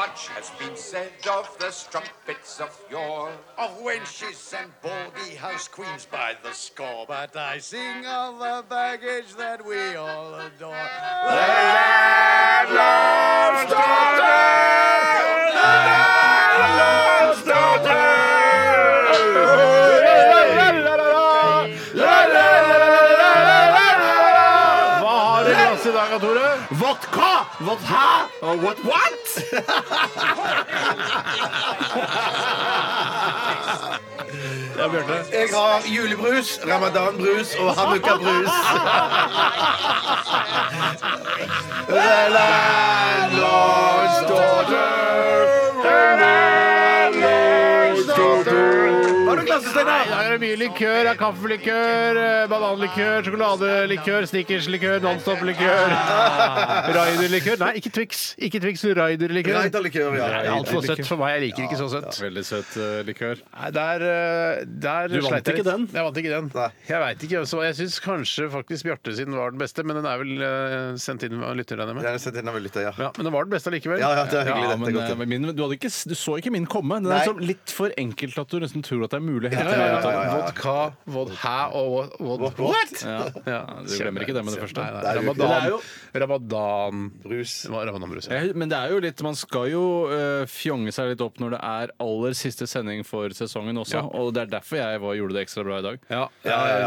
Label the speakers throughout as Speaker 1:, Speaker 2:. Speaker 1: Much has been said of the strumpets of yore, of wenches and baldy house queens by the score. But I sing of the baggage that we all adore. The landlord's daughter! The landlord's
Speaker 2: Hva har du i glasset i dag, Tore? Vodka! What hæ? What what? Ja, Bjarte.
Speaker 3: Jeg har julebrus, ramadanbrus og hanukkabrus. The landlord's daughter. Har du glass,
Speaker 2: I dag er det mye likør. Det er Kaffelikør, eh, bananlikør, sjokoladelikør, Snickers-likør, Nonstop-likør. Raider-likør. Nei, ikke Twix. Ikke Twix, Raider-likør.
Speaker 3: Raider-likør, ja.
Speaker 2: Det er altfor søtt for meg. Jeg liker ikke så søtt.
Speaker 4: Veldig søt eh, likør.
Speaker 2: Nei, der, eh, der
Speaker 4: Du vant
Speaker 2: sleit jeg
Speaker 4: ikke
Speaker 2: litt.
Speaker 4: den?
Speaker 2: Jeg vant ikke den. Jeg veit ikke. altså. Jeg syns kanskje faktisk Bjarte sin var den beste, men den er vel eh, sendt inn av lytter, regner jeg med.
Speaker 3: Jeg har sett den av lytter, ja.
Speaker 2: Ja, men det var den beste likevel.
Speaker 3: Ja, ja, det er hyggelig.
Speaker 4: Ja,
Speaker 3: dette
Speaker 4: men
Speaker 3: er godt.
Speaker 4: eh, min, du, hadde ikke, du så ikke min komme. Den
Speaker 3: Nei.
Speaker 4: er så litt for enkelt at du nesten tror at det er mulig. å hente
Speaker 2: Ja, ja,
Speaker 4: mer
Speaker 2: ja,
Speaker 4: ut av den.
Speaker 2: ja. Vodka, vodka og vod- vod-
Speaker 3: What?
Speaker 4: Ja, Du glemmer ikke det med det første.
Speaker 2: Nei,
Speaker 3: Det
Speaker 2: nei,
Speaker 3: er jo ikke-
Speaker 2: ramadan,
Speaker 4: Det
Speaker 2: ramadan
Speaker 3: Brus.
Speaker 2: Det var ramadanbrus. ja.
Speaker 4: Jeg- Men det er jo litt, man skal jo eh, fjonge seg litt opp når det er aller siste sending for sesongen også.
Speaker 2: Ja.
Speaker 4: Og det er derfor jeg var, gjorde det ekstra bra i dag. Eh,
Speaker 2: Ja.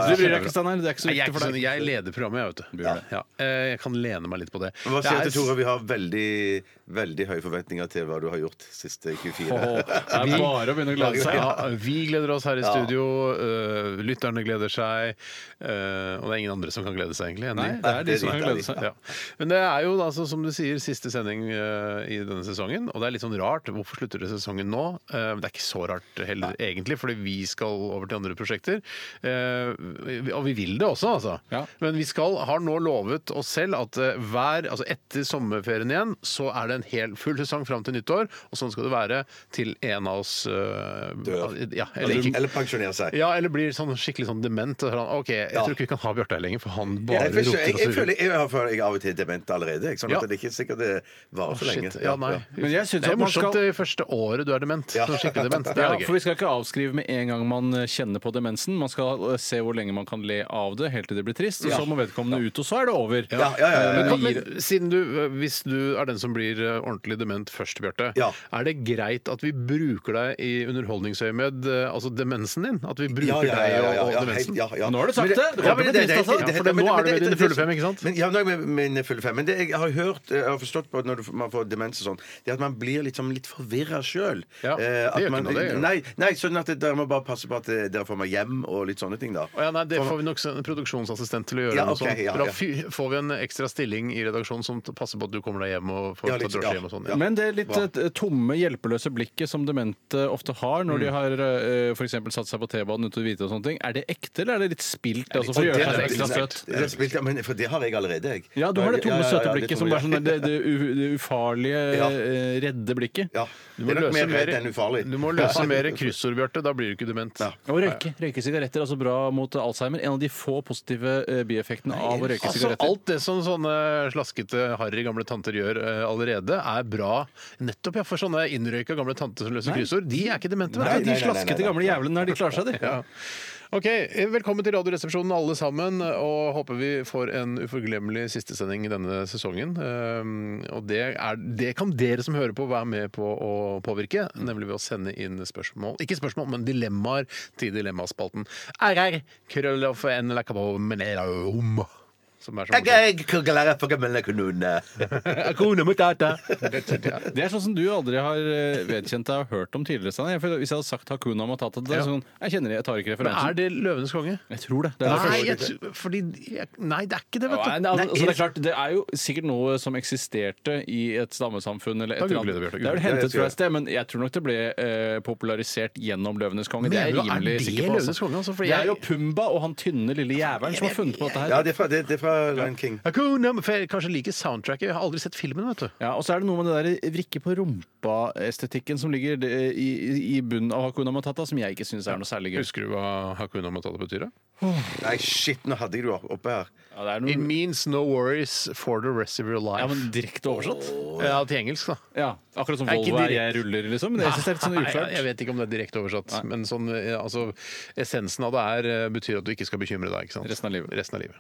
Speaker 4: Du bryr deg ikke, Steinar. Det er ikke så
Speaker 2: Nei, jeg, er ikke
Speaker 4: viktig for
Speaker 2: sånn,
Speaker 4: deg.
Speaker 2: jeg leder programmet, jeg, vet du.
Speaker 4: Burde det.
Speaker 2: Ja. Eh, Jeg kan lene meg litt på det.
Speaker 3: Hva
Speaker 2: Det
Speaker 3: sier
Speaker 2: er-
Speaker 3: du til Tore? Vi har veldig, veldig høye forventninger til hva du har gjort siste 24.
Speaker 4: Åh, Det er bare å begynne å glede seg.
Speaker 2: Ja, vi gleder oss her i studio. eh, lytterne gleder seg. eh, og det er ingen andre som kan glede seg, egentlig. enn
Speaker 4: Nei,
Speaker 2: de.
Speaker 4: det er de
Speaker 3: det
Speaker 4: som
Speaker 3: er
Speaker 4: kan
Speaker 3: de-
Speaker 4: glede seg.
Speaker 2: Ja. Men det er jo da, altså, som du sier, siste sending eh, i denne sesongen. Og det er litt sånn rart. Hvorfor slutter dere sesongen nå? Eh, det er ikke så rart heller, egentlig, fordi vi skal over til andre prosjekter. Eh, vi- og vi vil det også, altså.
Speaker 4: Ja.
Speaker 2: Men vi skal, har nå lovet oss selv at eh, hver, altså etter sommerferien igjen, så er det en hel full sesong fram til nyttår. Og sånn skal det være til en av oss eh,
Speaker 3: Dør.
Speaker 2: Ja, eller ikke.
Speaker 3: Eller pensjonere seg.
Speaker 2: Ja, eller blir sånn skikkelig sånn dement. Og så er han, OK, jeg
Speaker 3: Ja.
Speaker 2: tror ikke vi kan ha Bjarte her lenger, for han bare
Speaker 3: Jeg, føler-
Speaker 2: roter
Speaker 3: jeg,
Speaker 2: og
Speaker 3: jeg,
Speaker 2: surrer.
Speaker 3: føler, jeg, har- føler jeg er av og til er dement allerede. Ikke? Sånn
Speaker 2: Ja.
Speaker 3: at det er ikke sikkert det varer så lenge.
Speaker 2: Shit. Ja, nei.
Speaker 4: Men jeg synes
Speaker 2: det er
Speaker 4: at man
Speaker 2: morsomt
Speaker 4: skal-
Speaker 2: det første året du er dement.
Speaker 3: Ja.
Speaker 2: Sånn skikkelig dement. Det
Speaker 4: Ja,
Speaker 2: er
Speaker 4: for
Speaker 2: gøy.
Speaker 4: Vi skal ikke avskrive med en gang man eh, kjenner på demensen. Man skal eh, se hvor lenge man kan le av det helt til det blir trist. Og så må vedkommende ut, og så er det over.
Speaker 3: Ja, ja, ja, ja, ja.
Speaker 2: Eh, Men, men siden du, eh, Hvis du er den som blir eh, ordentlig dement først, Bjarte,
Speaker 3: Ja.
Speaker 2: er det greit at vi bruker deg i underholdningsøyemed, eh, altså demensen din? At vi
Speaker 3: Ja,
Speaker 2: bruker
Speaker 3: ja, ja, ja,
Speaker 2: deg og,
Speaker 3: ja,
Speaker 2: og
Speaker 3: ja, helt-
Speaker 2: demensen?
Speaker 3: ja, ja.
Speaker 4: Nå har du sagt
Speaker 3: Men
Speaker 4: det. Du
Speaker 3: ja,
Speaker 4: kommer
Speaker 3: men
Speaker 4: til å bli trist, altså.
Speaker 2: Ja,
Speaker 3: det- men-
Speaker 2: for nå er
Speaker 3: men
Speaker 2: du ved
Speaker 3: det-
Speaker 2: dine
Speaker 3: det-
Speaker 2: fulle fem, ikke sant?
Speaker 3: Men, ja, nå er jeg med mine fulle fem. Men det jeg har hørt, jeg har forstått på at når du, man får demens og sånn, det er at man blir liksom litt forvirra sjøl.
Speaker 2: Ja, det gjør ikke noe, det gjør.
Speaker 3: nei, nei, sånn at dere må bare passe på at eh, dere får meg hjem og litt sånne ting, da.
Speaker 2: Å Ja, nei, det får vi nok en produksjonsassistent til å gjøre.
Speaker 3: Ja,
Speaker 2: noe
Speaker 3: ok,
Speaker 2: sånt.
Speaker 3: ja,
Speaker 2: For Da
Speaker 3: ja.
Speaker 2: fy- får vi en ekstra stilling i redaksjonen som passer på at du kommer deg hjem og får
Speaker 3: Ja,
Speaker 2: ta
Speaker 3: litt-
Speaker 2: drosje
Speaker 3: ja.
Speaker 2: hjem og sånn.
Speaker 3: Ja.
Speaker 4: Men det litt eh, tomme, hjelpeløse blikket som demente ofte har når de
Speaker 3: Mm.
Speaker 4: har eh, for eksempel satt seg på T-banen uten å vite og sånne ting, er det ekte eller er det litt spilt? Altså, for å
Speaker 3: Og
Speaker 4: gjøre seg
Speaker 3: det-
Speaker 4: ekstra
Speaker 3: det-
Speaker 4: søt?
Speaker 3: det- det spilte- Men for det har jeg allerede, jeg.
Speaker 4: Ja, du har det
Speaker 3: Ja,
Speaker 4: tomme,
Speaker 3: ja, ja,
Speaker 4: søte
Speaker 3: det
Speaker 4: blikket som
Speaker 3: tomme,
Speaker 4: bare sånn
Speaker 3: ja.
Speaker 4: det, det, u- det ufarlige,
Speaker 3: Ja.
Speaker 4: eh, redde blikket.
Speaker 3: Ja. Det
Speaker 2: Du må
Speaker 3: er nok
Speaker 2: løse
Speaker 3: mer
Speaker 2: mer-
Speaker 3: redd enn ufarlig.
Speaker 2: Du må løse mer kryssord, Bjarte. Da blir du ikke dement.
Speaker 3: Ja.
Speaker 4: Og røyke. Røyke sigaretter er altså bra mot Alzheimer. En av de få positive eh, bieffektene av å røyke
Speaker 2: Altså,
Speaker 4: sigaretter.
Speaker 2: alt det som sånne slaskete, harry gamle tanter gjør eh, allerede, er bra. Nettopp ja, for sånne innrøyka gamle tanter som løser
Speaker 4: Nei.
Speaker 2: kryssord. De er ikke demente.
Speaker 4: Nei,
Speaker 2: vet du.
Speaker 4: de
Speaker 3: nei, nei, nei,
Speaker 4: slaskete
Speaker 3: nei.
Speaker 4: gamle jævlene der, de klarer seg, de.
Speaker 2: Ja. Ok, eh, Velkommen til Radioresepsjonen, alle sammen. Og håper vi får en uforglemmelig sistesending denne sesongen. Um, Og det, er, det kan dere som hører på, være med på å påvirke. Nemlig ved å sende inn spørsmål Ikke spørsmål, men dilemmaer til Dilemmaspalten. RR, krølloff, en lekkabom, menerom. Som er sånn- så morsomt.
Speaker 3: Jeg kan lære for gamle kommune.
Speaker 4: Det er sånn som du aldri har eh, vedkjent deg og hørt om tidligere. Steinar. Jeg føler at Hvis jeg hadde sagt Hakuna Matata til deg,
Speaker 2: Ja.
Speaker 4: sånn Jeg kjenner det, jeg tar ikke
Speaker 2: Men
Speaker 4: referansen.
Speaker 2: er det Løvenes konge?
Speaker 4: Jeg tror det. det, er det
Speaker 2: Nei,
Speaker 4: første.
Speaker 2: jeg, tror- fordi, jeg, nei, det er ikke det,
Speaker 4: Ja,
Speaker 2: vet du.
Speaker 4: nei, altså, det, er klart, det er jo sikkert noe som eksisterte i et stammesamfunn. Eller et
Speaker 2: Da
Speaker 4: eller
Speaker 2: googler
Speaker 4: annet.
Speaker 2: jeg det, Bjarte,
Speaker 4: det er vel
Speaker 2: googler.
Speaker 3: Ja, jeg
Speaker 4: hentet
Speaker 3: tror
Speaker 4: fra
Speaker 3: det.
Speaker 4: et sted, men jeg tror nok det ble eh, popularisert gjennom 'Løvenes konge'. Det er jeg
Speaker 2: Mener du, er
Speaker 4: rimelig
Speaker 2: det
Speaker 4: sikker på.
Speaker 2: Løvenes konge, altså? Fordi
Speaker 4: det er
Speaker 2: jeg-
Speaker 4: jo Pumba og han tynne lille jævelen som har funnet på dette her.
Speaker 3: Ja, det er fra, det, det er fra fra Lion King.
Speaker 2: Hakuna Matata. Kanskje liker soundtracket. Jeg har aldri sett filmen, vet du.
Speaker 4: Ja, Og så er det noe med det der vrikke på rumpa-estetikken som ligger det- i, i bunnen av Hakuna Matata, som jeg ikke syns er noe særlig gøy.
Speaker 2: Husker du hva Hakuna Matata betyr? da?
Speaker 3: Nei, shit, nå hadde jeg det oppe her.
Speaker 4: Ja, det er
Speaker 2: It
Speaker 4: noe,
Speaker 2: means no worries for the rest of your life.
Speaker 4: ja, men Direkte oversatt?
Speaker 2: Ja, til engelsk, da.
Speaker 4: Ja, Akkurat som
Speaker 2: Det er ikke
Speaker 4: Volvo er
Speaker 2: direkte-
Speaker 4: jeg ruller, liksom. Det, jeg synes det er litt sånn
Speaker 2: Nei, jeg
Speaker 4: uklart.
Speaker 2: vet ikke om det er direkte oversatt, men sånn, eh, altså, essensen av det er, eh, betyr at du ikke skal bekymre deg. Ikke sant?
Speaker 4: Resten av livet.
Speaker 2: Resten av livet.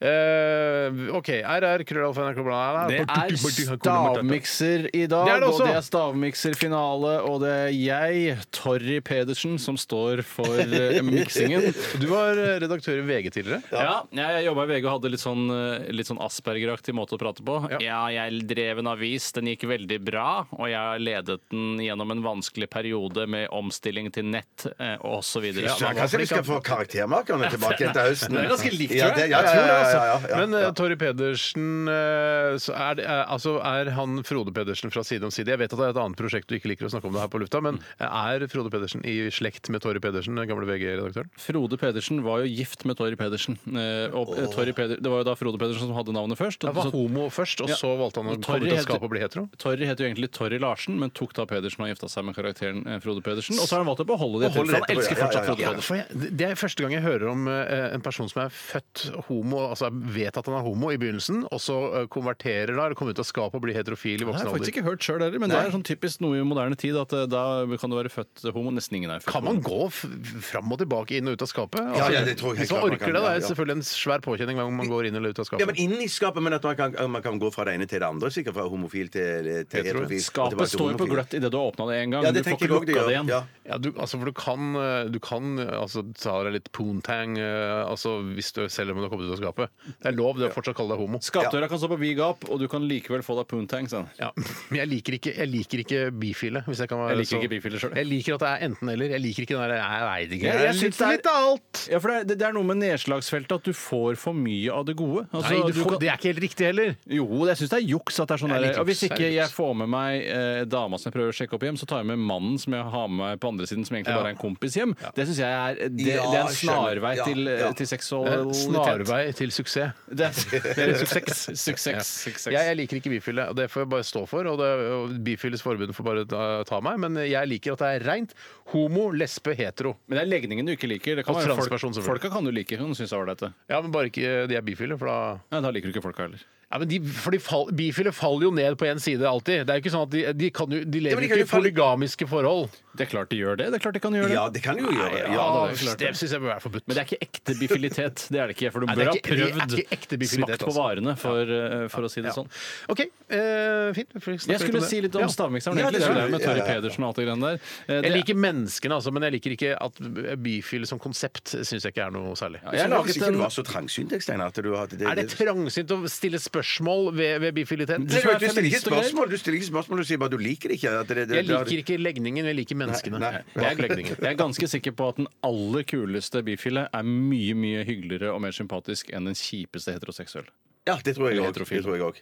Speaker 2: Eh, OK. RR, krøllalf, NRK, bla, bla, bla.
Speaker 4: Det er stavmikser i dag,
Speaker 2: Det er det
Speaker 4: og
Speaker 2: også.
Speaker 4: det er stavmikserfinale. Og det er jeg, Torry Pedersen, som står for eh, miksingen.
Speaker 2: Du var eh, redaktør i VG tidligere.
Speaker 4: Ja, jeg jobba i VG og hadde litt sånn, eh, litt sånn Asperger-aktig måte å prate på. Ja. jeg drev en avis, den gikk veldig bra, og jeg ledet den gjennom en vanskelig periode med omstilling til nett eh, og så videre.
Speaker 3: Så kanskje vi skal få karaktermakerne tilbake igjen til høsten.
Speaker 4: Det er ganske likt, tror
Speaker 3: Ja,
Speaker 4: jeg.
Speaker 3: det- ja, ja, ja, ja, ja, ja,
Speaker 2: Men
Speaker 3: ja.
Speaker 2: eh, Torry Pedersen eh, så er, det, eh, altså, er han Frode Pedersen fra Side om side? Jeg vet at det er et annet prosjekt du ikke liker å snakke om det her på lufta, men er Frode Pedersen i slekt med Torry Pedersen, den gamle VG-redaktøren?
Speaker 4: Frode Pedersen var jo gift med Torry Pedersen. eh, Og eh, Torry Peder, det var jo da Frode Pedersen som hadde navnet først.
Speaker 2: Han var homo først, og
Speaker 4: Ja.
Speaker 2: så valgte han å
Speaker 4: Torry
Speaker 2: komme ut av
Speaker 4: heter-
Speaker 2: skapet og bli hetero?
Speaker 4: Torry heter jo egentlig Torry Larsen, men tok da Pedersen og gifta seg med karakteren eh, Frode Pedersen. Og så har han valgt å beholde det.
Speaker 3: Beholde det
Speaker 4: etterpå, for Han
Speaker 3: etterpå,
Speaker 4: elsker
Speaker 3: ja, ja,
Speaker 4: fortsatt
Speaker 3: ja,
Speaker 4: Frode
Speaker 3: ja.
Speaker 2: Ja,
Speaker 4: Pedersen.
Speaker 2: for jeg, det er første gang jeg hører om eh, en person som er født homo, altså vet at han er homo i begynnelsen, og så eh, konverterer da, eller kommer ut av skapet og blir heterofil i
Speaker 4: Det har
Speaker 2: voksen
Speaker 4: jeg faktisk
Speaker 2: alder.
Speaker 4: ikke hørt sjøl heller, men det er sånn typisk noe i moderne tid at eh, da kan du være født homo. Nesten ingen er født
Speaker 2: Kan man gå f fram og tilbake inn og ut av skapet?
Speaker 3: Ja, ja, det tror jeg helt
Speaker 2: Hvis man
Speaker 3: klart man
Speaker 2: orker
Speaker 3: kan,
Speaker 2: det, da
Speaker 3: ja,
Speaker 2: er
Speaker 3: ja.
Speaker 2: det selvfølgelig en svær påkjenning hver gang man går inn eller ut av
Speaker 3: Ja,
Speaker 2: skapet.
Speaker 3: men inn i skapet, men at man kan, man kan gå fra det ene til det andre. Sikkert fra homofil til, til
Speaker 2: tror
Speaker 3: heterofil. og tilbake
Speaker 4: Skapet
Speaker 3: til
Speaker 4: står jo på
Speaker 3: homofil.
Speaker 4: gløtt idet du har åpna det én gang.
Speaker 3: Ja,
Speaker 4: men
Speaker 3: det
Speaker 4: du får
Speaker 3: tenker jeg
Speaker 4: ikke
Speaker 3: òg det
Speaker 4: lukka
Speaker 3: gjør.
Speaker 4: det igjen.
Speaker 3: Ja.
Speaker 2: Ja, du, altså, for du kan, eh, du kan eh, altså, ta deg litt poontang eh, altså, hvis du, selv om du har kommet ut av skapet. Det er lov det å fortsatt kalle deg homo.
Speaker 4: Skapdøra kan stå på vid gap, og du kan likevel få deg poontang. sa han.
Speaker 2: Ja, men jeg liker ikke, jeg liker ikke bifile. Hvis jeg, kan være
Speaker 4: Jeg liker
Speaker 2: så-
Speaker 4: ikke bifile selv.
Speaker 2: Jeg liker at det er enten-eller. Jeg liker ikke den der Jeg veit ikke.
Speaker 4: Jeg- jeg
Speaker 2: er
Speaker 4: synes
Speaker 2: litt-
Speaker 4: det er-
Speaker 2: litt av alt.
Speaker 4: Ja, for det er, det er noe med nedslagsfeltet at du får for mye av det gode. Altså,
Speaker 2: Nei, du
Speaker 4: du
Speaker 2: får,
Speaker 4: kan-
Speaker 2: det er ikke helt riktig heller.
Speaker 4: Jo, jeg syns det er juks. at det er sånn
Speaker 2: Det er
Speaker 4: der,
Speaker 2: litt
Speaker 4: og Hvis
Speaker 2: juks, det er
Speaker 4: ikke
Speaker 2: litt
Speaker 4: jeg
Speaker 2: juks.
Speaker 4: får med meg eh, dama som jeg prøver å sjekke opp hjem, så tar jeg med mannen som jeg har med meg på andre siden, som egentlig
Speaker 2: Ja.
Speaker 4: bare er en kompis hjem. Det syns jeg er det,
Speaker 3: Ja,
Speaker 4: det er en
Speaker 3: skjønner.
Speaker 4: snarvei
Speaker 3: Ja,
Speaker 4: til, eh,
Speaker 3: ja.
Speaker 4: til
Speaker 2: Det er
Speaker 4: seksualitet.
Speaker 2: Snarvei til suksess.
Speaker 4: Det er, det er suksess.
Speaker 2: Ja.
Speaker 4: Suksess. suksess.
Speaker 2: Jeg, jeg liker ikke bifile, og det får jeg bare stå for. Og, det, og Bifiles forbund får bare ta, ta meg, men jeg liker at det er reint homo, lesbe, hetero.
Speaker 4: Men det er legningen du ikke liker. Det kan
Speaker 2: Og
Speaker 4: være
Speaker 2: transperson,
Speaker 4: folk,
Speaker 2: selvfølgelig.
Speaker 4: folka kan du like. Hun syns det er ålreit. det.
Speaker 2: Ja, men bare ikke de er bifile, for da
Speaker 4: Ja, da liker du ikke folka heller.
Speaker 2: ja, men de, for de fall, Bifile faller jo ned på én side alltid. Det er jo ikke sånn at De, de, kan jo, de
Speaker 3: men
Speaker 2: lever
Speaker 3: de
Speaker 2: ikke
Speaker 3: kan
Speaker 2: i
Speaker 3: jo falle-
Speaker 2: polygamiske forhold.
Speaker 4: Det er klart de gjør det. Det er klart de kan gjøre det.
Speaker 3: Ja, det kan du jo gjøre. Ja,
Speaker 2: Ja,
Speaker 3: da.
Speaker 2: det,
Speaker 4: klart
Speaker 2: det syns jeg bør være forbudt.
Speaker 4: Men det er ikke ekte bifilitet. Det er det ikke. For du
Speaker 2: Nei,
Speaker 4: bør
Speaker 2: det er
Speaker 4: ha
Speaker 2: ikke- det er
Speaker 4: prøvd
Speaker 2: ikke ekte bifilitet,
Speaker 4: smakt på
Speaker 2: altså.
Speaker 4: varene, for, eh, for å si det sånn.
Speaker 2: OK, eh, fint. Vi får snakke
Speaker 4: Jeg skulle
Speaker 2: det.
Speaker 4: si litt om
Speaker 2: Ja.
Speaker 3: Ja, det
Speaker 4: stavmikseren. egentlig. det er jo
Speaker 3: skulle
Speaker 4: det med
Speaker 3: vi.
Speaker 4: Torry
Speaker 3: Ja, ja, ja.
Speaker 4: Pedersen og alt det greiene der. Eh,
Speaker 2: Jeg
Speaker 4: det-
Speaker 2: liker menneskene, altså, men jeg liker ikke at bifile som konsept syns jeg ikke er noe særlig.
Speaker 4: jeg
Speaker 3: Jeg
Speaker 4: laget
Speaker 3: ikke
Speaker 4: en-
Speaker 3: du var så trangsynt, jeg, Steinar. at du hadde
Speaker 2: Er det trangsynt å stille spørsmål ved, ved bifilitet?
Speaker 3: Nei,
Speaker 4: som er
Speaker 3: du stiller ikke
Speaker 4: feminist og greier?
Speaker 3: spørsmål, du stiller ikke spørsmål, du sier bare du liker det ikke. At det, det, det,
Speaker 2: Jeg liker ikke legningen, jeg liker menneskene.
Speaker 3: Nei, nei.
Speaker 2: Jeg er ikke legningen.
Speaker 4: Jeg er ganske sikker på at den aller kuleste bifile er mye mye hyggeligere og mer sympatisk enn den kjipeste heteroseksuelle.
Speaker 3: Ja, det tror jeg
Speaker 4: Eller
Speaker 3: òg.
Speaker 4: heterofil.
Speaker 3: Det tror jeg òg.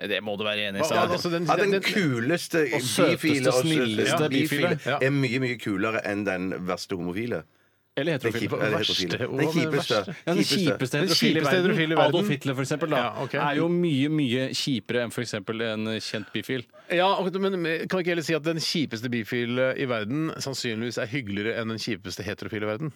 Speaker 4: Nei, Det må du være enig i.
Speaker 2: Ja,
Speaker 4: Steinar.
Speaker 2: altså, den-
Speaker 3: Ja, den
Speaker 2: den-
Speaker 3: kuleste
Speaker 4: Og søteste,
Speaker 3: bifile og sø-
Speaker 4: snilleste
Speaker 3: ja,
Speaker 4: bifile.
Speaker 2: Ja.
Speaker 3: er mye, mye kulere enn den verste homofile.
Speaker 4: Eller
Speaker 3: Den
Speaker 4: heterofile.
Speaker 3: kjipe- eller heterofile.
Speaker 2: verste-
Speaker 3: Den
Speaker 2: hva med
Speaker 3: kjipeste.
Speaker 2: verste?
Speaker 4: Ja, den kjipeste
Speaker 2: Den
Speaker 4: heterofile i
Speaker 2: kjipeste heterofile i
Speaker 4: verden,
Speaker 2: verden.
Speaker 4: Adolf Hitler for eksempel, da,
Speaker 2: Ja, ok.
Speaker 4: er jo mye mye kjipere enn f.eks. en kjent bifil.
Speaker 2: Ja, og- men Kan vi ikke heller si at den kjipeste bifile i verden sannsynligvis er hyggeligere enn den kjipeste heterofile i verden?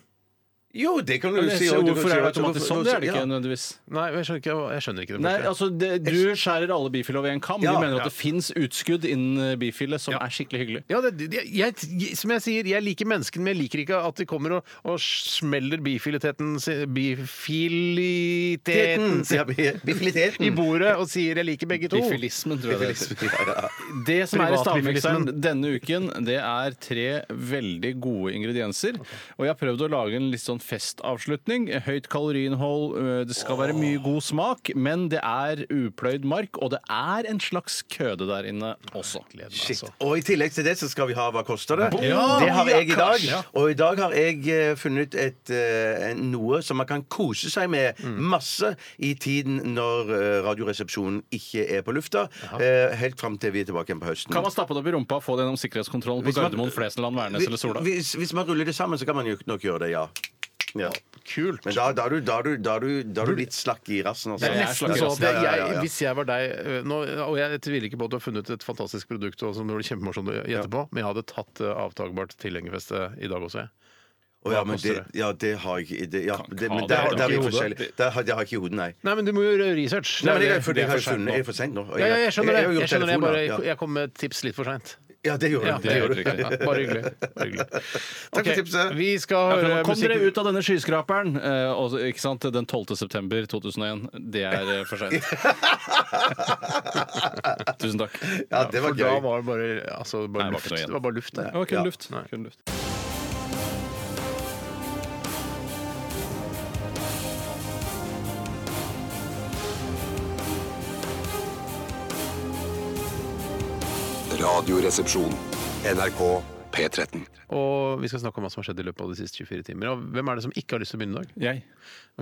Speaker 3: Jo, det kan du si. og du kan
Speaker 4: Hvorfor
Speaker 3: si
Speaker 4: er det
Speaker 3: at-
Speaker 4: automatisk sånn? Det er det ikke nødvendigvis.
Speaker 2: Nei, jeg skjønner ikke, jeg skjønner ikke det.
Speaker 4: Nei,
Speaker 2: Bjarte.
Speaker 4: altså, det, Du skjærer alle bifile over en kam. Du
Speaker 3: Ja,
Speaker 4: mener
Speaker 3: ja.
Speaker 4: at det fins utskudd innen bifile som er skikkelig hyggelig.
Speaker 2: Ja, det, det- jeg, jeg, som jeg sier, jeg liker menneskene, men jeg liker ikke at de kommer og, og smeller bifiliteten si- Bifiliteten
Speaker 3: Ja, Bifiliteten.
Speaker 2: i bordet og sier 'jeg liker begge to'.
Speaker 4: Bifilismen, tror jeg det heter.
Speaker 3: Ja, ja.
Speaker 4: Oh, Det som er i
Speaker 2: Privatbifilismen.
Speaker 4: stavmikseren denne uken, det er tre veldig gode ingredienser. Og jeg har prøvd å lage en litt sånn festavslutning. Høyt kaloriinnhold, øh, det skal være mye god smak, men det er upløyd mark, og det er en slags køde der inne også.
Speaker 3: Shit. Og i tillegg til det så skal vi ha Hva koster det?
Speaker 2: Ja,
Speaker 3: det har jeg i dag.
Speaker 2: ja.
Speaker 3: Og i dag har jeg eh, funnet et, eh, en- noe som man kan kose seg med masse i tiden når eh, Radioresepsjonen ikke er på lufta. eh, Helt fram til vi er tilbake igjen på høsten.
Speaker 4: Kan man stappe det opp i rumpa og få det gjennom sikkerhetskontrollen på
Speaker 3: Hvis man-
Speaker 4: Gardermoen, Flesland, Værnes eller Sola?
Speaker 3: Hvis, hvis man ruller det sammen, så kan man jo nok gjøre det, ja. Ja.
Speaker 2: Kult.
Speaker 3: Men da, da, er du, da, er du, da, er du, da er du litt slakk i rassen, altså.
Speaker 2: Det er
Speaker 4: Jeg er
Speaker 2: nesten
Speaker 4: slakk i
Speaker 2: sånn at
Speaker 4: rassen.
Speaker 2: jeg,
Speaker 3: Ja, ja, ja.
Speaker 2: hvis jeg var deg øh, nå, Og jeg tviler ikke på at du har funnet et fantastisk produkt og som det blir kjempemorsomt å gjette på, men jeg hadde tatt øh, avtagbart tilhengerfeste i dag også, jeg.
Speaker 3: Å, ja,
Speaker 2: Hva
Speaker 3: men
Speaker 2: koster
Speaker 3: det, ja, det har jeg ikke det, ja, det, men
Speaker 4: ha
Speaker 3: det,
Speaker 4: det,
Speaker 3: har-
Speaker 4: det
Speaker 3: det er
Speaker 4: har du
Speaker 3: litt
Speaker 4: ikke i hodet.
Speaker 3: forskjellig. Det har det har jeg ikke i hodet, nei.
Speaker 2: Nei, men du må jo gjøre research.
Speaker 3: Nei, men jeg,
Speaker 2: Det er
Speaker 3: er
Speaker 2: det-
Speaker 3: for
Speaker 2: det er
Speaker 3: jeg har
Speaker 2: for sent
Speaker 3: funnet
Speaker 2: nå.
Speaker 3: jeg er for sent nå.
Speaker 2: Ja, ja, jeg skjønner
Speaker 3: har
Speaker 2: det.
Speaker 3: jo
Speaker 2: Jeg, skjønner det. Jeg,
Speaker 3: telefoner,
Speaker 2: bare,
Speaker 3: ja.
Speaker 2: jeg kom med tips litt for seint.
Speaker 3: Ja, det gjorde
Speaker 2: Ja,
Speaker 3: du.
Speaker 2: det
Speaker 4: gjør
Speaker 2: gjorde
Speaker 4: du
Speaker 2: du.
Speaker 4: ikke.
Speaker 2: Bare hyggelig. Bare hyggelig.
Speaker 3: Takk for
Speaker 2: Ok,
Speaker 3: tipset.
Speaker 2: Vi skal høre
Speaker 3: Eh,
Speaker 4: Kom
Speaker 2: musikk.
Speaker 4: dere ut av denne skyskraperen eh, og, ikke sant? den 12. september 2001. Det er eh, for seint. Tusen takk.
Speaker 3: Ja, det var
Speaker 2: For da
Speaker 3: gøy.
Speaker 2: var det bare, altså, bare
Speaker 4: Nei, det var ikke
Speaker 2: luft.
Speaker 4: noe igjen.
Speaker 2: Det var bare luft der.
Speaker 4: Det var kun
Speaker 3: Ja.
Speaker 4: luft.
Speaker 2: Nei.
Speaker 4: Kun luft.
Speaker 5: Radioresepsjon. NRK P13.
Speaker 2: Og vi skal snakke om hva som har skjedd i løpet av de siste 24 timer. Og hvem er det som ikke har lyst til å begynne i dag?
Speaker 4: Jeg.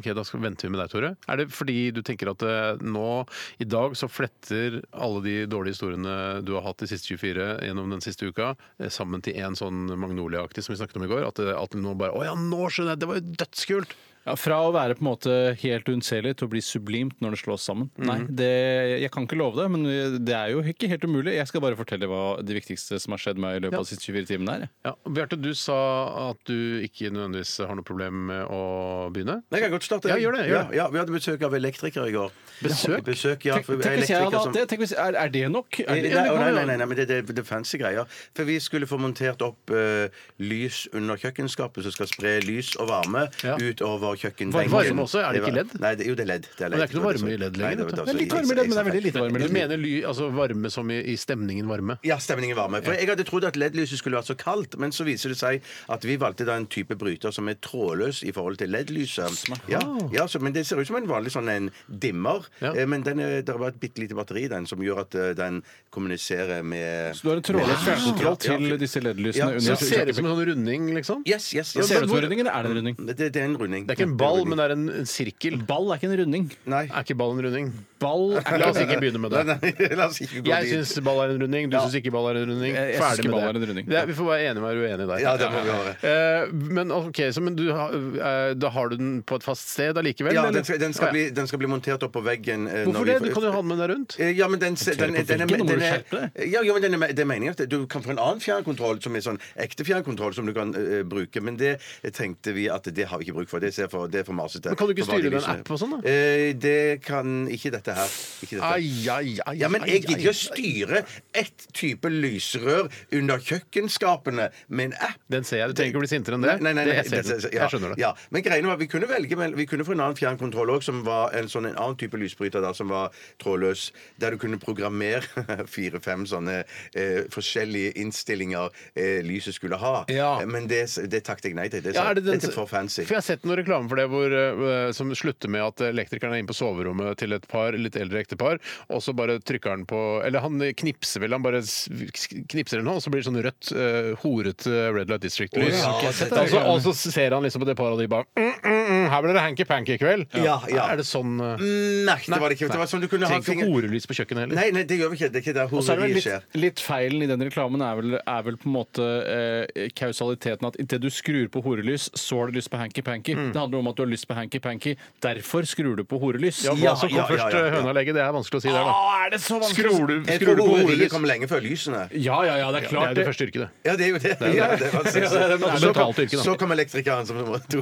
Speaker 2: Ok, Da skal, venter vi med deg, Tore. Er det fordi du tenker at eh, nå, i dag, så fletter alle de dårlige historiene du har hatt de siste 24 gjennom den siste uka, eh, sammen til en sånn Magnolia-aktig som vi snakket om i går? At, eh, at nå bare Å ja, nå skjønner jeg! Det var jo dødskult!
Speaker 4: Ja, fra å være på en måte helt unnselig til å bli sublimt når det slås sammen.
Speaker 3: Mhm.
Speaker 4: Nei, det, Jeg kan ikke love det, men det er jo ikke helt umulig. Jeg skal bare fortelle hva det viktigste som har skjedd meg i løpet av de siste 24 timene er. jeg.
Speaker 2: Ja, og Bjarte, du sa at du ikke nødvendigvis har noe problem med å begynne.
Speaker 3: Nei, jeg kan godt starte.
Speaker 2: Ja, gjør det, gjør
Speaker 3: Ja,
Speaker 2: det.
Speaker 3: ja, vi hadde besøk av elektriker i går.
Speaker 2: Besøk?
Speaker 3: Besøk, ja.
Speaker 4: Tenk,
Speaker 3: for
Speaker 4: tenk hvis jeg hadde
Speaker 3: elektriker som-
Speaker 4: hatt det! Tenk hvis, er, er det nok? Er
Speaker 3: Nei,
Speaker 4: det,
Speaker 3: nei, nei, nei, nei, nei, men det, det, det er fancy greier. For vi skulle få montert opp eh, lys under kjøkkenskapet, som skal spre lys og varme
Speaker 2: Ja.
Speaker 3: utover kjøkkenbenken.
Speaker 2: varme også? Er det ikke LED?
Speaker 3: Nei, det, jo, det er ledd. Det er,
Speaker 2: Men det er
Speaker 3: LED.
Speaker 2: ikke noe varme i LED
Speaker 3: Nei,
Speaker 2: lenger,
Speaker 3: var-
Speaker 2: vet du.
Speaker 4: Det er litt varme i LED, men det er veldig lite varme i
Speaker 2: Du
Speaker 4: LED.
Speaker 2: mener ly, altså varme som i, i stemningen varme?
Speaker 3: Ja, stemningen varme. For Jeg hadde trodd at LED-lyset skulle vært så kaldt, men så viser det seg at vi valgte da en type bryter som er trådløs i forhold til LED-lyset. Ja, ja, så, men Det ser ut som en vanlig sånn en dimmer,
Speaker 2: Ja.
Speaker 3: eh, men den er, det er bare et bitte lite batteri i den som gjør at eh, den kommuniserer med
Speaker 4: Så du har en trådløs fjernkontroll til disse LED-lysene
Speaker 3: Ja,
Speaker 2: Så
Speaker 4: under
Speaker 2: det ser ut som en sånn runding, liksom?
Speaker 3: Yes, yes, yes.
Speaker 4: Ser det ut som en runding, eller er det en runding?
Speaker 3: Det, det er en runding.
Speaker 2: Det er ikke en ball, men det er en, en sirkel.
Speaker 4: Ball er ikke en runding.
Speaker 3: Nei.
Speaker 2: Er ikke ball en runding?
Speaker 4: Ball er
Speaker 2: La oss ikke begynne med det.
Speaker 3: Nei, nei, la oss ikke gå
Speaker 2: Jeg
Speaker 3: dit.
Speaker 2: syns ball er en runding, du syns ikke ball er en runding.
Speaker 4: Jeg- jeg synes
Speaker 2: Ferdig
Speaker 4: ikke ball
Speaker 2: med
Speaker 4: er en
Speaker 2: det.
Speaker 4: runding.
Speaker 2: det er, vi får være enige om å være uenige der.
Speaker 3: Ja, det må vi være.
Speaker 2: Eh, men ok, så, men du, har- eh, da har du den på et fast sted allikevel?
Speaker 3: Ja,
Speaker 2: eller?
Speaker 3: den skal, den,
Speaker 2: Å,
Speaker 3: skal
Speaker 2: ja.
Speaker 3: bli, den skal bli montert opp på veggen. eh, når
Speaker 2: Hvorfor
Speaker 3: vi
Speaker 2: det?
Speaker 3: får-
Speaker 2: Du kan jo ha den med deg rundt.
Speaker 3: Eh, Ja, men den, den, den,
Speaker 4: på
Speaker 3: den,
Speaker 4: veggen, nå må
Speaker 3: den
Speaker 4: du
Speaker 3: er-
Speaker 4: skjerpe
Speaker 3: ja, jo, men den er, det er meningen at du kan få en annen fjernkontroll som er sånn ekte fjernkontroll som du kan eh, bruke, men det tenkte vi at det har vi ikke bruk for. Det, ser for, det er for masete.
Speaker 2: Men kan du ikke
Speaker 3: For vanlige
Speaker 2: styre med en
Speaker 3: lysene.
Speaker 2: app og sånn, da?
Speaker 3: Eh, det kan ikke dette her. Ikke dette.
Speaker 2: Ai, ai, ai,
Speaker 3: Ja, men
Speaker 2: ai,
Speaker 3: jeg gidder ikke å
Speaker 2: ai.
Speaker 3: styre ett type lysrør under kjøkkenskapene med en app.
Speaker 2: Den ser jeg. Du trenger ikke bli sintere enn det.
Speaker 3: Nei, nei, nei,
Speaker 2: Det- jeg ser
Speaker 3: det-
Speaker 2: den.
Speaker 3: ja,
Speaker 2: Jeg skjønner det.
Speaker 3: Ja. Men greiene var, vi kunne velge, men vi kunne få en annen fjernkontroll òg, som var en, sånn, en annen type lysbryter da, som var trådløs, der du kunne programmere fire-fem sånne eh, forskjellige innstillinger eh, lyset skulle ha.
Speaker 2: Ja.
Speaker 3: Men det, det takket jeg nei til. Det,
Speaker 2: Ja, er det den,
Speaker 3: Dette er for fancy.
Speaker 2: For Jeg har sett noen reklame for det hvor, eh, som slutter med at elektrikeren er inne på soverommet til et par, litt eldre ektepar, og så bare trykker han på Eller han knipser vel, han bare s- knipser eller noe, og så blir det sånn rødt, eh, horete Red Light District-lys.
Speaker 3: Å, ja,
Speaker 2: Altså,
Speaker 3: dette er
Speaker 2: og, så- og så ser han liksom på det paret, og de bare mm, mm, mm, Her blir det hanky-panky i kveld.
Speaker 3: Ja, ja.
Speaker 2: Er det sånn eh,
Speaker 3: Nei, det var det ikke. Det var sånn du kunne ha
Speaker 2: Trenger ikke horelys på kjøkkenet heller.
Speaker 3: Nei, nei, det gjør vi ikke. Det er ikke der
Speaker 4: Og så er det
Speaker 3: horeriet
Speaker 4: vel
Speaker 3: skjer.
Speaker 4: litt, litt feilen i den reklamen er vel, er vel på en måte eh, kausaliteten at idet du skrur på horelys, så har du lyst på hanky-panky.
Speaker 2: Mm.
Speaker 4: Det handler om at du har lyst på hanky-panky, derfor skrur du på horelys.
Speaker 2: Ja,
Speaker 3: Ja,
Speaker 2: hva som kom
Speaker 3: ja, ja, ja,
Speaker 2: først,
Speaker 3: Ah,
Speaker 2: eh,
Speaker 3: ja.
Speaker 2: høna eller egget, det er vanskelig å si der, da.
Speaker 4: Å, er det så vanskelig?
Speaker 2: Skrur du,
Speaker 3: Jeg
Speaker 2: skrur
Speaker 3: tror
Speaker 2: du på
Speaker 3: horeriet
Speaker 2: horelys?
Speaker 3: kom lenge før lysene.
Speaker 4: Ja, ja, ja, det er
Speaker 2: Det er jo
Speaker 4: klart.
Speaker 2: det
Speaker 4: det.
Speaker 2: første yrket, det.
Speaker 3: Ja, det er jo det. Ja, det var sexy.
Speaker 4: Ja, det er det.
Speaker 3: Så kom-
Speaker 2: Betalt yrke, da.
Speaker 3: Så kom elektrikeren som nummer to.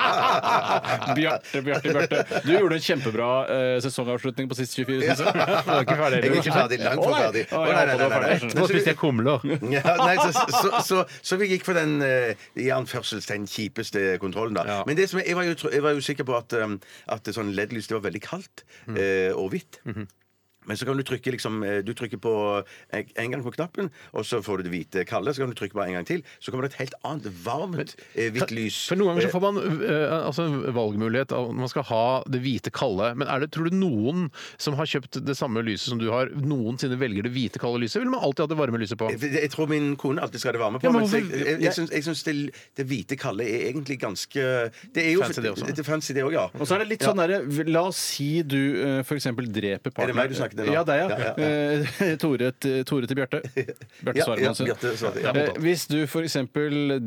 Speaker 2: Ah,
Speaker 4: Bjarte, Bjarte, Bjarte. Du gjorde en kjempebra eh, sesongavslutning på siste 24, syns jeg. Du er ikke ferdig
Speaker 3: Jeg er ikke ferdig. Langt fra ferdig.
Speaker 4: Å,
Speaker 3: Å,
Speaker 4: jeg
Speaker 3: nei,
Speaker 4: håper
Speaker 3: nei,
Speaker 4: du er
Speaker 3: nei, nei.
Speaker 4: ferdig.
Speaker 3: Så
Speaker 2: Nå
Speaker 3: vi-
Speaker 2: spiste jeg kumler.
Speaker 3: Ja, nei, så, så, så, så vi gikk for den eh, i anførselstegn kjipeste kontrollen, da.
Speaker 2: Ja.
Speaker 3: Men det som jeg, jeg, var jo, tro- jeg var jo sikker på at, um, at det sånn LED-lys det var veldig kaldt
Speaker 2: Mm.
Speaker 3: eh, og hvitt.
Speaker 2: Mhm.
Speaker 3: Men så kan du trykke liksom, eh, du trykker på en, en gang på knappen, og så får du det hvite kalde. Så kan du trykke på en gang til, så kommer det et helt annet varmt eh, hvitt lys.
Speaker 2: For Noen ganger så får man eh, altså en valgmulighet av om man skal ha det hvite kalde. Men er det, tror du noen som har kjøpt det samme lyset som du har, noensinne velger det hvite kalde lyset? Eller vil man alltid ha det varme lyset på?
Speaker 3: Jeg, jeg tror min kone alltid skal ha det varme på.
Speaker 2: Ja, men
Speaker 3: men så jeg,
Speaker 2: hvorfor-
Speaker 3: jeg,
Speaker 2: jeg-
Speaker 3: jeg, syns, jeg syns det, det hvite kalde er egentlig ganske det er jo,
Speaker 2: Fancy det også.
Speaker 3: er fancy det også, ja.
Speaker 4: Og så er det litt sånn derre La oss si du eh, for eksempel
Speaker 3: Er
Speaker 4: dreper
Speaker 3: det
Speaker 4: partneren
Speaker 3: meg du snakker det nå.
Speaker 4: Ja, deg, ja.
Speaker 3: ja, ja.
Speaker 4: Eh, Tore, til- Tore til Bjarte. Bjarte
Speaker 3: Ja, ja,
Speaker 4: Svarmann sin.
Speaker 3: Bjarte Svarmann, ja.
Speaker 4: Eh, Hvis du f.eks.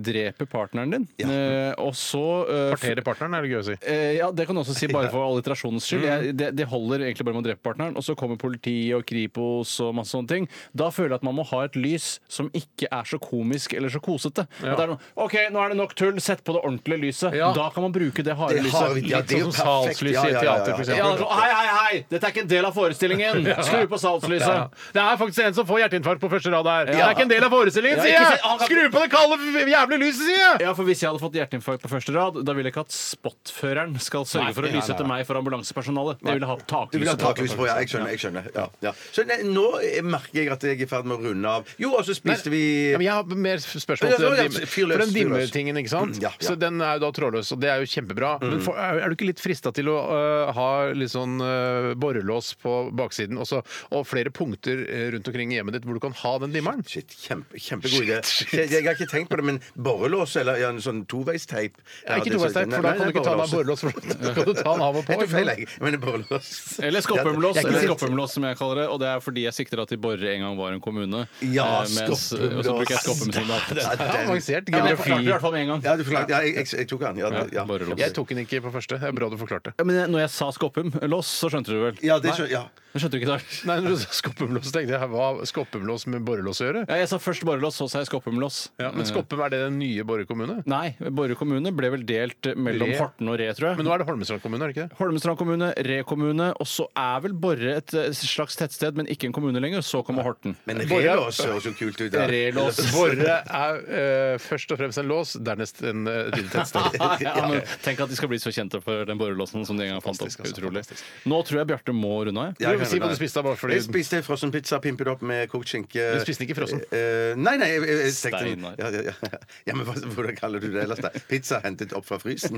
Speaker 4: dreper partneren din, eh, og så eh, f-
Speaker 2: Partere partneren, er det gøy å si.
Speaker 4: Eh, ja, Det kan du også si bare for alliterasjonens skyld.
Speaker 3: Mm.
Speaker 4: Jeg, det, det holder egentlig bare med å drepe partneren, og så kommer politiet og Kripos og masse sånne ting. Da føler jeg at man må ha et lys som ikke er så komisk eller så kosete. At Det er noe, OK, nå er det nok tull, sett på det ordentlige lyset.
Speaker 2: Ja.
Speaker 4: Da kan man bruke det harde
Speaker 3: Det
Speaker 4: lyset.
Speaker 3: har vi- ja, det er jo
Speaker 2: Litt sånn
Speaker 3: perfekt.
Speaker 2: salslys
Speaker 3: Ja, ja,
Speaker 2: i
Speaker 3: ja,
Speaker 2: et teater,
Speaker 3: ja.
Speaker 2: for
Speaker 4: Ja,
Speaker 2: eksempel.
Speaker 4: altså, hei, hei, hei! Dette er ikke en del av forestillingen! Skru på salslyset!
Speaker 2: Ja. Det er faktisk en som får hjerteinfarkt på første rad her. Det er ikke en del av forestillingen,
Speaker 4: Ja,
Speaker 2: sier
Speaker 4: ikke
Speaker 2: jeg!
Speaker 4: si- han kan-
Speaker 2: Skru på det kalde, jævlig lyset, sier jeg!
Speaker 4: Ja, for Hvis jeg hadde fått hjerteinfarkt på første rad, da ville jeg ikke at spotføreren skal sørge
Speaker 2: Nei,
Speaker 4: for å
Speaker 2: nei,
Speaker 4: lyse etter meg for ambulansepersonalet. Jeg ville ha
Speaker 3: Du vil ha
Speaker 4: taklyset.
Speaker 3: taklys på, ja. Jeg skjønner. jeg skjønner ja, ja. Så nei, Nå merker jeg at jeg er i ferd med å runde av. Jo, og så spiste vi
Speaker 2: Ja, men jeg har mer spørsmål
Speaker 3: Ja,
Speaker 2: til
Speaker 3: ja, ja,
Speaker 2: den dimmer-
Speaker 3: fyr løs,
Speaker 2: for den
Speaker 3: fyr løs.
Speaker 2: dimmertingen. ikke sant?
Speaker 3: Mm, ja, ja. Mm.
Speaker 2: Så den er jo da trådløs, og det er jo kjempebra. Men for, er er du ikke litt frista til å øh, ha litt sånn øh, borrelås på baksiden og så- og flere punkter øh, rundt omkring i hjemmet ditt hvor du kan ha den dimmeren?
Speaker 3: Shit, kjempe, kjempegod idé. Jeg, jeg har ikke tenkt på det, men borrelås eller ja, en sånn toveisteip
Speaker 2: Ja, ikke toveisteip, for da kan du ikke ta den av borrelås. For da kan du ta den av og på.
Speaker 3: Jeg tok feil,
Speaker 2: ikke sant?
Speaker 3: jeg. Men borrelås
Speaker 4: Eller skopphømlås,
Speaker 3: Jeg er ikke
Speaker 4: eller
Speaker 3: helt-
Speaker 4: skopphømlås som jeg kaller det. Og det er fordi jeg sikter at de Borre en gang var en kommune.
Speaker 3: Ja,
Speaker 4: eh, mens- Og så bruker jeg skoppem som
Speaker 2: Det
Speaker 4: data.
Speaker 2: er avansert
Speaker 4: Ja, men jeg
Speaker 2: geografi.
Speaker 4: forklarte det i hvert fall med en gang.
Speaker 3: Ja, du forklarte ja, jeg, jeg, jeg tok den. Ja, det- ja.
Speaker 4: borrelås.
Speaker 2: Jeg tok den ikke på første. Det er bra du forklarte.
Speaker 4: Ja, men når jeg sa skoppemlås, så skjønte du vel?
Speaker 3: Ja, det skjønner ja.
Speaker 4: Men skjønte du ikke det?
Speaker 2: Nei, når du sa skoppemlås, tenkte jeg hva har skoppemlås med borrelås å gjøre?
Speaker 4: Ja, jeg sa først borrelås, så sa jeg skoppemlås.
Speaker 2: Ja, men Skoppem, er det den nye Borre kommune?
Speaker 4: Nei, Borre kommune ble vel delt mellom
Speaker 2: Re.
Speaker 4: Horten og Re, tror jeg.
Speaker 2: Men nå er det Holmestrand kommune, er det ikke det?
Speaker 4: Holmestrand kommune, Re kommune, og så er vel Borre et eh, slags tettsted, men ikke en kommune lenger. Så kommer Horten.
Speaker 3: Men relås høres jo kult ut. da.
Speaker 4: Relås.
Speaker 2: Borre er eh, først og fremst en lås, dernest en uh, tettsted.
Speaker 4: Ja, men tenk at de skal bli så kjente for den borrelåsen som de en gang fant opp. Utrolig. Nå tror jeg Bjarte må runde av. jeg.
Speaker 3: Ja, jeg kan
Speaker 2: si hva
Speaker 3: runde av.
Speaker 2: du spiste, bare fordi-
Speaker 3: Jeg spiste frossenpizza, pimpet opp med kokt skinke.
Speaker 2: Du spiste ikke frossen?
Speaker 3: Eh, nei, nei. Jeg, jeg, jeg tenkte,
Speaker 4: Steinar.
Speaker 3: ja, ja, ja. ja, men hva, Hvordan kaller du det ellers? da? Pizza hentet opp fra frysen?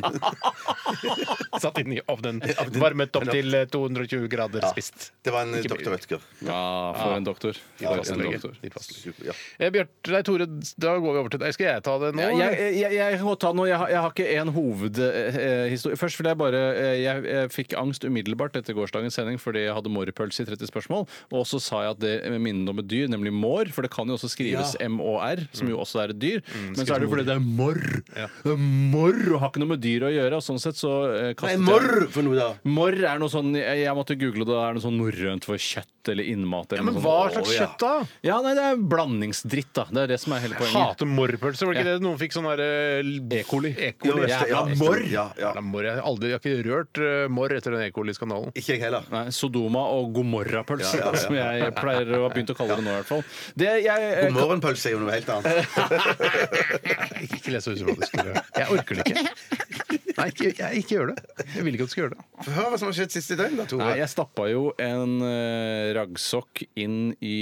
Speaker 2: Satt inn i ovnen. Varmet opp til eh, 220 grader spist.
Speaker 3: Det var en eh,
Speaker 2: Ikke
Speaker 3: doktor Rødtger.
Speaker 4: Ja, for en doktor.
Speaker 2: Ja,
Speaker 4: For en
Speaker 2: fastlege.
Speaker 4: doktor.
Speaker 2: Din fastlege.
Speaker 3: Super, ja.
Speaker 2: Eh, Bjarte, nei, Tore, da går vi over til deg. Skal jeg ta det nå?
Speaker 4: Ja,
Speaker 2: eller?
Speaker 4: jeg, jeg, jeg kan godt ta noe. Jeg, har- jeg har ikke én hovedhistorie. eh, Først vil jeg bare eh, jeg, jeg fikk angst umiddelbart etter gårsdagens sending fordi jeg hadde mårpølse i 30 spørsmål. Og så sa jeg at det minnet om et dyr, nemlig mår, for det kan jo også skrives m-å-r, som jo også er et dyr.
Speaker 2: Mm.
Speaker 4: Men så er det jo fordi det er morr. Det er Morr og har ikke noe med dyr å gjøre. Og sånn sett så eh,
Speaker 3: Nei,
Speaker 4: kastet jeg
Speaker 3: morr for noe, da!
Speaker 4: Morr er noe sånn Jeg, jeg måtte google det. Det er noe sånn norrønt for kjøtt eller innmat. Eller
Speaker 2: Men
Speaker 4: noe
Speaker 2: hva
Speaker 4: sånt.
Speaker 2: slags
Speaker 3: Å, ja.
Speaker 2: kjøtt, da?
Speaker 4: Ja, nei, det er blandingsdritt, da. Det er det som er hele
Speaker 2: Jeg
Speaker 4: poenget.
Speaker 2: Hater morrpølse. Var det ikke
Speaker 4: Ja.
Speaker 2: det noen fikk sånn derre
Speaker 4: E. coli.
Speaker 3: Jo,
Speaker 4: Ja,
Speaker 3: Øystein,
Speaker 4: ja,
Speaker 3: ja, morr! Ja, ja.
Speaker 2: Nei, morr, jeg, har aldri, jeg har ikke rørt eh, morr etter den E. coli-skandalen.
Speaker 3: Ikke jeg heller.
Speaker 4: Nei, Sodoma og Gomorra-pølse,
Speaker 3: Ja, ja, ja.
Speaker 4: som jeg pleier å ha begynt å kalle det nå, i hvert fall. Det jeg, eh,
Speaker 3: God morgenpølse er jo noe helt annet.
Speaker 2: Ikke les så usympatisk. Tore. Jeg orker det ikke. Nei, ikke, jeg, ikke gjør det. Jeg vil ikke at du skal gjøre det.
Speaker 3: Hør hva som har skjedd siste døgn, da, Tore.
Speaker 4: Nei, jeg stappa jo en eh, raggsokk inn i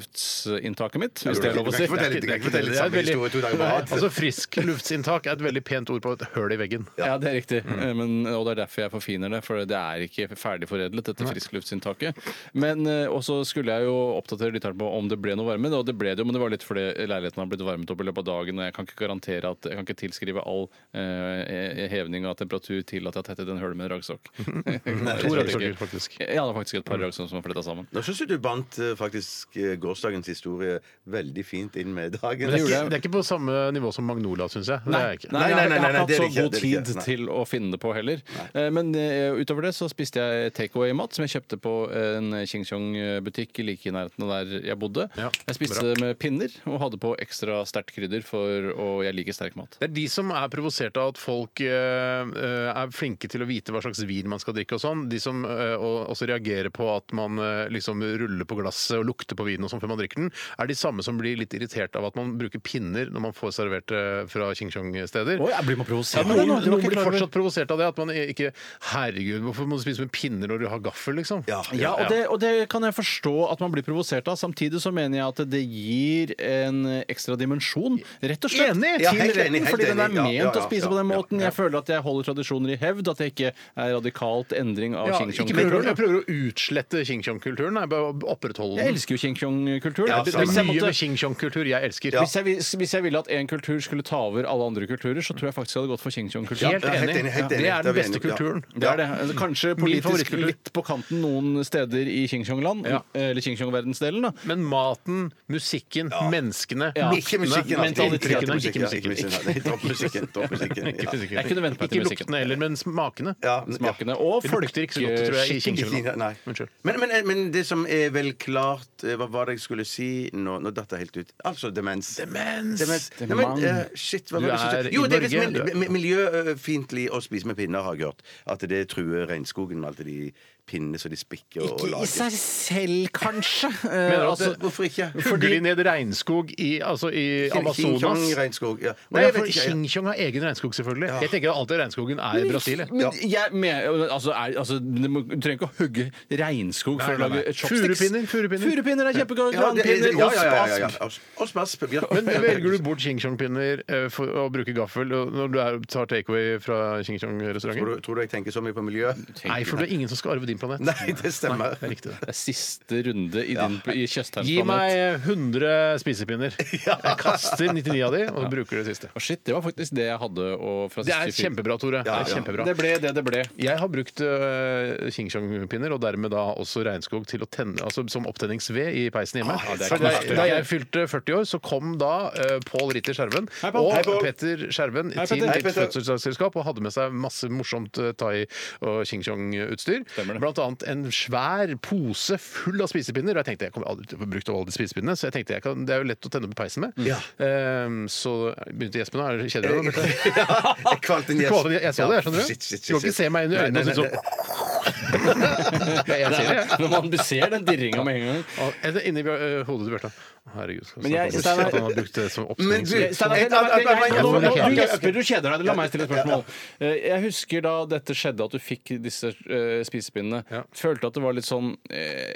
Speaker 4: friskluftsinntaket mitt, hvis det er lov å
Speaker 3: Du kan
Speaker 4: si.
Speaker 3: ikke fortelle- du kan ikke fortelle
Speaker 2: Det er
Speaker 3: samme
Speaker 2: veldig-
Speaker 3: historie to dager på rad.
Speaker 2: Altså Frisk luftsinntak er et veldig pent ord på et høl i veggen.
Speaker 4: Ja, det er riktig. Eh, Men, og det er derfor jeg forfiner det, for det er ikke ferdig foredlet, dette friskluftsinntaket. Men eh, Og så skulle jeg jo oppdatere lytteren på om det ble noe varme, og det ble det jo, men det var litt fordi leiligheten har blitt varmet opp i løpet av dagen, og jeg kan ikke garantere at Jeg kan ikke tilskrive all eh, hevning av temperatur til at jeg har tettet en høl med en raggsokk.
Speaker 2: To
Speaker 4: To
Speaker 2: raggsokker, faktisk.
Speaker 4: Ja, det er faktisk et par raggsokker som er fletta sammen.
Speaker 3: Nå syns jeg du bandt eh, faktisk eh, gårsdagens historie veldig fint inn med dagen.
Speaker 4: Det gjorde jeg.
Speaker 2: Det er ikke på samme nivå som Magnolia, syns jeg. Det er jeg ikke.
Speaker 4: nei,
Speaker 3: Nei, nei, nei,
Speaker 4: jeg har
Speaker 3: nei,
Speaker 4: ikke
Speaker 3: det er
Speaker 4: hatt
Speaker 3: det
Speaker 4: så
Speaker 3: ikke,
Speaker 4: god
Speaker 3: det er det ikke.
Speaker 4: tid
Speaker 3: Nei.
Speaker 4: til å finne det på heller. Eh, Men eh, utover det så spiste jeg takeaway-mat, som jeg kjøpte på eh, en Ching Chong-butikk like i nærheten av der jeg bodde.
Speaker 2: Ja,
Speaker 4: jeg spiste det med pinner og hadde på ekstra sterkt krydder, for, og jeg liker sterk mat.
Speaker 2: Det er de som er provosert av at folk eh, eh, er flinke til å vite hva slags vin man skal drikke og sånn. De som eh, og- også reagerer på at man eh, liksom ruller på glasset og lukter på vinen og sånn før man drikker den, er de samme som blir litt irritert av at man bruker pinner når man får servert eh, fra Ching Chong-steder.
Speaker 4: Oi, jeg blir med
Speaker 2: Ja,
Speaker 4: provosert.
Speaker 2: noen, noen blir fortsatt provosert av det. At man ikke Herregud, hvorfor må du spise med pinner når du har gaffel, liksom?
Speaker 3: Ja,
Speaker 4: Ja, og det, og det kan jeg forstå at man blir provosert av. Samtidig så mener jeg at det gir en ekstra dimensjon, rett og slett.
Speaker 2: Enig,
Speaker 4: til
Speaker 3: helt enig,
Speaker 4: retten,
Speaker 3: helt
Speaker 4: fordi den er
Speaker 3: enig. Ja,
Speaker 4: ment
Speaker 3: ja,
Speaker 4: å spise
Speaker 3: ja,
Speaker 4: på den
Speaker 3: ja,
Speaker 4: måten. jeg føler at jeg holder tradisjoner i hevd. At jeg ikke er radikalt endring av
Speaker 2: Ja,
Speaker 4: Ching
Speaker 2: ikke prøver, å-
Speaker 4: Chong-kulturen.
Speaker 2: jeg prøver å utslette Ching Chong-kulturen. Jeg bare opprettholder
Speaker 4: Jeg
Speaker 2: den.
Speaker 4: elsker jo Ching Chong-kulturen.
Speaker 3: Ja,
Speaker 4: Hvis
Speaker 2: Det
Speaker 4: jeg
Speaker 2: er mye
Speaker 4: måtte-
Speaker 2: med Ching Chong-kultur jeg elsker.
Speaker 4: Hvis, jeg, vis- hvis jeg ville at én kultur skulle ta over alle andre kulturer, så tror jeg faktisk jeg hadde gått for Ching Chong-kulturen.
Speaker 2: Helt
Speaker 3: Ja, helt enig,
Speaker 2: enig.
Speaker 3: helt enig.
Speaker 2: Det er
Speaker 3: Da er
Speaker 2: den
Speaker 3: vi
Speaker 2: beste
Speaker 3: enige, ja.
Speaker 2: kulturen.
Speaker 4: Det er det. Altså, Kanskje politisk
Speaker 2: favorittkultur.
Speaker 4: litt på kanten noen steder i Qingqiong-land.
Speaker 2: Ja.
Speaker 4: Eller Qingqiong-verdensdelen, da.
Speaker 2: Men maten, musikken, menneskene,
Speaker 4: Ja.
Speaker 3: Ikke musikken. altså.
Speaker 2: mentaliteten
Speaker 3: Ikke musikken,
Speaker 2: Ikke
Speaker 3: ja, ikke musikken. Nei, Dropp musikken. Dropp musikken.
Speaker 2: Ikke
Speaker 3: ja.
Speaker 2: musikken.
Speaker 4: Jeg kunne vent meg til
Speaker 2: Ikke
Speaker 4: musikken.
Speaker 2: luktene heller, men smakene.
Speaker 3: Ja, ja.
Speaker 4: Smakene. Og
Speaker 2: Det lukter ikke så godt, tror jeg, i
Speaker 4: folkeskikken.
Speaker 2: Qingqiong.
Speaker 3: Kina, nei.
Speaker 2: Unnskyld.
Speaker 3: Men, men, men det som er vel klart eh, Hva var det jeg skulle si? Nå, nå datt jeg helt ut. Altså demens.
Speaker 2: Demens!
Speaker 3: Demens. Nei, men, eh, shit, hva
Speaker 2: Du
Speaker 3: var det som
Speaker 2: er i
Speaker 3: Jo, det er visst
Speaker 2: Norge,
Speaker 3: mil-
Speaker 2: du.
Speaker 3: mi- miljøfiendtlig å spise med pinner, har jeg hørt. At det truer regnskogen med alt det de pinnene som de spikker og, og
Speaker 4: Ikke i
Speaker 3: lager.
Speaker 4: seg selv, kanskje. Eh,
Speaker 2: Men
Speaker 4: Men,
Speaker 2: altså,
Speaker 3: Det- Hvorfor ikke?
Speaker 2: Hugger de ned regnskog i, altså i Amazonas?
Speaker 3: Qingchong-regnskog. Ja.
Speaker 2: Nei,
Speaker 3: Nei, jeg
Speaker 2: for
Speaker 3: vet ikke. jeg-
Speaker 2: Xinjiang har egen regnskog, selvfølgelig. Jeg tenker alltid regnskogen er i Brasil. jeg.
Speaker 4: men jeg mener, altså, er, altså, du må- du trenger ikke å hugge regnskog for
Speaker 2: Nei, nei,
Speaker 4: å
Speaker 2: nei.
Speaker 4: lage chopsticks.
Speaker 2: Furupinner, furupinner.
Speaker 4: Furupinner er kjempegode.
Speaker 3: Ja, det-
Speaker 4: Granpinner,
Speaker 3: ja, ja, ja, ja,
Speaker 4: osp,
Speaker 3: ja.
Speaker 4: asp.
Speaker 3: Osp- osp, asp, ja.
Speaker 2: Men velger du bort Xinjiang-pinner eh, for å bruke gaffel og- når du er, tar takeaway fra
Speaker 3: Tror
Speaker 2: Xinjiang-restauranter?
Speaker 3: du- Tror du jeg tenker så mye på miljø?
Speaker 2: Nei, for det er ingen som skal arve din planet.
Speaker 3: Nei, det stemmer.
Speaker 2: Det er riktig, det.
Speaker 4: Det er siste runde i, din, i Tjøstheim
Speaker 2: Gi meg 100 spisepinner. Jeg kaster 99 av de, og bruker det siste.
Speaker 4: Å, shit, det var faktisk det jeg hadde å, fra
Speaker 2: Det er
Speaker 4: siste film.
Speaker 2: kjempebra, Tore. Det er kjempebra.
Speaker 4: Det ble det det ble.
Speaker 2: Jeg har brukt uh, Qingchong-pinner, og dermed da også regnskog, til å tenne, altså, som opptenningsved i peisen hjemme.
Speaker 4: Ah, ja, det er
Speaker 2: For da,
Speaker 4: knallhardt, ja.
Speaker 2: da jeg fylte 40 år, så kom da eh, Pål Ritter Skjerven
Speaker 4: Hei, Pål.
Speaker 2: og
Speaker 4: Hei, Pål.
Speaker 2: Petter Skjerven
Speaker 4: Hei,
Speaker 2: til
Speaker 4: Petter.
Speaker 2: et fødselsdagsselskap og hadde med seg masse morsomt eh, thai- og Qingchong-utstyr.
Speaker 4: Stemmer det.
Speaker 2: Blant annet en svær pose full av spisepinner. Og jeg tenkte jeg kommer aldri til å få brukt alle de spisepinnene, så jeg tenkte jeg kan, det er jo lett å tenne på peisen med. Eh, så begynte Jespen å kjede
Speaker 4: Eh,
Speaker 2: deg. nå, Bjarte?
Speaker 3: Jeg kvalte en
Speaker 2: Kvalte inn-
Speaker 3: gjest.
Speaker 2: Jeg så det, jeg skjønner du.
Speaker 3: Shit, shit, shit,
Speaker 2: Du kan ikke
Speaker 3: shit.
Speaker 2: se meg inn i
Speaker 3: Nei,
Speaker 2: øynene og
Speaker 3: nei,
Speaker 2: si sånn
Speaker 3: nei,
Speaker 2: Nei, Jeg ser det, jeg.
Speaker 4: Når man ser den dirringa med en gang.
Speaker 2: Og- eller Inni ø, hodet til Bjarte. Herregud. skal
Speaker 4: Men jeg-
Speaker 2: snakke om
Speaker 4: Steinar-
Speaker 2: at han har brukt det som
Speaker 3: Men
Speaker 2: oppstilling.
Speaker 3: du-
Speaker 2: Jeg
Speaker 4: Eh, Steinar,
Speaker 3: Et-
Speaker 4: la
Speaker 3: et- et-
Speaker 4: meg- jeg-
Speaker 3: et-
Speaker 4: jeg- nå-
Speaker 2: et-
Speaker 4: nå- Du
Speaker 2: et-
Speaker 4: gjesper, du kjeder deg. La meg stille et spørsmål. Eh, Jeg husker da dette skjedde, at du fikk disse eh, spisepinnene.
Speaker 2: Ja.
Speaker 4: Følte at det var litt sånn eh,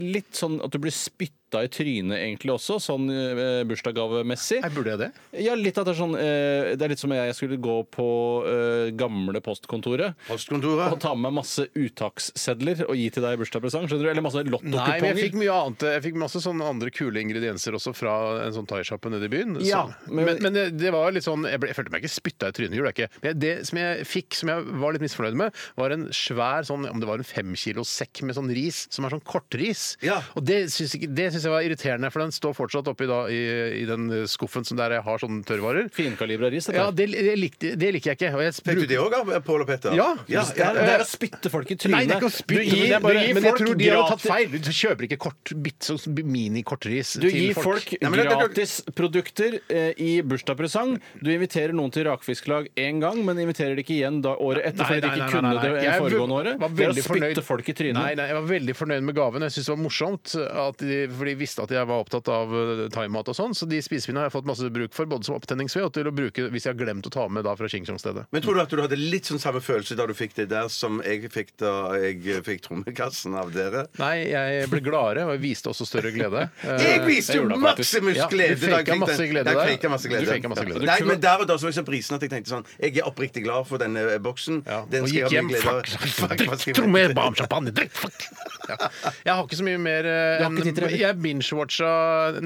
Speaker 4: Litt sånn at du ble spytta i trynet egentlig også, sånn eh, bursdagsgavemessig.
Speaker 2: burde jeg det?
Speaker 4: Ja, litt at det er sånn eh, Det er litt som jeg skulle gå på eh, gamle postkontoret.
Speaker 3: Postkontoret.
Speaker 4: Og ta med meg masse uttakssedler og gi til deg i bursdagspresang. Skjønner du? Eller masse
Speaker 2: Nei, men jeg fikk
Speaker 4: lottokuponger.
Speaker 2: mye annet. Jeg fikk masse sånne andre kule ingredienser også fra en sånn thaisjappe nede i byen. Så-
Speaker 4: Ja, men-
Speaker 2: men men det, det var litt sånn Jeg, ble, jeg følte meg ikke spytta i trynet. gjorde jeg ikke. Men jeg, det som jeg fikk som jeg var litt misfornøyd med, var en svær sånn om det var en femkilos sekk med sånn ris, som er sånn kortris.
Speaker 3: Ja.
Speaker 2: Og det syns ikke- det syns jeg var irriterende, for den står fortsatt oppi da, i, i den skuffen som der jeg har sånne tørrvarer.
Speaker 4: Finkalibra ris, dette.
Speaker 2: Ja, det, det, likte, det liker jeg ikke. Og jeg
Speaker 3: Fikk du
Speaker 2: bruker-
Speaker 3: det òg, Pål og Petter?
Speaker 2: Ja.
Speaker 3: ja,
Speaker 4: Det
Speaker 3: ja.
Speaker 4: er, det er å spytte folk i trynet.
Speaker 2: Nei, det er ikke å spytte,
Speaker 4: du
Speaker 2: men
Speaker 4: gir,
Speaker 2: det er bare,
Speaker 4: du gir
Speaker 2: men jeg
Speaker 4: folk
Speaker 2: tror de har tatt
Speaker 4: gratis-
Speaker 2: feil. Du kjøper ikke kort, bitt, sånn mini-kortris
Speaker 4: Du
Speaker 2: til
Speaker 4: gir folk
Speaker 2: folk.
Speaker 3: Nei, men det- det-
Speaker 4: gratisprodukter eh, i bursdagspresang. Du inviterer noen til rakfisklag én gang, men inviterer de ikke igjen da året etter
Speaker 2: Nei,
Speaker 4: fordi de
Speaker 2: nei,
Speaker 4: ikke
Speaker 2: nei, nei,
Speaker 4: kunne
Speaker 2: nei.
Speaker 4: det
Speaker 2: Jeg
Speaker 4: foregående året.
Speaker 2: var
Speaker 4: Det er å
Speaker 2: veldig fornøyd.
Speaker 4: spytte folk i trynet.
Speaker 2: Nei, nei, jeg var veldig fornøyd med gaven. Jeg syntes det var morsomt, at de, for de visste at jeg var opptatt av eh, thaimat og sånn. Så de spisepinnene har jeg fått masse bruk for, både som opptenningsved og til å bruke hvis jeg har glemt å ta med da fra Xingchong-stedet.
Speaker 3: Men tror du at du hadde litt sånn samme følelse da du fikk det der, som jeg fikk da jeg fikk trommekassen av dere?
Speaker 2: Nei, jeg ble gladere, og jeg viste også større glede. Eh,
Speaker 3: Jeg viste jo
Speaker 4: gjorde det
Speaker 3: maksimus
Speaker 2: faktisk.
Speaker 3: glede!
Speaker 2: Ja,
Speaker 3: da
Speaker 2: du
Speaker 3: jeg
Speaker 2: faket
Speaker 3: fikk
Speaker 2: masse
Speaker 3: den.
Speaker 2: glede
Speaker 3: Jeg
Speaker 2: der.
Speaker 3: faket masse
Speaker 2: Du
Speaker 3: glede.
Speaker 2: faket masse glede.
Speaker 3: Nei, men der og da så jeg så prisen at jeg tenkte sånn Jeg er oppriktig glad for denne eh, boksen.
Speaker 2: Ja,
Speaker 3: Den
Speaker 2: og
Speaker 3: skal jeg
Speaker 2: gikk
Speaker 3: ha
Speaker 2: hjem.
Speaker 3: mye glede av.
Speaker 2: Fuck, fuck,
Speaker 3: Hva skal
Speaker 2: drikk,
Speaker 3: jeg-
Speaker 2: tro mer barm champagne, drikk, fuck! Ja. Jeg har ikke så mye mer eh,
Speaker 4: Du har ikke tid til det,
Speaker 2: enn- Jeg binge-watcha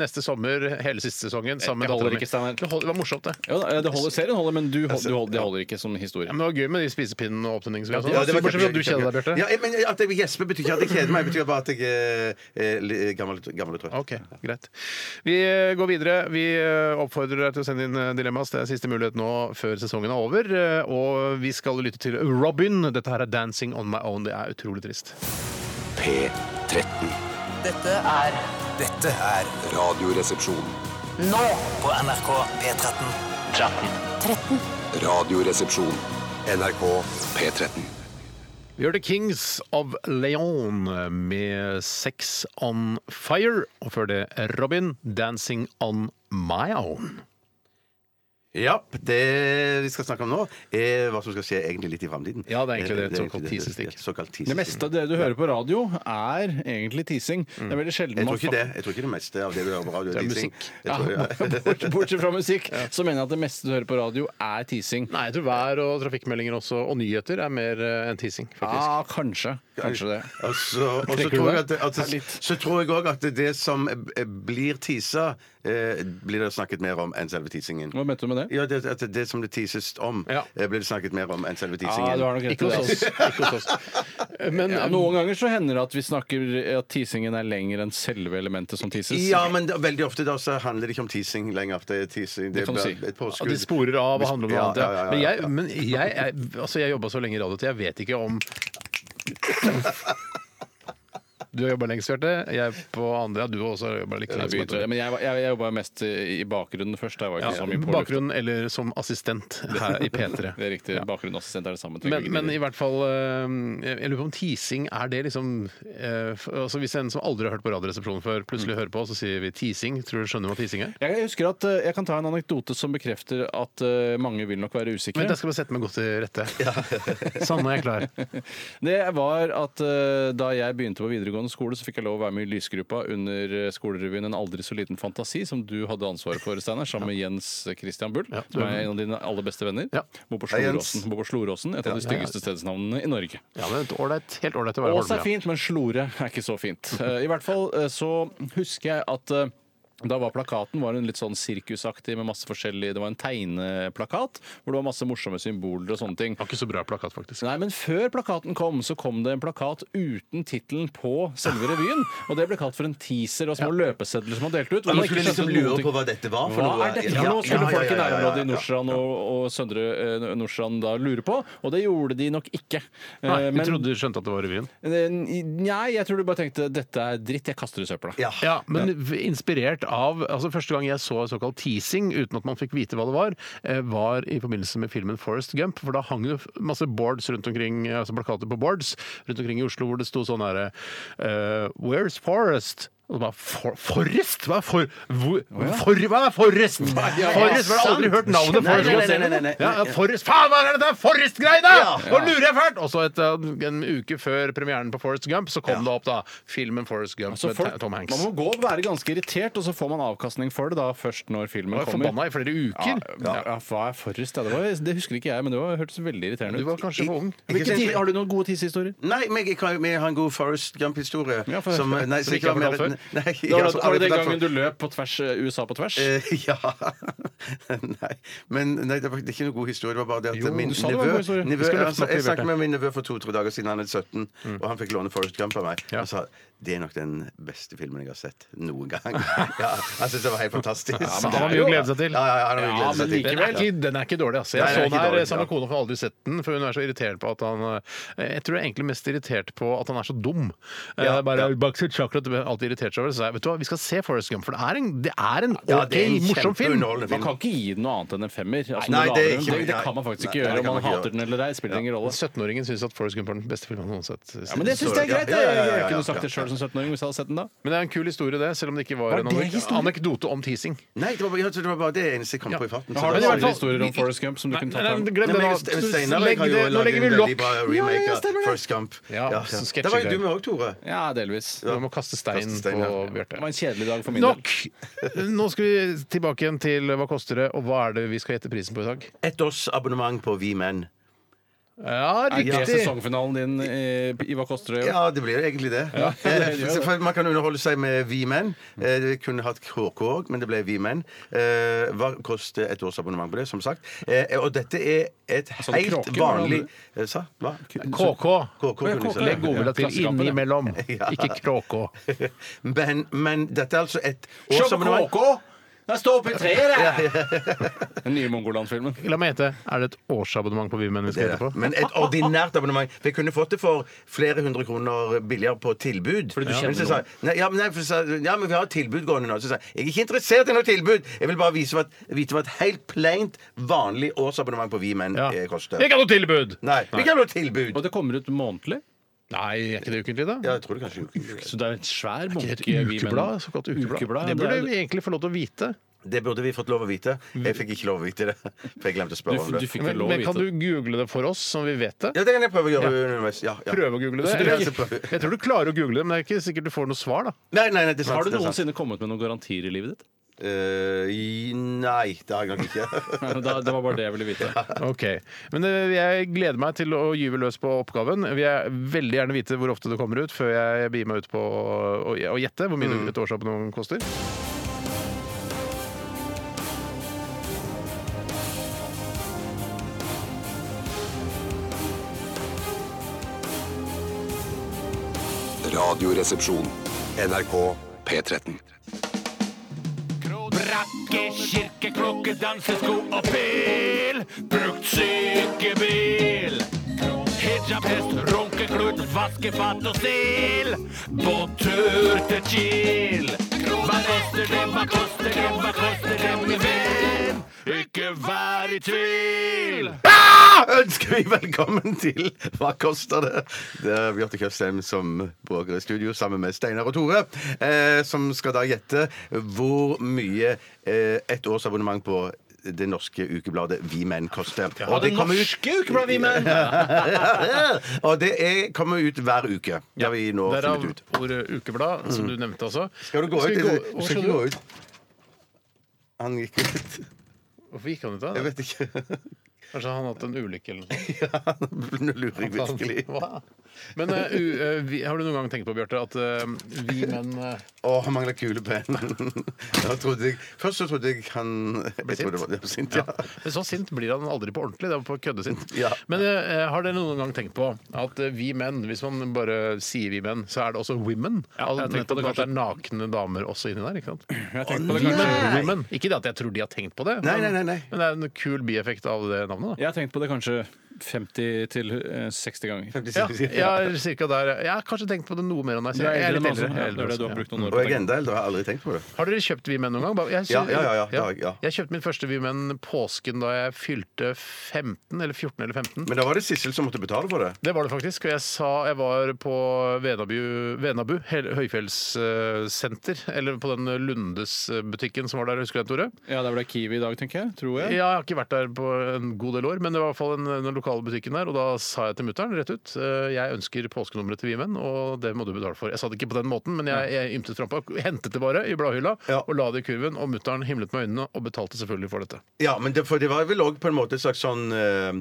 Speaker 2: neste sommer hele siste sesongen sammen med
Speaker 4: holder
Speaker 2: datteren min.
Speaker 4: ikke, Steinar.
Speaker 2: Det hold- det var morsomt, det.
Speaker 4: Jo, da, det holder, serien holder, men du, hold- du holder, det holder ikke som historie.
Speaker 2: Altså, Ja, men det var gøy med de spisepinnene og opptenningsved. og sånn.
Speaker 3: Ja, det var
Speaker 2: Bortsett fra at du
Speaker 3: kjempegøy,
Speaker 2: kjeder deg, Bjarte.
Speaker 3: Ja, jeg- men At jeg gjesper, betyr ikke at jeg kjeder meg. Det betyr bare at jeg er eh, li- gammel og gammel og trøtt.
Speaker 2: Ok, greit. Vi eh, går videre. Vi eh, oppfordrer deg til å sende inn eh, dilemmas. Det er siste mulighet nå før sesongen er over. Eh, Og vi skal lytte til Robin. Dette her er 'Dancing on my own'. Det er utrolig trist.
Speaker 5: P13.
Speaker 6: Dette er Dette er
Speaker 5: Radioresepsjon.
Speaker 6: nå på NRK P13. 13.
Speaker 5: Radioresepsjon. NRK P13.
Speaker 2: Vi gjør The Kings of Leon med Sex on Fire. Og før det Robin, Dancing on My Own.
Speaker 3: Ja, det vi skal snakke om nå, er hva som skal skje egentlig litt i Eh, framtiden.
Speaker 2: Ja, det er egentlig det, et såkalt
Speaker 3: egentlig
Speaker 2: teaserstikk.
Speaker 3: Ja, Såkalt teaserstikk.
Speaker 4: Det meste av det du hører på radio, er egentlig teasing. Det
Speaker 2: Mm.
Speaker 4: er veldig sjelden
Speaker 3: Jeg
Speaker 4: man
Speaker 3: tror ikke det. Jeg tror ikke det meste av det du hører på radio,
Speaker 2: Det er
Speaker 3: teasing.
Speaker 2: musikk.
Speaker 3: Jeg tror-
Speaker 4: Ja, bort- Bortsett fra musikk, så mener jeg at det meste du hører på radio, er teasing.
Speaker 2: Nei, jeg tror vær og trafikkmeldinger også, og nyheter er mer eh, enn teasing, faktisk.
Speaker 4: Ah, kanskje. Kanskje det.
Speaker 3: Og så- og så
Speaker 2: Trekker du
Speaker 3: tror jeg
Speaker 2: deg?
Speaker 3: at- at-
Speaker 2: Ja, litt.
Speaker 3: så tror jeg òg at det som eh, blir teasa, eh, blir det snakket mer om enn selve teasingen.
Speaker 4: Hva mente du med det?
Speaker 3: Ja, det, at det som det teases om,
Speaker 2: Ja.
Speaker 3: eh, blir det snakket mer om enn selve teasingen.
Speaker 4: Ah, du har nok rett
Speaker 2: Ikke
Speaker 4: i
Speaker 2: hos
Speaker 4: det.
Speaker 2: oss. Ikke hos oss. Men
Speaker 4: Ja, noen ganger så hender det at vi snakker at teasingen er lenger enn selve elementet som teases.
Speaker 3: Ja, men da, veldig ofte da så handler det ikke om teasing lenger. Det er teasing, det,
Speaker 4: kan du
Speaker 3: er
Speaker 4: si.
Speaker 3: bare et
Speaker 2: Ja,
Speaker 3: påskudd.
Speaker 2: de sporer av og handler om noe
Speaker 3: Ja,
Speaker 2: annet.
Speaker 3: ja, ja,
Speaker 2: Ja. Men
Speaker 3: ja,
Speaker 2: jeg, men jeg, jeg, altså jeg jobba så lenge i radio at jeg vet ikke om Du har jobba lengst, Bjarte. Jeg på andre. Ja, du har også jobba like
Speaker 4: Jeg
Speaker 2: lenge. som jeg
Speaker 4: begynte-
Speaker 2: tror.
Speaker 4: Men jeg, jeg, jeg jobba mest i i bakgrunnen først. Jeg var ikke
Speaker 2: Ja,
Speaker 4: så mye på lufta.
Speaker 2: bakgrunn eller som assistent her i P3.
Speaker 4: Det er riktig. Bakgrunnsassistent er det samme.
Speaker 2: Men, men i hvert fall eh, Jeg lurer på om teasing er det liksom eh, f- altså Hvis en som aldri har hørt på Radioresepsjonen før, plutselig hører på, så sier vi teasing. Tror du skjønner hva teasing er?
Speaker 4: jeg husker at eh, jeg kan ta en anekdote som bekrefter at eh, mange vil nok være usikre.
Speaker 2: Vent, jeg skal bare sette meg godt til rette. Sanne er klar.
Speaker 4: Det var at eh, da jeg begynte på videregående skole, så fikk jeg lov å være med i Lysgruppa under eh, skolerevyen En aldri så liten fantasi, som du hadde ansvaret for, Steinar, sammen med Jens Christian Bull,
Speaker 2: Ja.
Speaker 4: som er en av dine aller beste venner.
Speaker 2: Ja.
Speaker 4: Bor på
Speaker 3: Hei, Jens.
Speaker 4: Sloråsen, bor på Sloråsen et av de styggeste stedsnavnene i Norge.
Speaker 2: Ja, men et ålreit- Helt ålreit å være
Speaker 4: Ås er
Speaker 2: Holmlia.
Speaker 4: fint, men Slore er ikke så fint. Eh, I hvert fall eh, så husker jeg at eh, da var plakaten var den litt sånn sirkusaktig med masse forskjellig Det var en tegneplakat hvor det var masse morsomme symboler og sånne ting.
Speaker 2: Det var ikke så bra plakat, faktisk.
Speaker 4: Nei, men før plakaten kom, så kom det en plakat uten tittelen på selve revyen. Og det ble kalt for en teaser og små løpesedler som var delt ut. hvor
Speaker 3: Ja,
Speaker 4: man
Speaker 3: man
Speaker 4: ikke
Speaker 3: skulle liksom
Speaker 4: skjønte
Speaker 3: lure
Speaker 4: noen ting.
Speaker 3: på hva dette var for
Speaker 4: Hva
Speaker 3: noe.
Speaker 4: er dette for noe? Skulle folk i nærområdet i Nordstrand og, og Søndre eh, Nordstrand da lure på? Og det gjorde de nok ikke. Eh,
Speaker 2: Nei,
Speaker 4: men- eh,
Speaker 2: Vi trodde du skjønte at det var revyen.
Speaker 4: Nei, jeg tror du bare tenkte dette er dritt, jeg kaster det i søpla.
Speaker 3: Ja.
Speaker 2: Ja, men v- inspirert av altså Første gang jeg så såkalt teasing uten at man fikk vite hva det var, eh, var i forbindelse med filmen Forest Gump. For da hang det f- masse boards rundt omkring, eh, altså plakater på boards rundt omkring i Oslo hvor det sto sånn herre eh, Where's Forest? Og så bare, for, Forrest? Hva er for, hvor, for, hva er Forrest? Forrest? Hva har jeg aldri hørt navnet
Speaker 3: Nei,
Speaker 2: Forrest?
Speaker 3: nei, nei, nei, nei, nei.
Speaker 2: Ja, ja, Forrest, faen, hva er dette Forrest-greiene?! Nå lurer jeg fælt! Og så et, eh, en uke før premieren på Forrest Gump, så kom det opp da filmen Forrest Gump
Speaker 4: Så
Speaker 2: med
Speaker 4: folk,
Speaker 2: Tom Hanks.
Speaker 4: man må gå og være ganske irritert, og så får man avkastning for det da først når filmen
Speaker 2: Jeg var
Speaker 4: kommer.
Speaker 2: forbanna i flere
Speaker 4: Ja,
Speaker 2: uker.
Speaker 4: ja, ja, hva er forrest? Ja, det, var, det husker ikke jeg, men det var, hørtes veldig irriterende
Speaker 2: Du
Speaker 4: ut.
Speaker 2: var kanskje for ung.
Speaker 3: Ikke
Speaker 4: Hvilke
Speaker 3: sant?
Speaker 4: ti- har du noen gode tissehistorier?
Speaker 3: Nei, men jeg, kan- men jeg har en god Forest Gump-historie.
Speaker 4: Ja, for-
Speaker 3: som- eh, nei,
Speaker 2: som
Speaker 3: så
Speaker 2: ikke jeg har
Speaker 3: var
Speaker 2: fortalt
Speaker 3: med-
Speaker 2: før.
Speaker 3: Nei,
Speaker 4: Da var
Speaker 3: altså, aldri
Speaker 4: det, var det den
Speaker 3: fortalt før.
Speaker 4: gangen du løp på tvers, eh, USA på tvers?
Speaker 3: Eh, ja Nei, men nei, det var det er ikke noe god historie. Det var bare det at
Speaker 4: Jo,
Speaker 3: min
Speaker 4: du sa det var en
Speaker 3: nevø,
Speaker 4: god historie. Du
Speaker 3: nevø altså,
Speaker 2: skal løfte den
Speaker 3: jeg,
Speaker 2: opp,
Speaker 3: jeg snakket
Speaker 2: Bjarte.
Speaker 3: med min nevø for to-tre dager siden. Han er 17, og han fikk låne Forest Gump av meg.
Speaker 2: Ja.
Speaker 3: Han sa det er nok den beste filmen jeg har sett noen gang. ja, han syntes det var helt fantastisk. Ja,
Speaker 2: men han har mye å glede seg til.
Speaker 3: Ja, ja, han har mye å
Speaker 4: Ja,
Speaker 3: glede seg
Speaker 4: men
Speaker 3: til.
Speaker 2: Den er, ikke, den er ikke dårlig, altså. Jeg
Speaker 3: Nei, den er
Speaker 2: så den
Speaker 3: ikke
Speaker 2: her
Speaker 3: dårlig,
Speaker 2: sammen med
Speaker 3: ja.
Speaker 2: kona, for aldri sett den. For hun er så irritert på at han eh, Jeg tror jeg er egentlig mest irritert på at han er så dum. Eh,
Speaker 3: Ja,
Speaker 2: bare
Speaker 3: ja.
Speaker 2: Backstreet Chocolate ble alltid irritert seg over det. Så sa jeg, vet du hva, vi skal se Forest Gump, for det er en, det er en
Speaker 3: Ja,
Speaker 2: OK, morsom film.
Speaker 3: kjempeunderholdende
Speaker 4: Man kan ikke gi den noe annet enn en femmer. Altså,
Speaker 3: Nei,
Speaker 4: når du
Speaker 3: det er
Speaker 4: lager den,
Speaker 3: ikke-
Speaker 4: det, det kan man faktisk
Speaker 3: nei,
Speaker 4: ikke
Speaker 3: nei,
Speaker 4: gjøre.
Speaker 3: det kan
Speaker 4: Om
Speaker 3: man
Speaker 4: man
Speaker 3: ikke
Speaker 4: hater
Speaker 3: gjøre.
Speaker 4: den eller ei, spiller ingen rolle.
Speaker 2: 17-åringen syns at Forest Gump er den beste filmen han har sett.
Speaker 4: Ja, men det syns jeg er
Speaker 3: Ja, ja,
Speaker 4: greit.
Speaker 3: ja, ja, ja,
Speaker 4: Jeg
Speaker 3: ja.
Speaker 4: kunne sagt det sjøl som 17-åring hvis jeg hadde sett den da.
Speaker 2: Men det er en kul historie, det, selv om det ikke var,
Speaker 4: Var
Speaker 2: en
Speaker 4: det
Speaker 2: anek
Speaker 4: historien?
Speaker 2: anekdote om teasing.
Speaker 3: Nei, det var, bare- det var bare det eneste jeg kom på i farten. så
Speaker 4: Har
Speaker 3: det
Speaker 4: du
Speaker 3: var
Speaker 4: noen andre
Speaker 3: aldri-
Speaker 4: historier om Forrest Gump som du
Speaker 2: Nei,
Speaker 4: kunne
Speaker 2: nei,
Speaker 4: tatt
Speaker 2: nei,
Speaker 4: fram?
Speaker 3: Nei,
Speaker 2: glem
Speaker 3: men
Speaker 2: det. nå.
Speaker 3: jeg- Steinar jeg
Speaker 2: Legg
Speaker 3: har jo
Speaker 2: det- Nå
Speaker 3: laget
Speaker 2: legger vi
Speaker 3: en veldig
Speaker 2: lokk.
Speaker 3: bra
Speaker 4: Ja, ja,
Speaker 3: remake av
Speaker 4: stemmer det.
Speaker 3: Forrest Gump.
Speaker 2: Ja, sånn
Speaker 3: Det var jo
Speaker 2: sketsjegreier.
Speaker 3: du med òg, Tore.
Speaker 4: Ja, delvis.
Speaker 2: Du må kaste stein
Speaker 3: Kaste stein,
Speaker 2: på
Speaker 3: ja.
Speaker 2: Bjarte.
Speaker 4: Det var en kjedelig dag for min del.
Speaker 2: Nok! Nå skal vi tilbake igjen til hva koster det, og hva er det vi skal gjette prisen på i dag?
Speaker 3: Ett års abonnement på Vi Menn.
Speaker 2: Ja,
Speaker 4: Er det
Speaker 2: riktig!
Speaker 4: sesongfinalen din eh, i Hva koster det? å gjøre?
Speaker 3: Ja, det blir egentlig det. Eh, for- for man kan underholde seg med Vi menn. Eh, Det kunne hatt KK òg, men det ble Vi menn. Eh, Hva koster et års abonnement på det, som sagt? Eh, Og dette er et
Speaker 4: Sånn
Speaker 3: helt
Speaker 4: kråke,
Speaker 3: vanlig Eh, Sa? Hva?
Speaker 2: KK.
Speaker 3: KK kunne jeg sagt.
Speaker 2: Legg godvilja til
Speaker 4: Klassekampen, ja.
Speaker 2: innimellom,
Speaker 3: Ja.
Speaker 2: ikke kråkå.
Speaker 3: Men, men dette er altså et års abonnement
Speaker 4: Jeg står oppe i treet, jeg! Den nye Mongoland-filmen.
Speaker 2: La meg gjette. Er det et årsabonnement på Vimen vi skal
Speaker 3: Det
Speaker 2: gjette
Speaker 3: er det.
Speaker 2: på?
Speaker 3: Men et ordinært abonnement. For jeg kunne fått det for flere hundre kroner billigere på tilbud.
Speaker 4: Fordi du
Speaker 3: Ja.
Speaker 4: kjenner
Speaker 3: Men så sa jeg, Nei, ja, men, nei, for så, sa jeg, ja, men vi har et tilbud gående nå. Så sa jeg jeg er ikke interessert i noe tilbud. Jeg vil bare vise hva, vite hva et helt plaint, vanlig årsabonnement på Vi menn
Speaker 2: Ja.
Speaker 3: eh, koster.
Speaker 2: Ikke noe tilbud!
Speaker 3: Nei, vi kan ha noe tilbud.
Speaker 4: Og det kommer ut månedlig.
Speaker 2: Nei, er ikke det ukentlig, da?
Speaker 3: Ja, jeg tror det kanskje
Speaker 4: Så det er et svær
Speaker 2: Det
Speaker 4: bunke
Speaker 2: er Et
Speaker 4: Vi Menn.
Speaker 2: ukeblad, såkalt ukeblad. Det
Speaker 4: det
Speaker 2: burde
Speaker 4: er,
Speaker 2: vi egentlig få lov til å vite.
Speaker 3: Det burde vi fått lov å vite. Jeg fikk ikke lov å vite det, for jeg glemte å
Speaker 4: Du,
Speaker 3: spørre om
Speaker 4: du
Speaker 3: det.
Speaker 4: fikk
Speaker 2: Men,
Speaker 4: vel lov å
Speaker 2: men kan
Speaker 4: vite
Speaker 2: du google det for oss, sånn vi vet det?
Speaker 3: Ja, det kan jeg prøve å gjøre underveis. Ja, ja.
Speaker 2: Prøve å google det?
Speaker 3: Så det er
Speaker 2: Jeg,
Speaker 3: altså prøve.
Speaker 2: jeg tror du klarer å google det, men det er ikke sikkert du får noe svar, da.
Speaker 3: Nei, nei, nei, det er sant.
Speaker 2: altså.
Speaker 4: Har du
Speaker 3: det er sant.
Speaker 4: noensinne kommet med noen garantier i livet ditt?
Speaker 3: Eh, i- nei, det har jeg nok ikke.
Speaker 4: Nei, da- Det var bare det jeg ville vite.
Speaker 2: Ok, men eh, Jeg gleder meg til å gyve løs på oppgaven. Jeg vil jeg veldig gjerne vite hvor ofte du kommer ut, før jeg begir meg ut på å å gjette hvor mye mm. et årsabonnement koster.
Speaker 5: Radioresepsjon. NRK P13.
Speaker 7: Brakke, kirke, klokke, dansesko og pil. Brukt sykebil. Hijab, hest, runkeklut, vaskefat og stil. På tur til Kiel. Hva koster det, hva koster det, hva koster det, min venn? Ikke vær i tvil.
Speaker 3: Ønsker vi velkommen til Hva koster det? Det er Bjarte Tjøstheim som bråker i studio sammen med Steinar og Tore, eh, som skal da gjette hvor mye eh, et års abonnement på det norske ukebladet Vi Menn koster. Og det kommer ut
Speaker 4: ukebladet Vi Menn!
Speaker 3: Og det er, kommer ut hver uke. Det har vi nå
Speaker 2: Derav
Speaker 3: funnet ut. Mm.
Speaker 2: ordet ukeblad, som du nevnte også.
Speaker 3: Skal du gå ut?
Speaker 2: vi
Speaker 3: eller? Du
Speaker 2: Hvor
Speaker 3: skal
Speaker 2: skal
Speaker 3: ikke
Speaker 2: du?
Speaker 3: gå ut. Han gikk ut.
Speaker 2: Hvorfor gikk han ut
Speaker 3: Jeg
Speaker 2: da?
Speaker 3: vet ikke.
Speaker 2: Kanskje han har hatt en ulykke eller noe.
Speaker 3: Nå lurer jeg virkelig.
Speaker 2: Hva? Men eh, u, eh, vi, har du noen gang tenkt på, Bjarte, at eh, vi menn eh,
Speaker 3: Å, han mangler kulepenn. Da trodde jeg- Først så trodde jeg han Jeg trodde det var- det var sint, ja.
Speaker 2: Men så sint blir han aldri på ordentlig. Det er på kødde sint.
Speaker 3: Ja.
Speaker 2: Men eh, har dere noen gang tenkt på at eh, vi menn, hvis man bare sier vi menn, så er det også women?
Speaker 4: Ja, jeg har tenkt på
Speaker 2: nettopp
Speaker 4: det
Speaker 2: at det er nakne damer også inni der, ikke sant?
Speaker 4: på det,
Speaker 2: Women,
Speaker 3: Nei.
Speaker 2: women. Ikke det at jeg tror de har tenkt på det,
Speaker 3: Nei,
Speaker 2: men-
Speaker 3: nei, nei, nei.
Speaker 2: men det er en kul bieffekt av det navnet. da.
Speaker 4: Jeg har tenkt på det kanskje 50 til eh, 60 ganger.
Speaker 2: Ja, jeg har cirka der. Jeg har kanskje tenkt på det noe mer enn deg.
Speaker 4: Du
Speaker 2: selv.
Speaker 4: er
Speaker 2: Jeg er
Speaker 4: eldre
Speaker 2: litt
Speaker 4: enn altså.
Speaker 2: eldre.
Speaker 4: Ja,
Speaker 2: Jeg er eldre
Speaker 4: Det er det du
Speaker 2: også,
Speaker 4: har
Speaker 2: ja.
Speaker 4: brukt noen år
Speaker 3: Og jeg
Speaker 4: på.
Speaker 3: er enda eldre. Jeg har aldri tenkt på det.
Speaker 2: Har dere kjøpt Vi Menn noen gang? Bare- Jeg,
Speaker 3: Ja, ja, ja, ja, det har jeg, ja.
Speaker 2: Jeg kjøpte min første Vi Menn påsken da jeg fylte 15, eller 14 eller 15.
Speaker 3: Men da var det Sissel som måtte betale for det.
Speaker 2: Det var det faktisk. Og jeg sa jeg var på Venabu, Venabu hel- høyfjellssenter. Eller på den Lundes-butikken som var der, husker du den, Tore?
Speaker 4: Ja, det er vel det Kiwi i dag, tenker jeg. Tror jeg.
Speaker 2: Ja, jeg har ikke vært der på en god del år, men det var i hvert fall den, den lokale butikken der. Og da sa jeg til mutter'n rett ut eh, jeg ønsker påskenummeret til Vi Menn, og det må du betale for. Jeg sa det ikke på den måten, men jeg, jeg ymtet frampå. Hentet det bare i bladhylla
Speaker 3: Ja.
Speaker 2: og la det i kurven. Og mutter'n himlet med øynene og betalte selvfølgelig for dette.
Speaker 3: Ja, men det, for det var vel òg på en måte et slags sånn uh,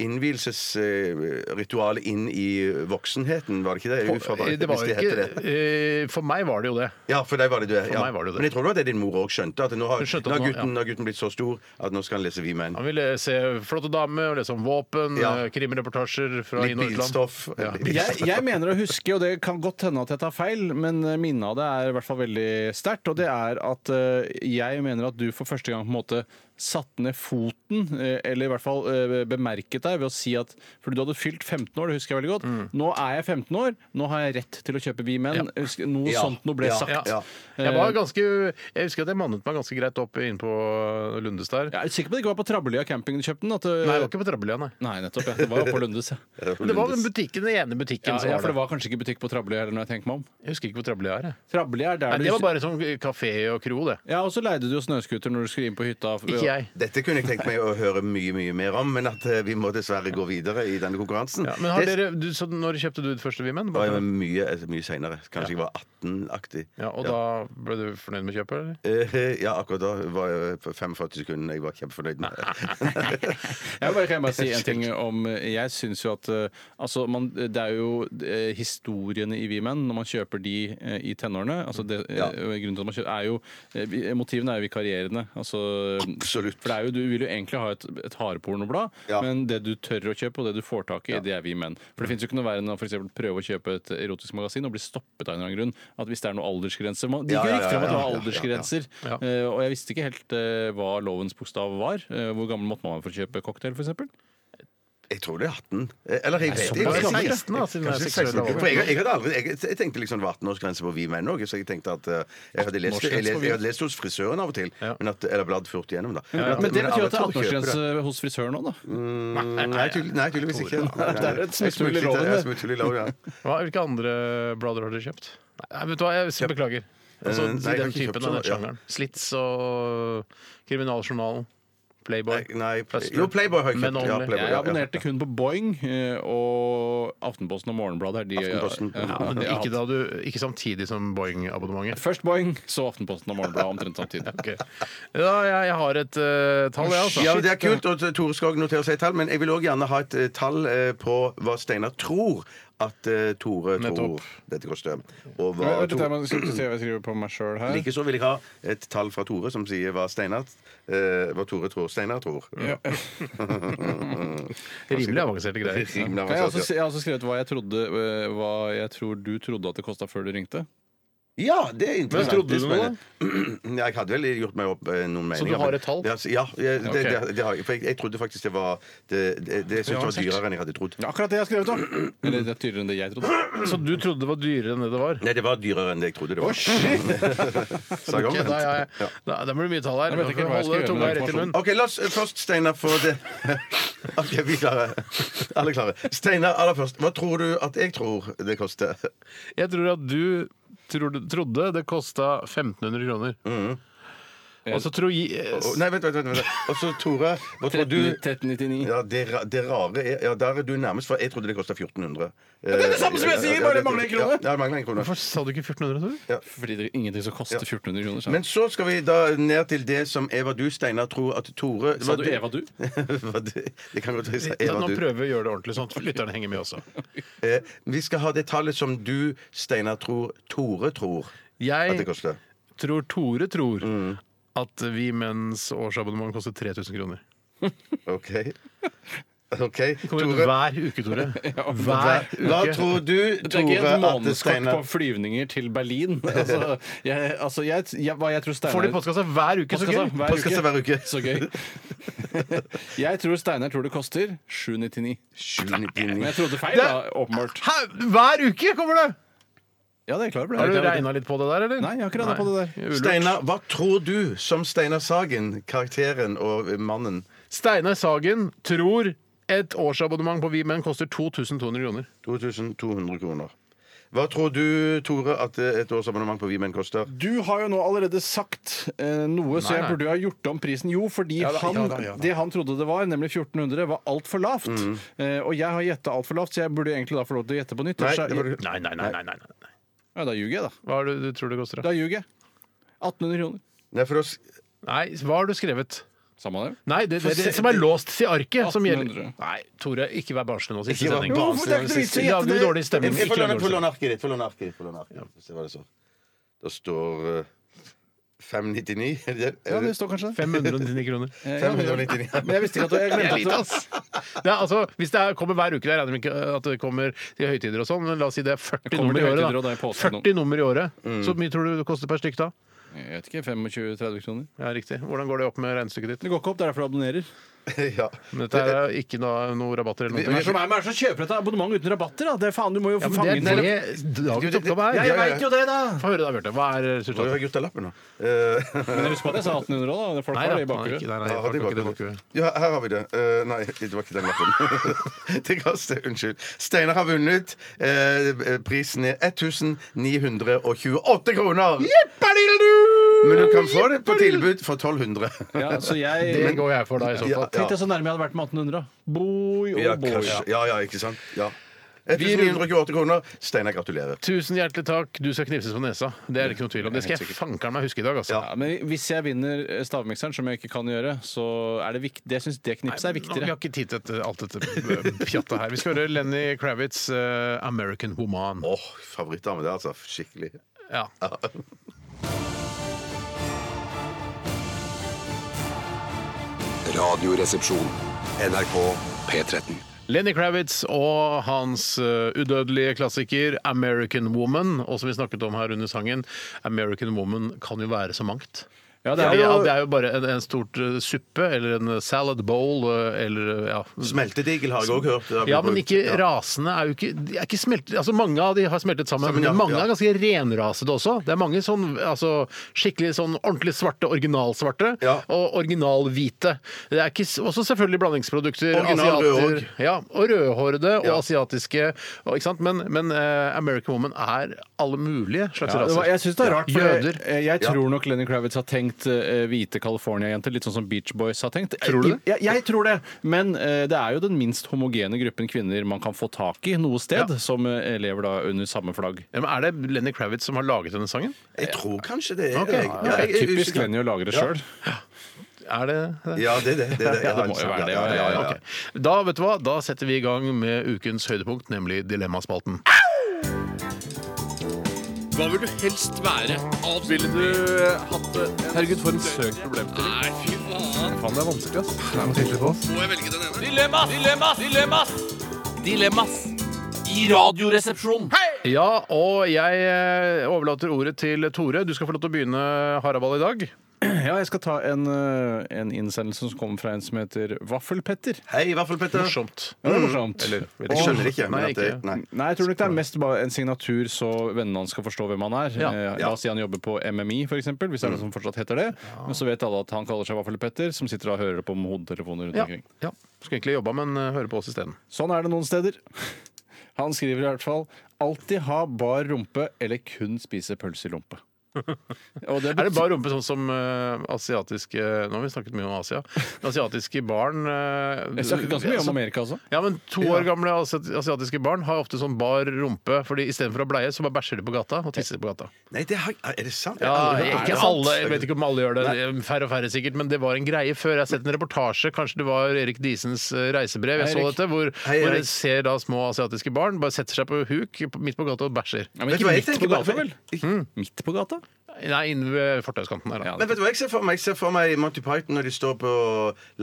Speaker 3: innvielsesritual inn i voksenheten, var det ikke det? Uforberedt,
Speaker 2: det var
Speaker 3: hvis
Speaker 2: jo
Speaker 3: heter
Speaker 2: ikke, eh, for meg var det jo det.
Speaker 3: Ja, for deg var det det.
Speaker 2: For
Speaker 3: Ja.
Speaker 2: meg var det det.
Speaker 3: Men jeg tror det var det din mor òg skjønte. At nå har,
Speaker 2: Hun skjønte at
Speaker 3: nå har
Speaker 2: nå-
Speaker 3: gutten,
Speaker 2: ja.
Speaker 3: nå har gutten blitt så stor at nå skal han lese Vi menn.
Speaker 2: Han ville se flotte damer, og lese om våpen,
Speaker 3: Ja.
Speaker 2: eh, krimreportasjer fra
Speaker 3: Litt
Speaker 2: inn- og utland.
Speaker 3: bilstoff.
Speaker 2: Ja.
Speaker 3: Litt bilstoff.
Speaker 4: Jeg, jeg mener å huske, og det kan godt hende at jeg tar feil, men eh, minnet av det er i hvert fall veldig sterkt. Og det er at eh, jeg mener at du for første gang på en måte satte ned foten, eh, eller i hvert fall eh, bemerket deg ved å si at Fordi du hadde fylt 15 år, det husker jeg veldig godt.
Speaker 2: Mm.
Speaker 4: Nå er jeg 15 år, nå har jeg rett til å kjøpe Vi Menn. Husk- Noe
Speaker 3: Ja.
Speaker 4: sånt noe ble
Speaker 3: Ja.
Speaker 4: sagt.
Speaker 3: Ja.
Speaker 2: Jeg, var ganske, jeg husker at jeg mannet meg ganske greit opp inne på Lundes der.
Speaker 4: Jeg er sikker på at det ikke var på Trabbelia camping du kjøpte den? At, eh,
Speaker 2: Nei, det var ikke på Trabbelia, nei.
Speaker 4: Nei, nettopp. Ja. Det var på Lundes. Ja.
Speaker 2: Men det var den butikken, den ene
Speaker 4: Ja,
Speaker 2: butikken som
Speaker 4: ja,
Speaker 2: var
Speaker 4: for det
Speaker 2: der.
Speaker 4: var kanskje ikke butikk på Trabbelia heller, når jeg tenker meg om.
Speaker 2: Jeg husker ikke hvor Trabbelia er. jeg.
Speaker 4: Trabbelia er der
Speaker 2: Nei,
Speaker 4: du
Speaker 2: det var bare sånn kafé og kro, det.
Speaker 4: Ja, og så leide du jo snøscooter når du skulle inn på hytta.
Speaker 2: Ikke jeg.
Speaker 3: Dette kunne jeg tenkt meg å høre mye mye mer om, men at eh, vi må dessverre gå videre i denne konkurransen.
Speaker 2: Ja, men har
Speaker 3: det
Speaker 2: dere, du, så når kjøpte du det første Vimen?
Speaker 3: var jo mye, eh, mye seinere. Kanskje jeg var 18-aktig.
Speaker 2: Ja, og da ble du fornøyd med kjøpet? eller?
Speaker 3: Eh, ja, akkurat da var jeg eh, på 45 sekunder jeg var kjempefornøyd med.
Speaker 4: Jeg vil bare, kan jeg bare si en ting om Jeg syns jo at eh, altså man, Det er jo eh, historiene i Vi-menn når man kjøper de eh, i tenårene. Altså det, eh,
Speaker 3: Ja.
Speaker 4: grunnen til at man kjøper, er jo, eh, vi- motivene er jo vikarierende. Altså,
Speaker 3: Absolutt.
Speaker 4: For det er jo, du vil jo egentlig ha et, et hardpornoblad,
Speaker 3: Ja. Mm.
Speaker 4: men det du tør å kjøpe, og det du får tak i, det er Vi-menn. For det fins jo ikke noe verre enn å for eksempel prøve å kjøpe et erotisk magasin og bli stoppet av en eller annen grunn. At hvis det er noen aldersgrense man, De
Speaker 3: Ja,
Speaker 4: gikk jo
Speaker 3: ja, ja,
Speaker 4: riktig fram at det
Speaker 3: ja,
Speaker 4: var
Speaker 3: ja, ja, ja.
Speaker 4: aldersgrenser.
Speaker 2: Ja.
Speaker 4: Eh, og jeg visste ikke helt eh, hva lovens bokstav var. Eh, hvor gammel måtte man være for å kjøpe cocktail, f.eks.?
Speaker 3: Jeg tror det er 18. Eh, Eller jeg vet
Speaker 2: såpass
Speaker 3: ikke. Jeg-
Speaker 2: gammel.
Speaker 3: jeg-
Speaker 2: 16 da, siden det er
Speaker 3: Kanskje
Speaker 2: seksuell
Speaker 3: 16.
Speaker 2: alder.
Speaker 3: For jeg, jeg, hadde aldri, jeg, jeg tenkte liksom det var 18-årsgrense på Vi menn òg, så jeg tenkte at eh, jeg hadde, lest, jeg, lest, jeg hadde lest hos frisøren av og til, men at, eller bladd fort igjennom, da.
Speaker 4: Men det betyr
Speaker 3: alle
Speaker 4: jo at
Speaker 3: tør
Speaker 4: det er
Speaker 3: å kjøpe det.
Speaker 4: 18-årsgrense hos frisøren òg, da.
Speaker 3: Mm, Nei, tydel- nei, tydeligvis ikke. Nei, nei,
Speaker 4: Det er
Speaker 3: nei.
Speaker 4: et smutthull i
Speaker 3: Jeg
Speaker 4: loven,
Speaker 3: jeg
Speaker 4: det.
Speaker 3: smutthull i loven, ja.
Speaker 2: Hva, hvilke andre blader har dere kjøpt? Nei, vet du hva, jeg beklager. Altså,
Speaker 3: Eh,
Speaker 2: de,
Speaker 3: nei, jeg har
Speaker 2: den
Speaker 3: ikke
Speaker 2: typen
Speaker 3: kjøpt
Speaker 2: av
Speaker 3: så-
Speaker 2: den sjangeren. Slits og Kriminaljournalen, Playboy.
Speaker 3: Nei, nei,
Speaker 2: Hustler.
Speaker 3: jo, Playboy har jeg
Speaker 2: Men
Speaker 3: kjøpt. Ja,
Speaker 2: only.
Speaker 3: Playboy, ja,
Speaker 4: Jeg
Speaker 3: ja.
Speaker 4: abonnerte kun på Boing eh, og Aftenposten og Morgenbladet. er De,
Speaker 3: Aftenposten.
Speaker 4: Ja,
Speaker 3: Ja,
Speaker 2: Men
Speaker 4: de har
Speaker 2: ikke, da
Speaker 4: hatt.
Speaker 2: du, ikke samtidig som Boeing-abonnementet.
Speaker 4: Først Boing, så Aftenposten og Morgenbladet omtrent samtidig.
Speaker 2: Ok. Ja, jeg, jeg har et eh, tall, jeg, altså.
Speaker 3: Ja, men Det er kult, og Tore Skog noterer seg et tall, men jeg vil òg gjerne ha et eh, tall eh, på hva Steinar tror at eh, Tore
Speaker 2: Nettopp.
Speaker 3: tror dette koster. Og hva
Speaker 4: Vent litt, jeg
Speaker 3: Tore
Speaker 4: må se hva jeg skriver på meg sjøl her.
Speaker 3: Likeså vil jeg ha et tall fra Tore som sier hva, Steinar, eh, hva Tore tror Steinar tror.
Speaker 4: Ja.
Speaker 2: Rimelig avanserte greier.
Speaker 3: Rimelig
Speaker 4: Kan jeg,
Speaker 3: avansert,
Speaker 4: også, si-
Speaker 3: ja.
Speaker 4: jeg har også skrevet hva jeg, trodde, eh, hva jeg tror du trodde at det kosta før du ringte.
Speaker 3: Ja, det er
Speaker 2: Men
Speaker 3: interessant.
Speaker 2: trodde
Speaker 3: Det
Speaker 2: du
Speaker 3: er
Speaker 2: noe, da?
Speaker 3: spennende. Jeg hadde vel gjort meg opp eh, noen meninger.
Speaker 2: du har
Speaker 3: men-
Speaker 2: et tall?
Speaker 3: Ja, s- Ja, jeg- det,
Speaker 2: Ok.
Speaker 3: det, det har jeg. For jeg, jeg trodde faktisk det var Det, det, det syntes jeg var dyrere enn jeg hadde trodd.
Speaker 4: Det er akkurat det jeg har skrevet, da! Eller det er dyrere enn det jeg trodde.
Speaker 2: Så du trodde det var dyrere enn det det var?
Speaker 3: Nei, det var dyrere enn det jeg trodde det var. Sa jeg
Speaker 2: Ok,
Speaker 3: omvendt?
Speaker 2: da, ja, ja. Da, da blir det mye tall her.
Speaker 4: Jeg vet ikke hva jeg skal
Speaker 2: Hold
Speaker 4: gjøre med
Speaker 2: tunga
Speaker 4: den
Speaker 2: rett i munnen.
Speaker 3: OK, la oss eh, først, Steinar, få det OK, vi er klare. Alle er klare. Steinar, aller først. Hva tror du at jeg tror det koster?
Speaker 2: Jeg tror at du trodde, trodde det kosta 1500 kroner.
Speaker 3: Mm.
Speaker 2: Og så tror jeg
Speaker 3: Å, nei, vent, vent. vent, vent. Og så Tore. Hva tror du
Speaker 4: 1399.
Speaker 3: ja, det, ra- det rare er Ja, der er du nærmest, for jeg trodde det kosta 1400.
Speaker 4: det er det samme som jeg sier, bare det mangler en krone.
Speaker 3: Ja, det mangler en krone.
Speaker 2: Hvorfor sa du ikke 1400, tror du?
Speaker 4: Fordi det er ingenting som koster 1400 kroner. sa
Speaker 3: Men så skal vi da ned til det som Eva du, Steinar, tror at Tore
Speaker 4: Sa du Eva du?
Speaker 3: Hva det, det kan godt være jeg sa
Speaker 2: Ja,
Speaker 3: Eva
Speaker 2: nå
Speaker 3: du.
Speaker 2: prøver vi å gjøre det ordentlig, sånn at lytterne henger med også.
Speaker 3: Eh, vi skal ha det tallet som du, Steinar, tror Tore tror at det
Speaker 2: Jeg
Speaker 3: koster.
Speaker 2: tror Tore tror at vi menns årsabonnement koster 3000 kroner.
Speaker 3: OK. OK.
Speaker 2: Kommer ut
Speaker 3: Tore.
Speaker 2: hver uke, Tore. Hver
Speaker 3: Hva
Speaker 2: uke.
Speaker 3: tror du,
Speaker 4: Det er ikke
Speaker 3: Tore, at
Speaker 4: et
Speaker 3: det
Speaker 4: månedskort på
Speaker 3: Steinar
Speaker 4: flyvninger til Berlin. Altså, jeg, altså, jeg, jeg, hva jeg tror Steinar
Speaker 2: Får de postkassa hver uke? Så
Speaker 4: Postkassa
Speaker 2: gøy!
Speaker 4: hver
Speaker 3: Postkassa hver uke.
Speaker 4: Så gøy. Jeg tror Steinar tror det koster 799. Men jeg trodde feil, da. Åpenbart.
Speaker 2: Hæ? Hver uke kommer det!
Speaker 4: Ja, det er klart.
Speaker 2: Har du regna litt på det der, eller?
Speaker 4: Nei, jeg har ikke regnet på det der.
Speaker 2: Ulurt.
Speaker 3: Steinar, hva tror du som Steinar Sagen, karakteren og mannen?
Speaker 2: Steinar Sagen tror et årsabonnement på Vi Menn koster 2200 kroner.
Speaker 3: 2200 kroner. Hva tror du, Tore, at et årsabonnement på Vi Menn koster?
Speaker 4: Du har jo nå allerede sagt eh, noe,
Speaker 2: Nei,
Speaker 4: så jeg
Speaker 2: nei.
Speaker 4: burde jo ha gjort om prisen. Jo, fordi
Speaker 2: Ja da,
Speaker 4: han,
Speaker 2: ja da, ja da. Mm.
Speaker 4: det han trodde det var, nemlig 1400, var altfor lavt. Eh, og jeg har gjetta altfor lavt, så jeg burde egentlig da få lov til å gjette på nytt.
Speaker 3: Nei,
Speaker 4: ellers er-
Speaker 3: det var...
Speaker 2: Nei, nei, nei. nei, nei, nei.
Speaker 4: Ja, da ljuger jeg, da.
Speaker 2: Hva er det du tror det koster, da?
Speaker 4: Da ljuger jeg. 1800 kroner.
Speaker 3: Nei, for oss...
Speaker 2: Nei, hva har du skrevet?
Speaker 4: Samme det.
Speaker 2: Nei, det, det, det som er låst i arket, som gjelder
Speaker 4: 1800.
Speaker 2: Nei, Tore, ikke vær barnslig nå. Siste
Speaker 3: Ikke vær
Speaker 2: sending.
Speaker 3: barnslig.
Speaker 4: Hvorfor det er ikke noe vits i å gjette
Speaker 2: Lager du
Speaker 4: det?
Speaker 2: dårlig stemning?
Speaker 3: Jeg
Speaker 2: Ikke
Speaker 3: får
Speaker 2: lag
Speaker 3: låne,
Speaker 2: dårlig
Speaker 3: får
Speaker 2: stemning.
Speaker 3: låne arket ditt. Får låne arket ditt. Får låne arket ditt. Se hva det står. Da står eh, 599. Er det det?
Speaker 4: Ja, det står kanskje det.
Speaker 2: 599 kroner.
Speaker 4: Eh, ja, det gjør det.
Speaker 3: 599.
Speaker 4: Men jeg visste ikke at du-
Speaker 2: Det
Speaker 4: jeg
Speaker 2: er
Speaker 4: glemte at
Speaker 2: lite,
Speaker 4: du-
Speaker 2: ass. Det er, altså, hvis det er, kommer hver uke, jeg regner med ikke øh, at det kommer til høytider og sånn, men la oss si det er 40
Speaker 4: Det kommer
Speaker 2: nummer i
Speaker 4: til høytider,
Speaker 2: året.
Speaker 4: og det er
Speaker 2: Da.
Speaker 4: påsken nå.
Speaker 2: 40 nummer i året. Så mye tror du det koster per stykk da?
Speaker 4: Jeg vet ikke. 25-30 kroner.
Speaker 2: Ja, riktig. Hvordan går det opp med regnestykket ditt?
Speaker 4: Det går ikke opp, det er derfor du abonnerer.
Speaker 3: Ja.
Speaker 2: Men dette er ikke noe, noe rabatter eller noe.
Speaker 4: Hvem er det som- hvem er det som kjøper et abonnement uten rabatter? da? Det er faen, Du må jo
Speaker 2: Ja,
Speaker 4: få fange
Speaker 2: men det
Speaker 4: den.
Speaker 2: er det dagens oppgave
Speaker 4: Ja,
Speaker 2: er.
Speaker 4: jeg
Speaker 3: ja, ja.
Speaker 4: vet jo det, da!
Speaker 2: Få høre da, Bjarte. Hva er
Speaker 3: Hvor har
Speaker 2: resultatet?
Speaker 3: jeg gjort av lappen nå? Eh,
Speaker 4: Men husk på at jeg sa 1800 òg, da. Folk har
Speaker 2: da,
Speaker 4: det i bakhodet.
Speaker 2: ikke- nei, nei,
Speaker 3: Ja,
Speaker 2: folk
Speaker 3: det
Speaker 2: har ikke det
Speaker 3: var
Speaker 2: bakhodet.
Speaker 3: ja, her har vi det. Eh, nei, det var ikke den lappen. det kastet, unnskyld. Steinar har vunnet. Eh, prisen er 1928 kroner! Men du kan få det på tilbud for 1200.
Speaker 4: Ja, så jeg
Speaker 2: Det går jeg for da, i så fall.
Speaker 3: Ja,
Speaker 4: Tenk deg så nærme jeg hadde vært med 1800. da. oh Boi og
Speaker 3: Ja,
Speaker 4: boi.
Speaker 3: kanskje. ja, ja, ikke sant? Ja. 1928 kroner. Steinar, gratulerer.
Speaker 2: Tusen hjertelig takk. Du skal knipses på nesa. Det er det ikke noe tvil om. Det skal jeg fankeren meg huske i dag, altså.
Speaker 4: Ja, men hvis jeg vinner stavmikseren, som jeg ikke kan gjøre, så er det viktig. Jeg syns det knipset
Speaker 2: Nå,
Speaker 4: er
Speaker 2: Vi
Speaker 4: viktigere.
Speaker 2: har ikke tid til dette- alt dette eh, pjattet her. Vi skal høre Lenny Kravitz' eh, 'American Woman'.
Speaker 3: Åh, favorittdame det, er altså. Skikkelig.
Speaker 2: Ja.
Speaker 5: Radioresepsjon. NRK P13.
Speaker 2: Lenny Kravitz og hans eh, udødelige klassiker 'American Woman', og som vi snakket om her under sangen. 'American Woman' kan jo være så mangt.
Speaker 4: Ja,
Speaker 2: Det er,
Speaker 4: det er jo
Speaker 2: ja, det er jo bare en, en stort eh, suppe eller en salad bowl eh, eller eh, ja.
Speaker 3: Smeltedigel har jeg òg hørt. Det har blitt
Speaker 2: Ja, men
Speaker 3: brukt.
Speaker 2: ikke
Speaker 3: Ja.
Speaker 2: rasende er jo ikke, de er ikke smeltet, altså Mange av de har smeltet sammen,
Speaker 3: Sammen,
Speaker 2: men
Speaker 3: ja,
Speaker 2: mange
Speaker 3: ja.
Speaker 2: er ganske renrasede også. Det er mange sånn altså, skikkelig sånn ordentlig svarte, originalsvarte,
Speaker 3: Ja.
Speaker 2: og originalhvite. Det er ikke, s- også selvfølgelig blandingsprodukter.
Speaker 3: Original røde
Speaker 2: asiater-
Speaker 3: òg.
Speaker 2: Ja, og rødhårede og
Speaker 3: Ja.
Speaker 2: asiatiske. Og, ikke sant? Men, men eh, American Woman er alle mulige slags
Speaker 4: Ja, det var,
Speaker 2: raser.
Speaker 4: jeg syns det er
Speaker 2: Ja.
Speaker 4: rart. for
Speaker 2: Jøder.
Speaker 4: Jeg, eh, jeg tror nok Lenny Kravitz har tenkt eh, hvite California-jenter, litt sånn som Beach Boys har tenkt.
Speaker 2: Tror du det?
Speaker 4: Jeg, jeg, jeg tror det. Men eh, det er jo den minst homogene gruppen kvinner man kan få tak i noe sted,
Speaker 2: Ja.
Speaker 4: som eh, lever da under samme flagg.
Speaker 2: Ja, men er det Lenny Kravitz som har laget denne sangen?
Speaker 3: Jeg tror kanskje det. er-
Speaker 2: Ok.
Speaker 3: jeg-
Speaker 2: Ja,
Speaker 4: Det
Speaker 3: jeg
Speaker 4: er
Speaker 3: er
Speaker 4: typisk
Speaker 3: usikker.
Speaker 4: Lenny å lage det sjøl.
Speaker 2: Er det det?
Speaker 3: Ja, det er det. det, er det.
Speaker 4: Ja, det må jo være det, ja, ja, ja.
Speaker 2: Ok. Da vet du hva, da setter vi i gang med ukens høydepunkt, nemlig Dilemmaspalten.
Speaker 8: Hva vil du helst være? Ville du hatt det? Herregud, for en søk problemstilling. Nei, fy faen. Faen, det er vanskelig, ass. Må jeg velge den ene? Dilemmas! Dilemmas! Dilemmas! Dilemmas! I radioresepsjonen.
Speaker 2: Ja, og jeg eh, overlater ordet til Tore. Du skal få lov til å begynne Haraball i dag.
Speaker 4: Ja, jeg skal ta en, eh, en innsendelse som kommer fra en som heter Vaffelpetter.
Speaker 3: Hei, i hvert fall, Petter.
Speaker 2: Morsomt.
Speaker 4: Ja, det er morsomt.
Speaker 3: Jeg skjønner det ikke. Men
Speaker 2: Nei,
Speaker 3: at det,
Speaker 2: ikke.
Speaker 3: nei.
Speaker 4: Nei, jeg tror nok det er mest bare en signatur så vennene hans skal forstå hvem han er.
Speaker 2: Ja.
Speaker 4: Eh, La oss si han jobber på MMI, for eksempel, hvis det er noe som fortsatt heter det. Men så vet alle at han kaller seg Vaffelpetter, som sitter og hører det på med hodetelefoner rundt
Speaker 2: Ja.
Speaker 4: omkring.
Speaker 2: ja. Skulle egentlig jobba, men eh, høre på oss isteden.
Speaker 4: Sånn er det noen steder. Han skriver i hvert fall alltid ha bar rumpe eller kun spise pølse i lompe. Og det
Speaker 2: Er det
Speaker 4: betyr-
Speaker 2: bar rumpe sånn som eh, asiatiske Nå har vi snakket mye om Asia. Asiatiske barn eh,
Speaker 4: Jeg snakker ganske mye om
Speaker 2: som-
Speaker 4: Amerika, altså.
Speaker 2: Ja, men To år gamle asi- asiatiske barn har ofte sånn bar rumpe. Fordi Istedenfor å ha bleie, så bare bæsjer de på gata og tisser på gata.
Speaker 3: nei det har, er det sant? Jeg har aldri hørt om
Speaker 2: Ja, ikke
Speaker 3: det.
Speaker 2: alle, jeg vet ikke om alle gjør det, færre og færre sikkert, men det var en greie før. Jeg har sett en reportasje, kanskje det var Erik Disens eh, reisebrev, jeg
Speaker 4: Hei,
Speaker 2: så
Speaker 4: Erik.
Speaker 2: dette, hvor,
Speaker 3: Hei,
Speaker 2: hvor
Speaker 3: Erik.
Speaker 2: jeg ser da små asiatiske barn bare setter seg på huk på- midt på gata og bæsjer.
Speaker 4: Ja, men
Speaker 3: Vet du
Speaker 4: ikke
Speaker 3: hva jeg
Speaker 4: midt på
Speaker 3: tenker på?
Speaker 4: gata, vel? Midt på gata?
Speaker 2: Nei, inne ved fortauskanten der.
Speaker 4: Ja.
Speaker 2: Da.
Speaker 3: Men vet du hva jeg ser for meg? Jeg ser for meg Monty Python når de står på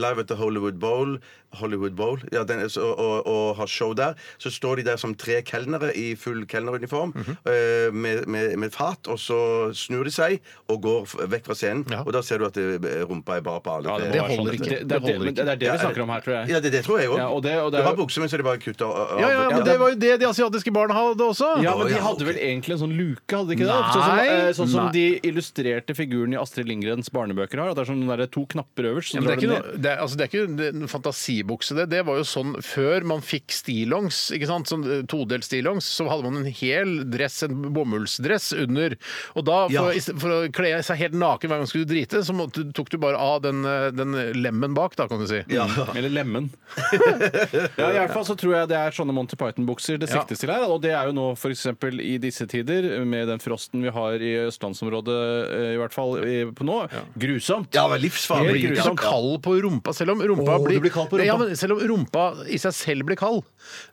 Speaker 3: Live at the Hollywood Bowl, Hollywood Bowl ja, den, er så- og, og har show der. Så står de der som tre kelnere i full kelneruniform
Speaker 2: Mhm.
Speaker 3: eh, med, med, med fat, og så snur de seg og går f- vekk fra scenen.
Speaker 2: Ja.
Speaker 3: Og da ser du at eh, rumpa er bare på alle. tre.
Speaker 2: Det være holder ikke.
Speaker 4: Det,
Speaker 2: Det
Speaker 4: det, er det,
Speaker 2: holder
Speaker 4: men det er det vi snakker om her, tror jeg.
Speaker 3: Ja, det, det tror jeg òg.
Speaker 4: Ja, og det- og det er
Speaker 3: var
Speaker 4: jo-
Speaker 3: bukser, men så de bare kutta av.
Speaker 2: Ja, ja, men det var jo det de asiatiske barna hadde også!
Speaker 4: Ja, men
Speaker 3: Å,
Speaker 4: de
Speaker 3: ja,
Speaker 4: hadde
Speaker 3: ok.
Speaker 4: vel egentlig en sånn luke, hadde de ikke det?
Speaker 2: Nei,
Speaker 4: Sånn som, eh, sånn som
Speaker 2: nei.
Speaker 4: de illustrerte figuren i Astrid Lindgrens barnebøker har. At det er sånn der to knapper øverst. Så
Speaker 2: Ja, men det, er
Speaker 4: drar
Speaker 2: ikke
Speaker 4: du
Speaker 2: noe, det, er, altså, det er ikke det er en fantasibukse, det. Det var jo sånn før man fikk stillongs, ikke sant? Sånn eh, todelt stillongs, så hadde man en hel dress, en bomullsdress, under. Og da, for,
Speaker 3: Ja.
Speaker 2: i st- for å kle seg helt naken hver gang du skulle drite, så måtte, tok du bare av den, eh, den lemmen bak, da, kan du si.
Speaker 3: Ja.
Speaker 4: ned. Eller lemmen. ja, I hvert fall så tror jeg det er sånne Monty Python-bukser det
Speaker 2: Ja.
Speaker 4: siktes til her. Og det er jo nå f.eks. i disse tider, med den frosten vi har i østlandsområdet eh, i hvert fall i- på nå, grusomt.
Speaker 3: Ja, det var livsfarlig.
Speaker 4: Helt
Speaker 2: Blir du
Speaker 4: grusomt.
Speaker 2: så kald på rumpa selv om rumpa
Speaker 4: Åh,
Speaker 2: blir,
Speaker 4: du blir kald på rumpa.
Speaker 2: Ja, men selv om rumpa i seg selv blir kald,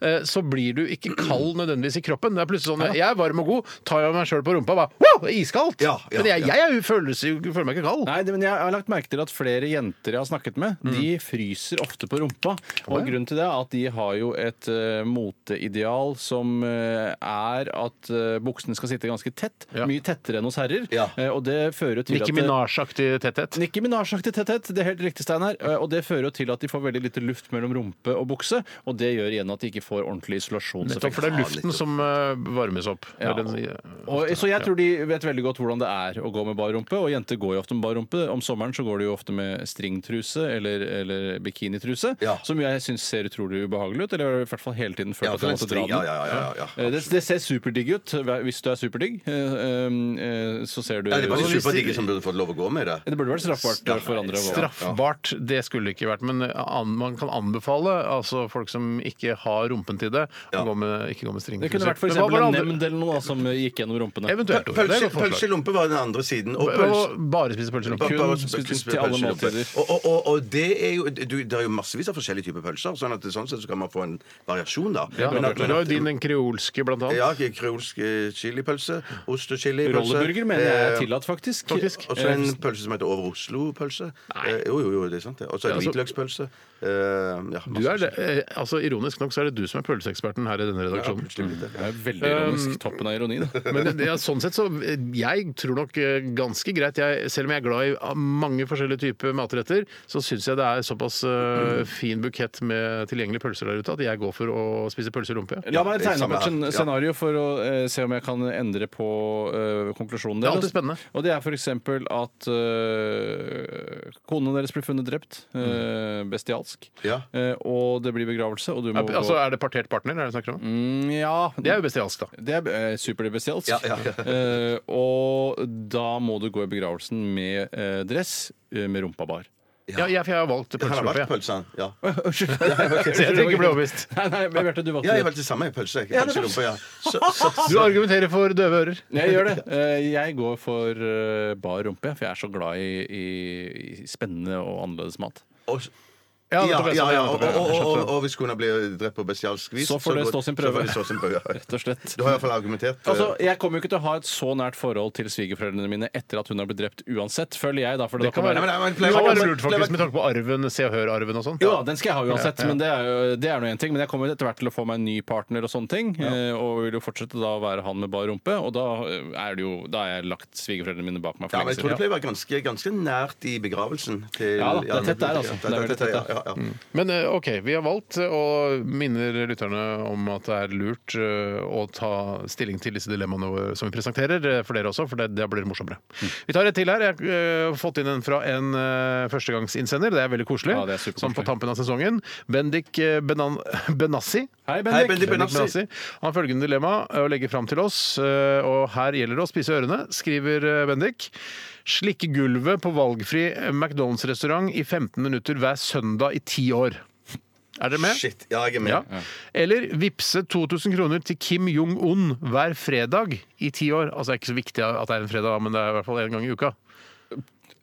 Speaker 2: eh, så blir du ikke kald nødvendigvis i kroppen. Det er plutselig sånn Jeg er varm og god, tar jeg meg sjøl på rumpa, bare wow, det er iskaldt!
Speaker 3: Ja, ja,
Speaker 2: men jeg,
Speaker 3: ja.
Speaker 2: jeg, er jo- føles, jo- føler meg ikke kald.
Speaker 4: Nei, det, men jeg har lagt merke til at flere jenter jeg har snakket med,
Speaker 2: Mm.
Speaker 4: de fryser ofte på rumpa. Og grunnen til det er at de har jo et eh, moteideal som eh, er at eh, buksene skal sitte ganske tett.
Speaker 2: Ja.
Speaker 4: Mye tettere enn hos herrer.
Speaker 3: Ja.
Speaker 4: Eh, og det fører jo til
Speaker 2: Nicki
Speaker 4: at det-
Speaker 2: Minaj-aktig tetthet.
Speaker 4: Nicki Minaj-aktig tetthet, det er helt riktig, Steinar. Eh, Og det fører jo til at de får veldig lite luft mellom rumpe og bukse, og det gjør igjen at de ikke får ordentlig
Speaker 2: Nettopp, for
Speaker 4: isolasjonseffekt.
Speaker 2: det er luften som eh, varmes opp.
Speaker 4: Ja.
Speaker 2: Eller den- eh,
Speaker 4: Og, så jeg tror de vet veldig godt hvordan det er å gå med bar rumpe. Og jenter går jo ofte med bar rumpe. Om sommeren så går de jo ofte med stringtruse eller, eller bikinitruse,
Speaker 3: Ja.
Speaker 4: som jeg syns ser utrolig ubehagelig ut. Eller i hvert fall hele tiden
Speaker 3: Ja,
Speaker 4: følt at
Speaker 3: for
Speaker 4: jeg
Speaker 3: en
Speaker 4: måtte dra
Speaker 3: string. Ja, ja,
Speaker 4: den.
Speaker 3: ja, ja, ja.
Speaker 4: Eh, Det, det ser superdigg ut hver- hvis du er superdigg. eh, eh, eh, Så ser du
Speaker 3: Ja, Det var de
Speaker 4: Det
Speaker 3: superdigge som burde fått lov å gå med det.
Speaker 4: burde vært straffbart eh, for andre. å gå.
Speaker 2: Straffbart, det skulle det ikke vært. Men eh, an, man kan anbefale altså folk som ikke har rumpen til det, å
Speaker 3: Ja.
Speaker 2: gå med, ikke gå med string.
Speaker 4: Det kunne vært for
Speaker 2: Men hva
Speaker 4: eksempel
Speaker 2: var
Speaker 4: en
Speaker 2: det andre-
Speaker 4: nemnd eller noe da, som gikk gjennom rumpene.
Speaker 2: Eventuelt. Tore. Det er
Speaker 3: Pølse,
Speaker 2: et godt forslag.
Speaker 3: pølse i lompe var den andre siden. Og pølse,
Speaker 2: Og bare spise pølser.
Speaker 3: Ba-
Speaker 4: Kun
Speaker 3: ba- ba-
Speaker 4: spist
Speaker 3: spist
Speaker 4: til alle
Speaker 3: pølser i lompe.
Speaker 4: måltider.
Speaker 3: Og, og, og, og det er jo du, Det er jo massevis av forskjellige typer pølser, sånn at sånn sett så kan man få en variasjon, da.
Speaker 2: Ja,
Speaker 3: Men at-
Speaker 2: du har jo din den kreolske, blant annet.
Speaker 3: ja, kreolsk eh, chilipølse, ost og chili
Speaker 4: Rolleburger mener jeg er tillatt, faktisk. Eh,
Speaker 2: faktisk.
Speaker 3: Eh, Og så en pølse som heter Over Oslo-pølse. Eh, jo, jo, jo, det er sant, det. Og så en
Speaker 2: altså-
Speaker 3: hvitløkspølse. Eh, ja,
Speaker 2: Du er
Speaker 3: massevis.
Speaker 2: det, eh, altså, ironisk nok så er det du som er pølseeksperten her i denne redaksjonen.
Speaker 4: Det er veldig ironisk. Toppen av ironi, det.
Speaker 2: Men det, ja, sånn sett så eh, jeg tror nok eh, ganske greit. Jeg, selv om jeg er glad i ah, mange forskjellige typer matretter, så syns jeg det er såpass eh, fin bukett med tilgjengelige pølser der ute at jeg går for å spise pølse i rumpe.
Speaker 4: La meg tegne opp et
Speaker 3: samme her.
Speaker 4: skjen- scenario for å eh, se om jeg kan endre på eh, konklusjonen
Speaker 2: Det er
Speaker 4: deres.
Speaker 2: alltid spennende.
Speaker 4: Og det er f.eks. at uh, konene deres blir funnet drept. eh,
Speaker 2: Mm.
Speaker 4: bestialsk.
Speaker 3: Ja.
Speaker 4: Eh, og det blir begravelse, og du må
Speaker 2: Er- Altså, Er det partert partner? Er det du snakker om?
Speaker 4: gå Mm, Ja.
Speaker 2: Det er jo bestialsk, da.
Speaker 4: Det er eh, superbestialsk.
Speaker 3: Ja, ja, ja.
Speaker 4: Eh, og da må du gå i begravelsen med eh, dress eh, med rumpa bar.
Speaker 2: Ja, jeg, for jeg har valgt
Speaker 3: Han
Speaker 2: pølse i
Speaker 3: har
Speaker 2: rumpe.
Speaker 3: vært
Speaker 2: jeg.
Speaker 3: pølse, han. Ja.
Speaker 2: Så jeg trenger ikke bli overbevist.
Speaker 4: Nei, nei, men Bjarte, du
Speaker 3: ja,
Speaker 4: valgte
Speaker 3: jeg
Speaker 4: det.
Speaker 3: valgte samme jeg, pølse. Ikke pølse i rumpa, ja. Så, så,
Speaker 2: Du argumenterer for døve ører.
Speaker 4: Jeg gjør det. Eh, jeg går for eh, bar rumpe, for jeg er så glad i, i, i spennende og annerledes mat.
Speaker 3: og,
Speaker 2: Ja,
Speaker 3: ja, ja,
Speaker 2: nettopp, jeg
Speaker 3: ja,
Speaker 2: sa det,
Speaker 3: Og,
Speaker 2: nettopp, jeg
Speaker 3: og,
Speaker 2: skjønte
Speaker 3: og,
Speaker 2: det.
Speaker 3: og hvis kona blir drept på bestialsk vis
Speaker 4: Så får det
Speaker 3: går-
Speaker 4: stå sin
Speaker 3: så
Speaker 4: prøve.
Speaker 3: får det stå sin prøve, ja.
Speaker 4: Rett og slett.
Speaker 3: Du har iallfall argumentert. eh,
Speaker 4: Altså, Jeg kommer jo ikke til å ha et så nært forhold til svigerforeldrene mine etter at hun har blitt drept uansett, føler jeg. da, for da
Speaker 2: Det kan
Speaker 4: kommer-
Speaker 2: være,
Speaker 3: Nei, men-
Speaker 2: det kan være lurt, faktisk, med tanke på arven, Se og Hør-arven og sånn.
Speaker 4: Jo da, den skal jeg ha uansett, men det er, jo- det er noe en ting. Men jeg kommer etter hvert til å få meg en ny partner og sånne ting. eh, Og vil jo fortsette da å være han med bar rumpe, og da eh, er det jo Da har jeg lagt svigerforeldrene mine bak meg for
Speaker 3: Ja, men
Speaker 4: lenge
Speaker 3: jeg tror det
Speaker 4: siden.
Speaker 3: pleier å være ganske, ganske nært i begravelsen. Til,
Speaker 4: Ja da, det er tett der, altså.
Speaker 3: Ja, det er tett der, ja, ja, ja.
Speaker 2: Men eh, OK, vi har valgt eh, og minner lytterne om at det er lurt eh, å ta stilling til disse dilemmaene våre som vi presenterer, eh, for dere også, for det, det blir morsommere.
Speaker 4: Mm.
Speaker 2: Vi tar et til her. Jeg eh, har fått inn en fra en eh, førstegangsinnsender. Det er veldig koselig.
Speaker 4: Ja, det er superkoselig.
Speaker 2: Sånn på tampen av sesongen. Bendik eh, Benan Benassi.
Speaker 4: Hei,
Speaker 3: Hei,
Speaker 4: Bendik.
Speaker 3: Bendik
Speaker 2: Bendik
Speaker 3: Benassi.
Speaker 2: Benassi. Han har følgende dilemma eh, å legge fram til oss, eh, og her gjelder det å spise ørene, skriver eh, Bendik. Slikke gulvet på valgfri McDonald's-restaurant i 15 minutter hver søndag i ti år. Er dere med?
Speaker 3: Shit.
Speaker 4: Mm.
Speaker 3: Ja, jeg er med.
Speaker 2: Ja. Eller vippse 2000 kroner til Kim Jong-un hver fredag i ti år. Altså, det er ikke så viktig at det er en fredag, men det er i hvert fall én gang i uka.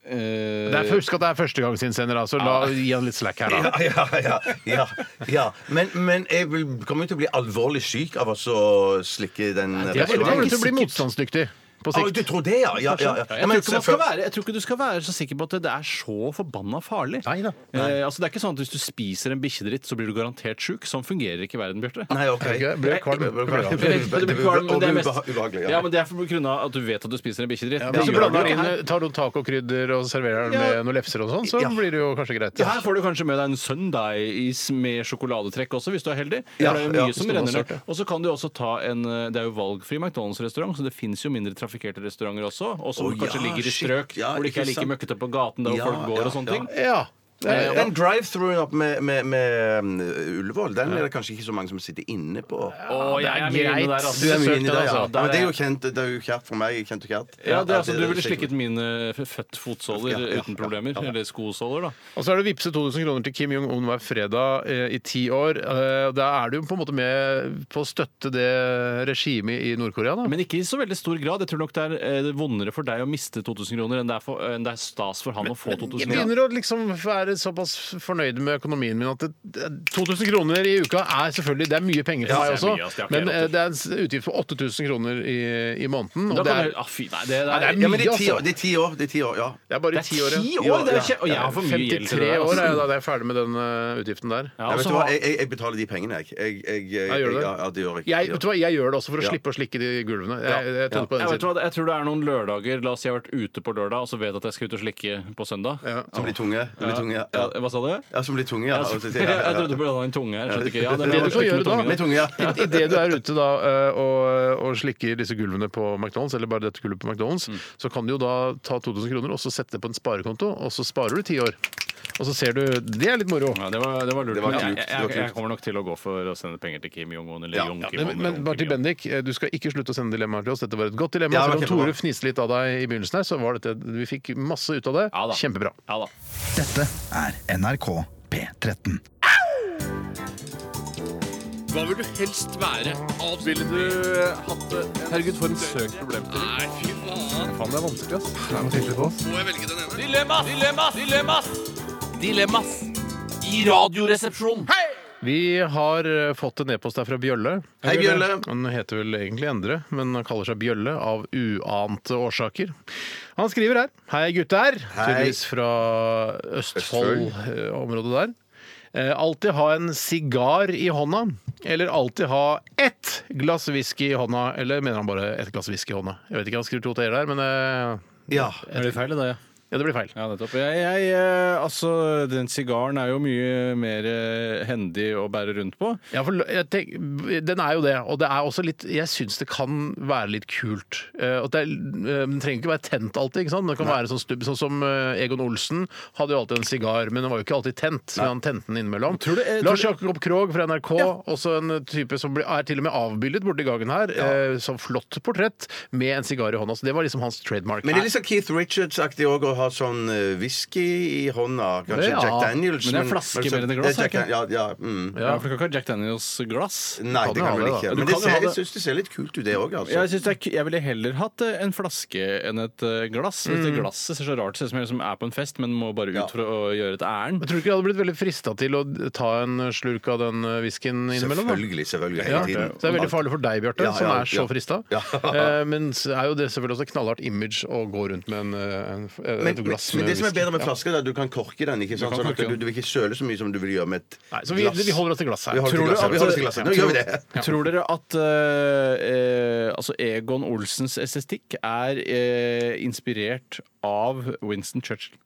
Speaker 4: Eh,
Speaker 2: Det er, husk at det er førstegangsinnsender, da, så la, gi han litt slack her, da.
Speaker 3: Ah. Ja, ja, ja, ja, ja. Men, men jeg vil, kommer jo til å bli alvorlig syk av å så slikke den
Speaker 2: Det er
Speaker 4: det er
Speaker 2: kommer
Speaker 4: ikke
Speaker 2: til å bli
Speaker 4: sikkert.
Speaker 2: motstandsdyktig på
Speaker 3: Å,
Speaker 2: sikt.
Speaker 3: du tror det, ja? ja, ja, ja. Men
Speaker 4: Jeg tror, ikke man skal
Speaker 3: selvfølgelig-
Speaker 4: være, jeg tror ikke du skal være så sikker på at det er så forbanna farlig.
Speaker 2: Nei da.
Speaker 4: Eh, altså, det er ikke sånn at Hvis du spiser en bikkjedritt, så blir du garantert sjuk. Sånn fungerer ikke verden, Bjarte.
Speaker 3: Nei, OK.
Speaker 2: Er det ikke? Blir jeg kvalm?
Speaker 3: Blir kvalm.
Speaker 2: Det
Speaker 4: Det blir kvalm, men det er mest-
Speaker 3: Og ubehagelig.
Speaker 4: Ja, men Det er på grunn av at du vet at du spiser en bikkjedritt.
Speaker 2: Ja,
Speaker 4: Det
Speaker 2: men hvis du
Speaker 4: gjør du
Speaker 2: blander
Speaker 4: ikke her.
Speaker 2: inn, tar noen tacokrydder og serverer den
Speaker 4: Ja.
Speaker 2: med noen lefser og sånn, så
Speaker 3: Ja.
Speaker 2: blir det jo kanskje greit.
Speaker 4: Ja, her får du kanskje med deg en søndagis med sjokoladetrekk også, hvis du er heldig.
Speaker 3: Ja,
Speaker 4: for det er jo mye
Speaker 3: ja,
Speaker 4: som
Speaker 2: hvis man
Speaker 4: renner
Speaker 2: har
Speaker 4: ned. Og så kan du også ta en eh, Det er jo valgfri McDonald's-restaurant, så det fins jo mindre trafikkerte restauranter også, og som
Speaker 3: Å,
Speaker 4: kanskje
Speaker 3: ja,
Speaker 4: ligger i
Speaker 3: shit,
Speaker 4: strøk
Speaker 3: ja,
Speaker 4: hvor det ikke er
Speaker 3: ikke
Speaker 4: like
Speaker 3: sant.
Speaker 4: møkkete på gaten der hvor
Speaker 3: Ja,
Speaker 4: folk går
Speaker 3: ja,
Speaker 4: og sånne
Speaker 3: ja.
Speaker 4: ting.
Speaker 2: Ja. Det er-
Speaker 3: Den drive-thruen opp med, med, med um, Ullevål, den er det kanskje ikke så mange som sitter inne på.
Speaker 4: Å, jeg er mye inne der,
Speaker 2: Du
Speaker 4: altså.
Speaker 2: er mye
Speaker 3: Inni
Speaker 2: inne
Speaker 3: der, ja.
Speaker 2: altså.
Speaker 3: Ja, men det er jo kjent, det er jo kjært for meg. Kjent og kjært.
Speaker 4: Ja, det er, altså,
Speaker 3: At
Speaker 4: Du ville
Speaker 3: sikkert-
Speaker 4: slikket mine født fotsåler
Speaker 3: Ja, ja,
Speaker 4: uten problemer. Eller skosåler, da.
Speaker 2: Og så er det å vippse 2000 kroner til Kim Jong-un hver fredag eh, i ti år. Eh, da er du jo på en måte med på å støtte det regimet i Nord-Korea, da.
Speaker 4: Men ikke i så veldig stor grad. Jeg tror nok det er eh, vondere for deg å miste 2000 kroner enn det er, for, eh, enn det er stas for han å få 2000
Speaker 2: jeg
Speaker 4: kroner.
Speaker 2: begynner å liksom være såpass fornøyd med økonomien min at det, det- 2000 kroner i uka er selvfølgelig Det er mye penger for
Speaker 4: Ja,
Speaker 2: meg
Speaker 4: det er mye, ass. Det
Speaker 2: også,
Speaker 4: er ikke
Speaker 2: men
Speaker 4: helt
Speaker 2: eh, det er en s- utgift på 8000 kroner i, i måneden.
Speaker 4: Da
Speaker 2: Og det
Speaker 4: kan
Speaker 2: er,
Speaker 4: du, ah, fy, nei, det,
Speaker 2: Nei,
Speaker 4: det
Speaker 2: det
Speaker 4: er
Speaker 2: er
Speaker 3: Ja, men det er
Speaker 2: mye,
Speaker 3: ti år.
Speaker 2: altså.
Speaker 3: Det er ti år, det er ti år ja.
Speaker 2: det er bare
Speaker 4: Det
Speaker 2: ti år,
Speaker 4: er ti
Speaker 3: Ja,
Speaker 4: år! Det er
Speaker 3: ja.
Speaker 4: ikke, og jeg har for mye gjeld til
Speaker 2: 53
Speaker 4: det. der,
Speaker 2: år
Speaker 4: altså.
Speaker 2: er jeg da, da er jeg ferdig med den eh, utgiften der.
Speaker 4: Ja,
Speaker 3: Nei,
Speaker 4: og
Speaker 3: vet
Speaker 4: så
Speaker 3: du hva?
Speaker 4: har-
Speaker 3: Jeg, jeg, jeg betaler de pengene, jeg. jeg, jeg, jeg,
Speaker 2: Ja, gjør du det?
Speaker 3: Ja, ja, det gjør jeg.
Speaker 2: Jeg, vet du hva, jeg gjør det også for å
Speaker 3: Ja.
Speaker 2: slippe å slikke de gulvene. Jeg, jeg trodde på
Speaker 4: jeg,
Speaker 2: den
Speaker 4: vet
Speaker 2: siden.
Speaker 4: hva, jeg tror det er noen lørdager La oss si jeg har vært ute på lørdag og så vet at jeg skal ut og slikke på søndag.
Speaker 2: Ja.
Speaker 3: Som blir tunge. Som blir tunge, ja.
Speaker 4: Ja, hva sa du?
Speaker 3: ja. Som blir tunge, ja.
Speaker 4: Jeg,
Speaker 3: Altså,
Speaker 4: jeg, jeg trodde du burde ha en tunge her. Skjønte ikke. Ja, det er
Speaker 2: Det
Speaker 4: lov
Speaker 2: du
Speaker 4: å
Speaker 2: kan
Speaker 4: slikke
Speaker 2: gjøre
Speaker 4: med
Speaker 2: da,
Speaker 4: tunge,
Speaker 3: Med tunge, ja.
Speaker 2: Idet du er ute da, eh, og, og slikker disse gulvene på McDonald's, eller bare dette gulvet på McDonald's,
Speaker 3: Mm.
Speaker 2: så kan du jo da ta 2000 kroner og så sette det på en sparekonto, og så sparer du ti år. Og så ser du Det er litt moro.
Speaker 4: Ja, det, var, det var lurt.
Speaker 3: Det var
Speaker 4: men
Speaker 3: klokt,
Speaker 4: jeg,
Speaker 3: det var
Speaker 4: jeg, jeg
Speaker 3: klokt.
Speaker 4: kommer nok til å gå for å sende penger til Kim Jong-un eller
Speaker 3: Ja,
Speaker 4: Jong
Speaker 3: ja,
Speaker 4: Kim.
Speaker 2: Men, men bare til Bendik, eh, du skal ikke slutte å sende dilemmaer til oss. Dette var et godt dilemma.
Speaker 3: Ja, det var
Speaker 2: Selv om
Speaker 3: kjempebra.
Speaker 2: Tore fniste litt av deg i begynnelsen her, så var dette Vi fikk masse ut av det.
Speaker 4: Ja da.
Speaker 2: Kjempebra.
Speaker 4: Ja da.
Speaker 9: Dette er NRK P13.
Speaker 8: Hva vil du helst være? Avspillet eh,
Speaker 4: Herregud, for en søk problem.
Speaker 8: Nei, fy faen.
Speaker 4: det er vanskelig, ass.
Speaker 8: Må jeg velge den ene? Dilemmas! Dilemmas! Dilemmas! Dilemmas i Radioresepsjonen. Hei!
Speaker 2: Vi har eh, fått en e-post her fra Bjølle.
Speaker 3: Hei, Bjølle.
Speaker 2: Han heter vel egentlig Endre, men han kaller seg Bjølle av uante årsaker. Han skriver her. Hei, gutter. Tydeligvis fra Eh, Østfold-området der. Eh, Alltid ha en sigar i hånda. Eller alltid ha ett glass whisky i hånda. Eller mener han bare ett glass whisky i hånda? Jeg vet ikke, han skriver to t-er der, men eh,
Speaker 3: Ja.
Speaker 4: Er det feil, det, ja?
Speaker 2: ja, det blir feil.
Speaker 4: Ja, nettopp. Jeg, jeg, eh, altså, den sigaren er jo mye mer eh, hendig å bære rundt på.
Speaker 2: Ja, for jeg tenk, den er jo det, og det er også litt Jeg syns det kan være litt kult. Eh, at det er, eh, den trenger ikke være tent alltid. ikke sant? Den kan være sånn stubb, sånn som eh, Egon Olsen hadde jo alltid en sigar, men den var jo ikke alltid tent. Men han tente den innimellom.
Speaker 4: Tror du- eh,
Speaker 2: Lars
Speaker 4: tror
Speaker 2: Jakob Krogh fra NRK, også en type som blir, er til og med avbildet borti gangen her. eh, som flott portrett med en sigar i hånda. Så det var liksom hans trademark.
Speaker 3: Men det er litt sånn Keith Richards-aktig òg å ha sånn eh, whisky i hånda. Kanskje
Speaker 2: Ja,
Speaker 3: Jack Daniels.
Speaker 4: men det er flaske
Speaker 3: men-
Speaker 4: mer enn det glass,
Speaker 3: Det er Jack
Speaker 4: er det
Speaker 3: Dan- ja, ja, mm.
Speaker 4: Ja. for du kan ikke ha Jack Daniels glass.
Speaker 3: Nei,
Speaker 2: Kan
Speaker 3: det
Speaker 2: jo ha
Speaker 3: kan vel
Speaker 2: det, da.
Speaker 3: ikke.
Speaker 2: Du
Speaker 3: Men
Speaker 4: kan
Speaker 3: det
Speaker 4: jo
Speaker 3: ser,
Speaker 4: ha
Speaker 3: jeg
Speaker 4: det.
Speaker 3: syns det ser litt kult ut, det òg. Altså.
Speaker 4: Jeg, synes det er, ku- jeg ville heller hatt eh, en flaske enn et eh, glass. Hvis det glasset ser så rart ut, ser ut som en som er på en fest, men må bare ut
Speaker 3: Ja.
Speaker 4: for å gjøre et ærend.
Speaker 2: Men tror du ikke jeg hadde blitt veldig frista til å ta en slurk av den eh, whiskyen innimellom? da?
Speaker 3: Selvfølgelig. selvfølgelig hele
Speaker 2: Ja, så
Speaker 3: tiden.
Speaker 2: det er veldig farlig for deg, Bjarte,
Speaker 3: Ja, ja,
Speaker 2: som er så
Speaker 3: ja.
Speaker 2: frista.
Speaker 3: Ja.
Speaker 2: Eh, Men så er jo det selvfølgelig også et knallhardt image å gå rundt med en, eh, en,
Speaker 3: Men,
Speaker 2: et
Speaker 3: men,
Speaker 2: glass
Speaker 3: men
Speaker 2: med
Speaker 3: det som er
Speaker 2: whisky.
Speaker 3: bedre med flaske, er at du kan korke den. ikke sant?
Speaker 4: kan
Speaker 3: Sånn at
Speaker 4: korke
Speaker 3: du,
Speaker 4: den.
Speaker 3: du vil ikke søle så mye som du vil gjøre med et
Speaker 2: Nei, så vi, vi holder oss til glasset
Speaker 3: Vi
Speaker 2: her.
Speaker 3: holder til
Speaker 2: Tror du
Speaker 3: glasset.
Speaker 2: at-
Speaker 3: Vi holder til glasset. Nå gjør vi det.
Speaker 4: Tror dere at eh, eh, altså Egon Olsens estetikk er eh, inspirert av Winston Churchill?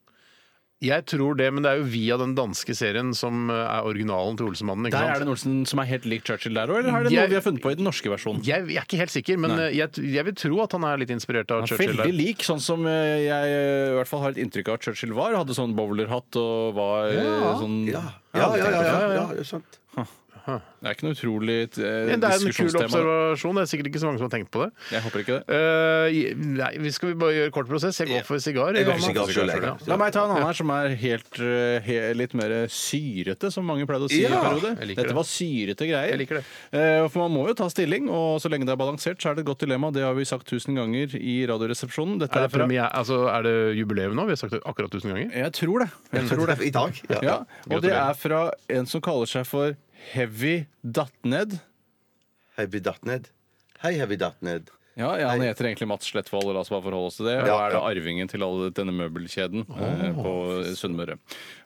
Speaker 2: Jeg tror det, men det er jo via den danske serien som eh, er originalen til Olsemannen. ikke
Speaker 4: Der
Speaker 2: sant?
Speaker 4: er det en Olsen som er helt lik Churchill der òg, eller er det noe
Speaker 2: Jeg-
Speaker 4: vi har funnet på i den norske versjonen?
Speaker 2: Jeg, jeg er ikke helt sikker, men eh, jeg, jeg vil tro at han er litt inspirert av
Speaker 4: Han er
Speaker 2: Churchill.
Speaker 4: Veldig
Speaker 2: der.
Speaker 4: lik, sånn som eh, jeg eh, i hvert fall har et inntrykk av at Churchill var. Hadde sånn bowlerhatt og var eh, sånn
Speaker 3: Ja, ja, ja. ja, ja, ja, det er sant.
Speaker 4: Det er ikke noe utrolig eh,
Speaker 2: Men Det er en kul
Speaker 4: diskusjonstema.
Speaker 2: observasjon. Det er sikkert ikke så mange som har tenkt på det.
Speaker 4: Jeg håper ikke det.
Speaker 2: Eh, nei, vi skal vi bare gjøre kort prosess? Jeg går for sigar.
Speaker 3: Jeg går
Speaker 2: Anna.
Speaker 3: for sigar selv, jeg.
Speaker 2: Ja.
Speaker 4: La meg ta en annen her som er helt, eh, he- litt mer syrete, som mange pleide å si i en
Speaker 3: Ja,
Speaker 4: periode.
Speaker 2: jeg liker det.
Speaker 4: Dette var syrete greier.
Speaker 2: Jeg liker det.
Speaker 4: Eh, for man må jo ta stilling, og så lenge det er balansert, så er det et godt dilemma. Det har vi sagt tusen ganger i Radioresepsjonen. Dette
Speaker 2: Er det,
Speaker 4: Eh, fra-
Speaker 2: premie- altså, er det jubileum nå? Vi har sagt det akkurat tusen ganger.
Speaker 4: Jeg tror det. Jeg tror det.
Speaker 3: I dag. Ja.
Speaker 4: Ja, og det er fra en som kaller seg for Heavy Datned.
Speaker 3: Heavy datt ned. Hei, heavy datt ned.
Speaker 4: Ja, ja, Han heter egentlig Mats Slettvold, la oss bare forholde oss til det. Og
Speaker 3: Ja,
Speaker 4: er da arvingen til all denne møbelkjeden eh, på Sunnmøre.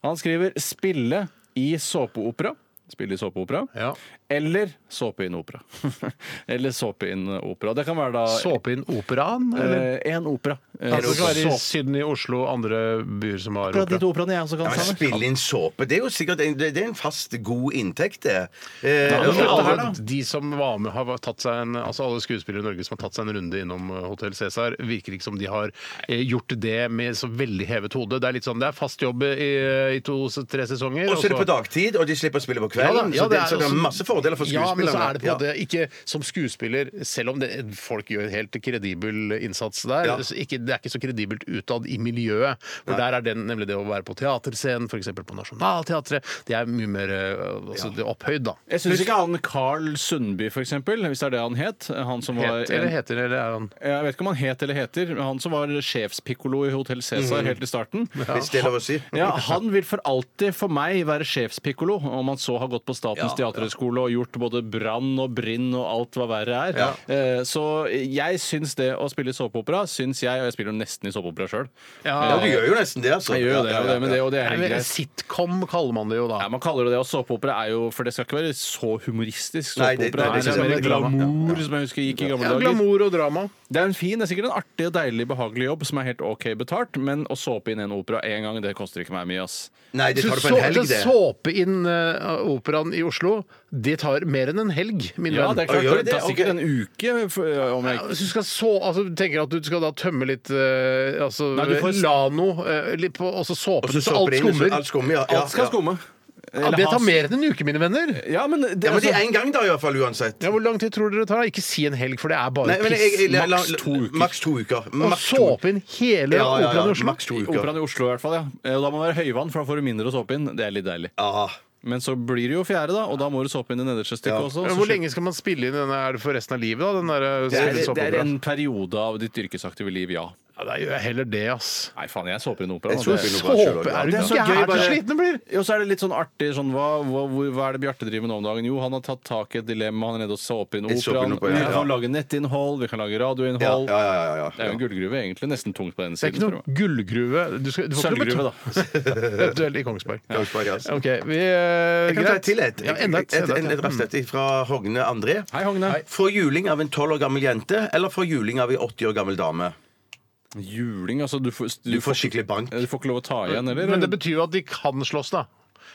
Speaker 4: Han skriver 'spille i såpeopera'. Spille i såpeopera.
Speaker 2: Ja.
Speaker 4: Eller såpe inn opera. Eller såpe inn opera. Det kan være da
Speaker 2: Såpe inn operaen? Eller?
Speaker 4: eh, en opera. Eh,
Speaker 2: Altså, det
Speaker 4: så-
Speaker 2: skal være i Sydney, Oslo og andre byer som har
Speaker 4: Akkurat de
Speaker 2: opera.
Speaker 4: to operaene jeg også kan
Speaker 3: Ja, men
Speaker 2: Altså,
Speaker 4: sammen.
Speaker 3: spille inn såpe Det er jo sikkert en, det det er en fast, god inntekt, det. Eh,
Speaker 2: Ja, men
Speaker 3: og-
Speaker 2: alle de som var med, har tatt seg en, altså alle skuespillere i Norge som har tatt seg en runde innom Hotell Cæsar, virker ikke som de har eh, gjort det med så veldig hevet hode. Det er litt sånn, det er fast jobb i, i to-tre sesonger.
Speaker 3: Og så er det
Speaker 2: og
Speaker 3: på dagtid, og de slipper å spille på
Speaker 2: Ja, da,
Speaker 3: kvelden.
Speaker 2: Altså- ja,
Speaker 3: så, det,
Speaker 2: er
Speaker 3: så det er
Speaker 2: også-
Speaker 3: masse fordeler for skuespillerne.
Speaker 2: Ja, men så er det på en
Speaker 3: Ja.
Speaker 2: måte ikke som skuespiller, selv om det, folk gjør helt kredibel innsats der,
Speaker 3: Ja.
Speaker 2: så ikke, det er ikke så kredibelt utad i miljøet. For der er den, nemlig det å være på teaterscenen, f.eks. på Nationaltheatret, det er mye mer eh, altså, det er opphøyd, da.
Speaker 4: Jeg syns ikke han Carl Sundby, for eksempel, hvis det er det han het eh, han som var
Speaker 2: Het, eller heter det, eller er han
Speaker 4: Jeg vet ikke om han het eller heter, men han som var sjefspikkolo i Hotell Cæsar
Speaker 2: Mhm.
Speaker 4: helt i starten.
Speaker 3: Hvis det er lov å si.
Speaker 4: Ja, Han vil for alltid for meg være sjefspikkolo, om han så har gått på Statens teaterhøgskole og gjort både Brann og Brinn og alt hva verre er. Eh, Så jeg syns det å spille i såpeopera, syns jeg, og jeg spiller jo nesten i såpeopera sjøl.
Speaker 3: Ja, du gjør jo nesten det, altså.
Speaker 4: Jeg gjør jo det,
Speaker 3: Ja,
Speaker 4: og
Speaker 3: ja,
Speaker 4: det, men det, og det er
Speaker 2: Nei,
Speaker 4: helt
Speaker 2: men
Speaker 4: greit.
Speaker 2: Sitcom kaller man det jo da.
Speaker 4: Nei, man kaller det det, og såpeopera er jo For det skal ikke være så humoristisk.
Speaker 3: Nei, det-
Speaker 4: Såpeopera
Speaker 3: nei,
Speaker 4: er liksom
Speaker 3: det-
Speaker 4: mer
Speaker 2: det- det-
Speaker 4: glamour, som jeg husker gikk i gamle
Speaker 2: ja,
Speaker 4: dager.
Speaker 2: glamour og drama.
Speaker 4: Det er en fin, det er sikkert en artig, og deilig, behagelig jobb som er helt OK betalt, men å såpe inn en opera én gang, det koster ikke meg mye, ass.
Speaker 3: Nei, det
Speaker 2: Så
Speaker 3: tar du på en helg, det.
Speaker 2: såpe inn eh, operaen i Oslo, det tar mer enn en helg, min
Speaker 4: Ja,
Speaker 2: venn.
Speaker 4: det er
Speaker 3: Å,
Speaker 4: klart,
Speaker 3: gjør
Speaker 4: det
Speaker 3: det?
Speaker 4: tar
Speaker 3: Ok.
Speaker 4: sikkert en uke for- om jeg
Speaker 2: Ja,
Speaker 4: ikke
Speaker 2: Hvis du skal så, altså, du tenker at du skal da tømme litt eh, altså,
Speaker 4: Nei, du får-
Speaker 2: Lano, eh, litt på, og så såpe
Speaker 3: Og
Speaker 2: den,
Speaker 3: så
Speaker 2: så
Speaker 3: såper
Speaker 2: alt
Speaker 3: det inn, så
Speaker 2: skummer.
Speaker 3: alt skummer. Ja, ja,
Speaker 4: Alt skal
Speaker 3: ja.
Speaker 4: skumme.
Speaker 2: Ja,
Speaker 4: Eller
Speaker 2: det
Speaker 4: has-
Speaker 2: tar mer enn en uke, mine venner.
Speaker 4: Ja, men
Speaker 3: Ja,
Speaker 4: det,
Speaker 3: men det er
Speaker 4: altså,
Speaker 3: en gang, da, i hvert fall, uansett.
Speaker 2: Ja, hvor lang tid tror dere det tar? Ikke si en helg, for det er bare
Speaker 3: Nei, men jeg- jeg-
Speaker 2: piss.
Speaker 3: la- la-
Speaker 2: Maks to uker.
Speaker 3: Maks to uker.
Speaker 2: Og
Speaker 3: Maks to
Speaker 2: såpe inn hele
Speaker 3: Ja, ja,
Speaker 2: operaen
Speaker 3: ja.
Speaker 2: i Oslo?
Speaker 3: Maks to uker.
Speaker 4: Operaen i Oslo i hvert fall, ja. Eh, Og da må det være høyvann, for da får du mindre å såpe inn. Det er litt deilig.
Speaker 3: Ja.
Speaker 4: Men så blir det jo fjerde, da, og da må du såpe inn det nederste
Speaker 3: Ja.
Speaker 4: stykket også.
Speaker 2: Men
Speaker 4: så
Speaker 2: Hvor
Speaker 4: slutt-
Speaker 2: lenge skal man spille inn denne? Er det for resten av livet, da? Den der, eh,
Speaker 4: Det er, det er
Speaker 2: såpeoperaen?
Speaker 4: en periode av ditt yrkesaktive liv, ja.
Speaker 2: Ja, da gjør jeg heller det, ass.
Speaker 4: Nei, faen, jeg såper en opera.
Speaker 3: Jeg
Speaker 4: da.
Speaker 3: såper en
Speaker 4: Det-
Speaker 3: opera. Bare kjør
Speaker 2: Såpe!
Speaker 3: over.
Speaker 2: Er du
Speaker 3: Det er så
Speaker 2: gæren
Speaker 3: gøy,
Speaker 2: så
Speaker 3: bare-
Speaker 2: sliten du blir?
Speaker 4: Ja, Og så er det litt sånn artig sånn, hva, hva, hvor, hva er det Bjarte driver med nå om dagen? Jo, han har tatt tak i et dilemma. Han er nede og såper inn
Speaker 3: I såper inn
Speaker 4: operaen.
Speaker 3: opera,
Speaker 4: Vi
Speaker 3: ja.
Speaker 4: kan lage nettinnhold, vi kan lage radioinnhold.
Speaker 3: Ja, ja, ja, ja, ja.
Speaker 4: Det er jo en gullgruve, egentlig. Nesten tungt på den
Speaker 2: Det er
Speaker 4: siden.
Speaker 2: ikke noe gullgruve. Du skal, du får ikke
Speaker 4: Sølvgruve,
Speaker 2: da. Eventuelt i Kongsberg.
Speaker 3: Kongsberg, ja.
Speaker 2: OK, vi
Speaker 3: Jeg
Speaker 2: eh,
Speaker 3: kan ta et til et.
Speaker 2: Ja, Mm. enda et.
Speaker 3: et,
Speaker 2: Enda
Speaker 3: en- et raskt et fra Hogne André.
Speaker 4: Hei, Hogne.
Speaker 3: Få juling av en 12 år gammel jente eller få juling av en 80 år gammel dame?
Speaker 4: Juling, altså. Du får,
Speaker 3: Du får skikkelig bank.
Speaker 4: Du får ikke lov å ta igjen, Mm. eller?
Speaker 2: Men det betyr jo at de kan slåss, da.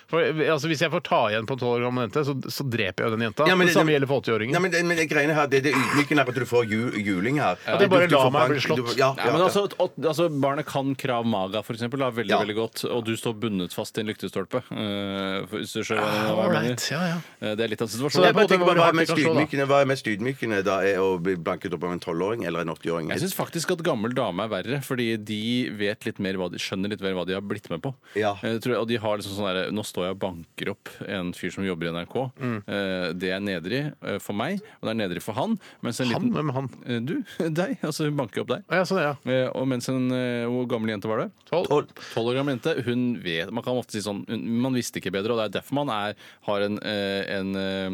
Speaker 2: For, altså, hvis jeg får ta igjen på en 12 år gammel jente, så, så dreper jeg jo den jenta.
Speaker 3: Ja, men
Speaker 2: det,
Speaker 3: det-
Speaker 2: samme gjelder for
Speaker 3: Nei,
Speaker 2: 80-åringen.
Speaker 3: men, det- men det greiene her, det, det ydmykende er at du får ju, juling her.
Speaker 2: det er bare
Speaker 3: Du- du
Speaker 2: la
Speaker 3: får
Speaker 2: meg
Speaker 3: bank,
Speaker 2: bli slått.
Speaker 3: du får- Ja,
Speaker 4: Nei,
Speaker 3: ja,
Speaker 4: men
Speaker 3: ja.
Speaker 4: altså, at- altså Barnet kan krav maga, for eksempel, da, veldig,
Speaker 3: Ja.
Speaker 4: veldig godt, og du står bundet fast i en lyktestolpe. eh, for- hvis du skjønner
Speaker 2: Ah,
Speaker 4: hva jeg
Speaker 2: all
Speaker 4: mener.
Speaker 2: right. Ja, ja.
Speaker 4: Eh, Det er litt av
Speaker 2: Så det er
Speaker 4: situasjonen.
Speaker 2: på en
Speaker 3: jeg tenker
Speaker 2: måte
Speaker 3: bare,
Speaker 2: hvor
Speaker 3: hva er
Speaker 2: hardt vi
Speaker 3: mest
Speaker 2: kan slå, da.
Speaker 3: ydmykende? Hva er mest ydmykende da? Er å bli banket opp av en 12-åring eller en 80-åring?
Speaker 4: Jeg syns faktisk at gammel dame er verre, fordi de vet litt mer hva de, skjønner litt mer hva de har blitt med på.
Speaker 3: Ja.
Speaker 4: Jeg tror, og de har liksom sånn derre Nå står jeg og banker opp en fyr som jobber i NRK.
Speaker 2: Mm.
Speaker 4: Eh, Det er nedrig eh, for meg, og det er nedrig for han. Mens en
Speaker 2: Han?
Speaker 4: liten
Speaker 2: Hvem er han?
Speaker 4: Eh, Du. Deg. Altså, hun banker opp deg.
Speaker 2: Å, ja, sånn, ja.
Speaker 4: Eh, Og mens en eh, Hvor gammel jente var det?
Speaker 2: Tolv.
Speaker 4: Tolv år gammel jente. Hun vet Man kan ofte si sånn hun, Man visste ikke bedre, og det er derfor man er, har en, eh, en eh,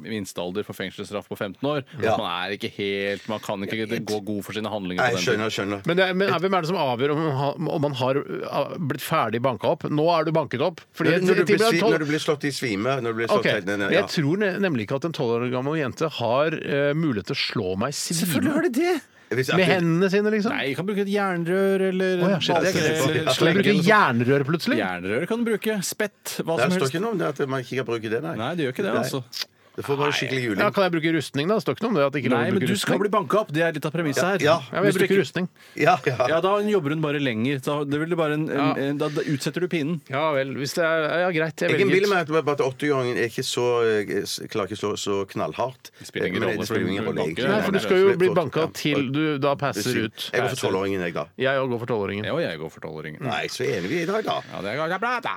Speaker 4: minstealder for fengselsstraff på 15 år.
Speaker 3: Ja.
Speaker 4: Man er ikke helt Man kan ikke gå god for sine handlinger.
Speaker 3: Nei,
Speaker 4: på den tiden.
Speaker 3: skjønner, skjønner.
Speaker 2: Men, det, er- men er- hvem er det som avgjør om, man har- om man har uh, blitt ferdig banka opp? Nå er du banket opp. Fordi
Speaker 3: Når du, når, du
Speaker 2: jeg
Speaker 3: blir,
Speaker 2: tipper det er
Speaker 3: svi-
Speaker 2: tolv-
Speaker 3: når du blir slått i svime når du blir slått
Speaker 2: Ok,
Speaker 3: helt ned, ned,
Speaker 2: men
Speaker 3: ja.
Speaker 2: Jeg tror ne- nemlig ikke at en 12 år gammel jente har eh, mulighet til å slå meg i svime.
Speaker 4: det det!
Speaker 3: Hvis-
Speaker 2: Med hendene sine, liksom?
Speaker 4: Nei, jeg kan bruke et jernrør eller
Speaker 2: Å ja, shit, det er
Speaker 4: balltre,
Speaker 2: ikke
Speaker 4: eller
Speaker 2: Skal jeg
Speaker 4: slegge
Speaker 2: bruke
Speaker 4: eller noe sånt.
Speaker 2: jernrør plutselig?
Speaker 4: Jernrør kan du bruke. Spett. Hva
Speaker 3: Der
Speaker 4: som
Speaker 3: står
Speaker 4: helst.
Speaker 3: ikke noe om det at man ikke kan bruke det, nei.
Speaker 4: Nei, det gjør ikke det,
Speaker 3: Nei.
Speaker 4: altså.
Speaker 3: Du får bare skikkelig juling.
Speaker 2: Ja, kan jeg bruke rustning, da? Det står ikke noe om det. At det ikke er lov
Speaker 4: Nei,
Speaker 2: å
Speaker 4: men
Speaker 2: bruke
Speaker 4: du skal
Speaker 2: rustning.
Speaker 4: bli banka opp. Det er litt av premisset her.
Speaker 3: Ja,
Speaker 2: Ja, men
Speaker 4: Hvis
Speaker 2: jeg
Speaker 4: du
Speaker 2: bruker
Speaker 4: ikke-
Speaker 2: rustning.
Speaker 3: Ja, ja.
Speaker 4: Ja, da jobber hun bare lenger. Da, det vil det bare en, en, en, da, da utsetter du pinen.
Speaker 2: Ja vel. Hvis det er Ja, greit. Jeg
Speaker 3: Jeg kan
Speaker 2: velger.
Speaker 3: bilde meg at bare at 80-åringen er ikke så eh, s- klarer ikke å slå så knallhardt.
Speaker 4: spiller ingen
Speaker 3: Men
Speaker 4: rolle,
Speaker 3: det spiller ingen rolle,
Speaker 4: banker.
Speaker 3: egentlig.
Speaker 2: Nei,
Speaker 4: Nei,
Speaker 2: for
Speaker 4: nei,
Speaker 2: du skal jo
Speaker 3: nei,
Speaker 2: bli
Speaker 3: nei,
Speaker 2: banka
Speaker 3: nei,
Speaker 2: til du da passer
Speaker 3: Jeg
Speaker 2: ut.
Speaker 3: går for 12-åringen, jeg, da.
Speaker 2: Jeg òg går for tolvåringen.
Speaker 4: Ja, og jeg går for tolvåringen.
Speaker 3: Nei, så er vi i dag, da.
Speaker 4: Ja, det er bra, da.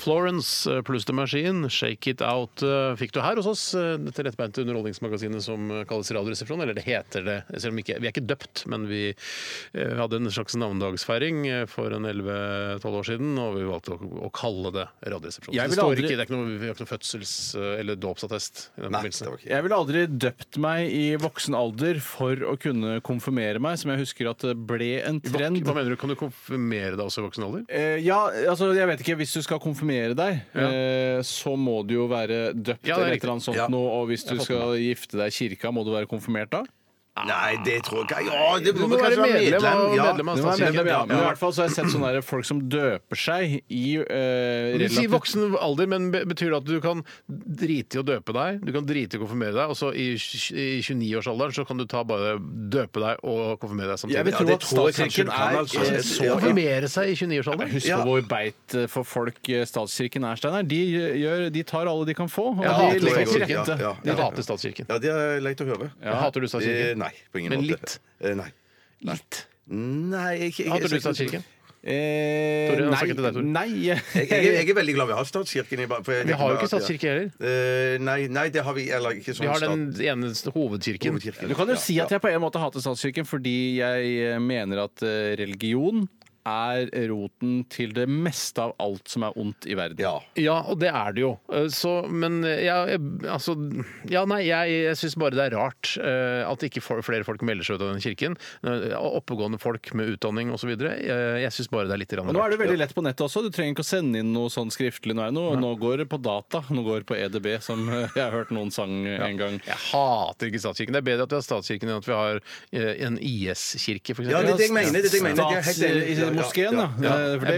Speaker 2: Florence eh, pluss The Machine, Shake It Out, eh, fikk du her hos oss. eh, Dette lettbeinte underholdningsmagasinet som eh, kalles Radioresepsjon. Eller det heter det, selv om ikke, vi er ikke døpt, men vi eh, hadde en slags navnedagsfeiring eh, for en 11-12 år siden, og vi valgte å, å kalle det Radioresepsjon. Så
Speaker 4: Jeg
Speaker 2: Det,
Speaker 4: vil
Speaker 2: står
Speaker 4: aldri-
Speaker 2: ikke, det er ikke noe, vi har ikke noe fødsels- eh, eller dåpsattest i den
Speaker 3: Nei, det
Speaker 2: forbindelse.
Speaker 3: var ikke
Speaker 4: Jeg ville aldri døpt meg i voksen alder for å kunne konfirmere meg, som jeg husker at det ble en trend.
Speaker 2: Hva mener du, kan du konfirmere deg også i voksen alder?
Speaker 4: Eh, ja, altså jeg vet ikke, Hvis du skal konfirmere deg, eh, så må du jo være døpt
Speaker 2: Ja, det er
Speaker 4: eller et
Speaker 2: riktig.
Speaker 4: eller annet sånt
Speaker 3: Ja.
Speaker 4: noe. Og hvis du skal gifte deg i kirka, må du være konfirmert da?
Speaker 3: Nei, det tror jeg ikke. Ja, det
Speaker 2: Du må
Speaker 3: vel
Speaker 2: være
Speaker 3: kanskje være
Speaker 2: medlem av-
Speaker 3: medlem, ja.
Speaker 2: medlem av
Speaker 4: Du må være
Speaker 2: statskirken.
Speaker 4: medlem, ja. Men i
Speaker 2: Ja.
Speaker 4: hvert fall så har jeg sett sånne der folk som døper seg i
Speaker 2: Du sier
Speaker 4: eh, relativt
Speaker 2: voksen alder, men be- betyr det at du kan drite i å døpe deg? Du kan drite i å konfirmere deg, og så i, tj- i 29-årsalderen så kan du ta bare døpe deg og konfirmere deg
Speaker 4: Jeg
Speaker 2: samtidig?
Speaker 4: vil
Speaker 3: Ja,
Speaker 4: tro
Speaker 3: det
Speaker 4: at
Speaker 3: tror jeg kanskje
Speaker 4: statskirken
Speaker 3: du kan,
Speaker 4: er
Speaker 3: altså.
Speaker 4: eh,
Speaker 3: Ja,
Speaker 4: så
Speaker 3: ja.
Speaker 2: Konfirmere seg i 29-årsalderen?
Speaker 4: Husk på hvor beit eh, for folk eh, statskirken er, Steinar. De, eh, gjør, de tar alle de kan få.
Speaker 2: Jeg
Speaker 4: Og de
Speaker 2: hater
Speaker 4: legger til
Speaker 2: statskirken.
Speaker 4: rette.
Speaker 3: Ja, ja.
Speaker 2: Jeg hater statskirken.
Speaker 3: Ja, det er leit å høre.
Speaker 2: Hater du
Speaker 3: Eh,
Speaker 2: statskirken?
Speaker 3: Nei, på ingen
Speaker 2: Men
Speaker 3: måte.
Speaker 2: litt?
Speaker 3: Eh, Nei.
Speaker 2: Litt.
Speaker 3: Nei, ikke, ikke
Speaker 2: Hater du statskirken?
Speaker 4: Eh,
Speaker 2: Tore, jeg har sagt det til deg, Tore.
Speaker 4: nei, nei.
Speaker 3: Jeg, jeg, jeg er veldig glad vi har statskirken. i ba- for jeg
Speaker 2: Vi
Speaker 3: vet
Speaker 2: har jo
Speaker 3: bare
Speaker 2: ikke
Speaker 3: at-
Speaker 2: statskirke heller.
Speaker 3: Eh, nei, nei, det har vi eller ikke sånn
Speaker 2: Vi har
Speaker 3: stat-
Speaker 2: den eneste hovedkirken.
Speaker 3: hovedkirken.
Speaker 4: Du kan jo
Speaker 3: Ja,
Speaker 4: si at jeg på en måte hater statskirken fordi jeg eh, mener at eh, religion er roten til det meste av alt som er ondt i verden.
Speaker 3: ja.
Speaker 2: Ja, og det er det jo. Eh, Så, men jeg, jeg- altså, ja, nei, jeg, jeg syns bare det er rart eh, at ikke for- flere folk melder seg ut av den kirken. Eh, Oppegående folk med utdanning osv. Eh, Jeg syns bare det er litt grann
Speaker 4: Og nå er
Speaker 2: rart.
Speaker 4: det veldig lett på nettet også. Du trenger ikke å sende inn noe sånn skriftlig. Nå, er det noe. nå går det på data. Nå går det på EDB, som eh, jeg har hørt noen sang eh, en gang.
Speaker 2: Jeg hater ikke statskirken. Det er bedre at vi har statskirken enn at vi har eh, en IS-kirke, f.eks.
Speaker 3: Ja, det er det jeg mener. Det er det jeg mener. Jeg er helt enig.
Speaker 4: Stats- moskeen, ja. Eh, For det,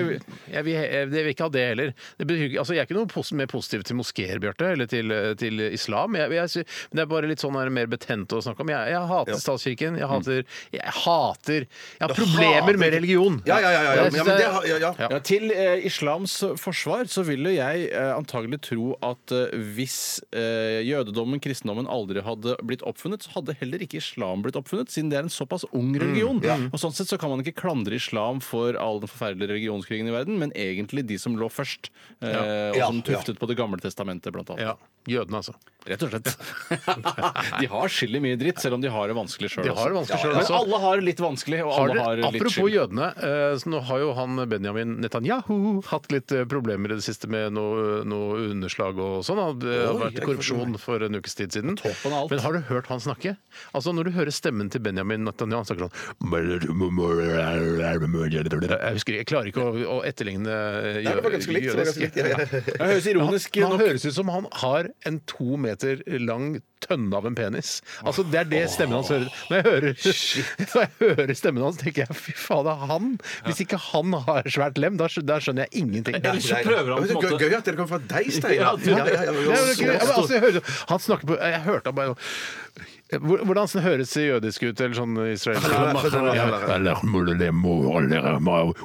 Speaker 2: Jeg vil, jeg vil ikke ha eh, det heller. Det betyr, ikke- altså, jeg er ikke noe pos mer positiv til moskeer, Bjarte, eller til, eh, til islam. Jeg, jeg, sy- men det er bare litt sånn her, mer betent å snakke om. Jeg, jeg hater statskirken.
Speaker 3: Mm.
Speaker 2: Jeg hater Jeg hater Jeg har problemer med religion.
Speaker 3: Ja, ja, ja. ja, ja.
Speaker 2: Jeg
Speaker 3: ja,
Speaker 2: synes
Speaker 3: men
Speaker 2: det
Speaker 3: det,
Speaker 2: er-
Speaker 3: har- ja, ja.
Speaker 4: Ja, til eh, islams forsvar så ville jeg eh, antagelig tro at eh, hvis eh, jødedommen, kristendommen, aldri hadde blitt oppfunnet, så hadde heller ikke islam blitt oppfunnet, siden det er en såpass ung
Speaker 2: Mm,
Speaker 4: religion. Og Sånn sett så kan man ikke klandre islam for all den forferdelige religionskrigen i verden, men egentlig de som lå først, eh, og
Speaker 3: Ja,
Speaker 4: som
Speaker 3: ja.
Speaker 4: tuftet på Det gamle testamentet, blant annet.
Speaker 2: ja. Jødene, altså.
Speaker 4: Rett og slett. de har skyld i mye dritt, selv om de har det vanskelig sjøl.
Speaker 2: De har det vanskelig selv
Speaker 4: Men
Speaker 2: også.
Speaker 4: alle har det litt vanskelig, og
Speaker 2: Har
Speaker 4: alle har
Speaker 2: dere,
Speaker 4: litt
Speaker 2: apropos
Speaker 4: skyld.
Speaker 2: jødene, eh, så nå har jo han Benjamin Netanyahu hatt litt eh, problemer i det siste med noe, noe underslag og sånn. Han eh, har vært i korrupsjon for en ukes tid siden.
Speaker 4: toppen av alt.
Speaker 2: Men har du hørt han snakke? Altså Når du hører stemmen til Benjamin Netanyahu, han snakker sånn Jeg husker, jeg klarer ikke å, å etterligne jø-
Speaker 3: det var ganske likt, det var ganske likt, ja, ja.
Speaker 4: Det høres ironisk
Speaker 2: han
Speaker 4: nok
Speaker 2: høres ut som han har en to meter lang tønne av en penis. Altså Det er det stemmen hans hører. Når jeg hører, når jeg hører stemmen hans, tenker jeg fy fader, han Hvis ikke han har svært lem, da, skj- da skjønner jeg ingenting.
Speaker 4: Eller så prøver han på en
Speaker 3: Gøy-
Speaker 4: måte
Speaker 3: Gøy at det kommer fra deg, Steinar.
Speaker 4: Ja,
Speaker 3: Ja, ja, ja,
Speaker 2: Det er jo
Speaker 3: ja,
Speaker 2: ikke- ja, men altså, jeg hører, han snakker på Jeg hørte han bare sånn, Hvor- Hvordan sånn høres det jødisk ut, eller sånn israelsk? eh,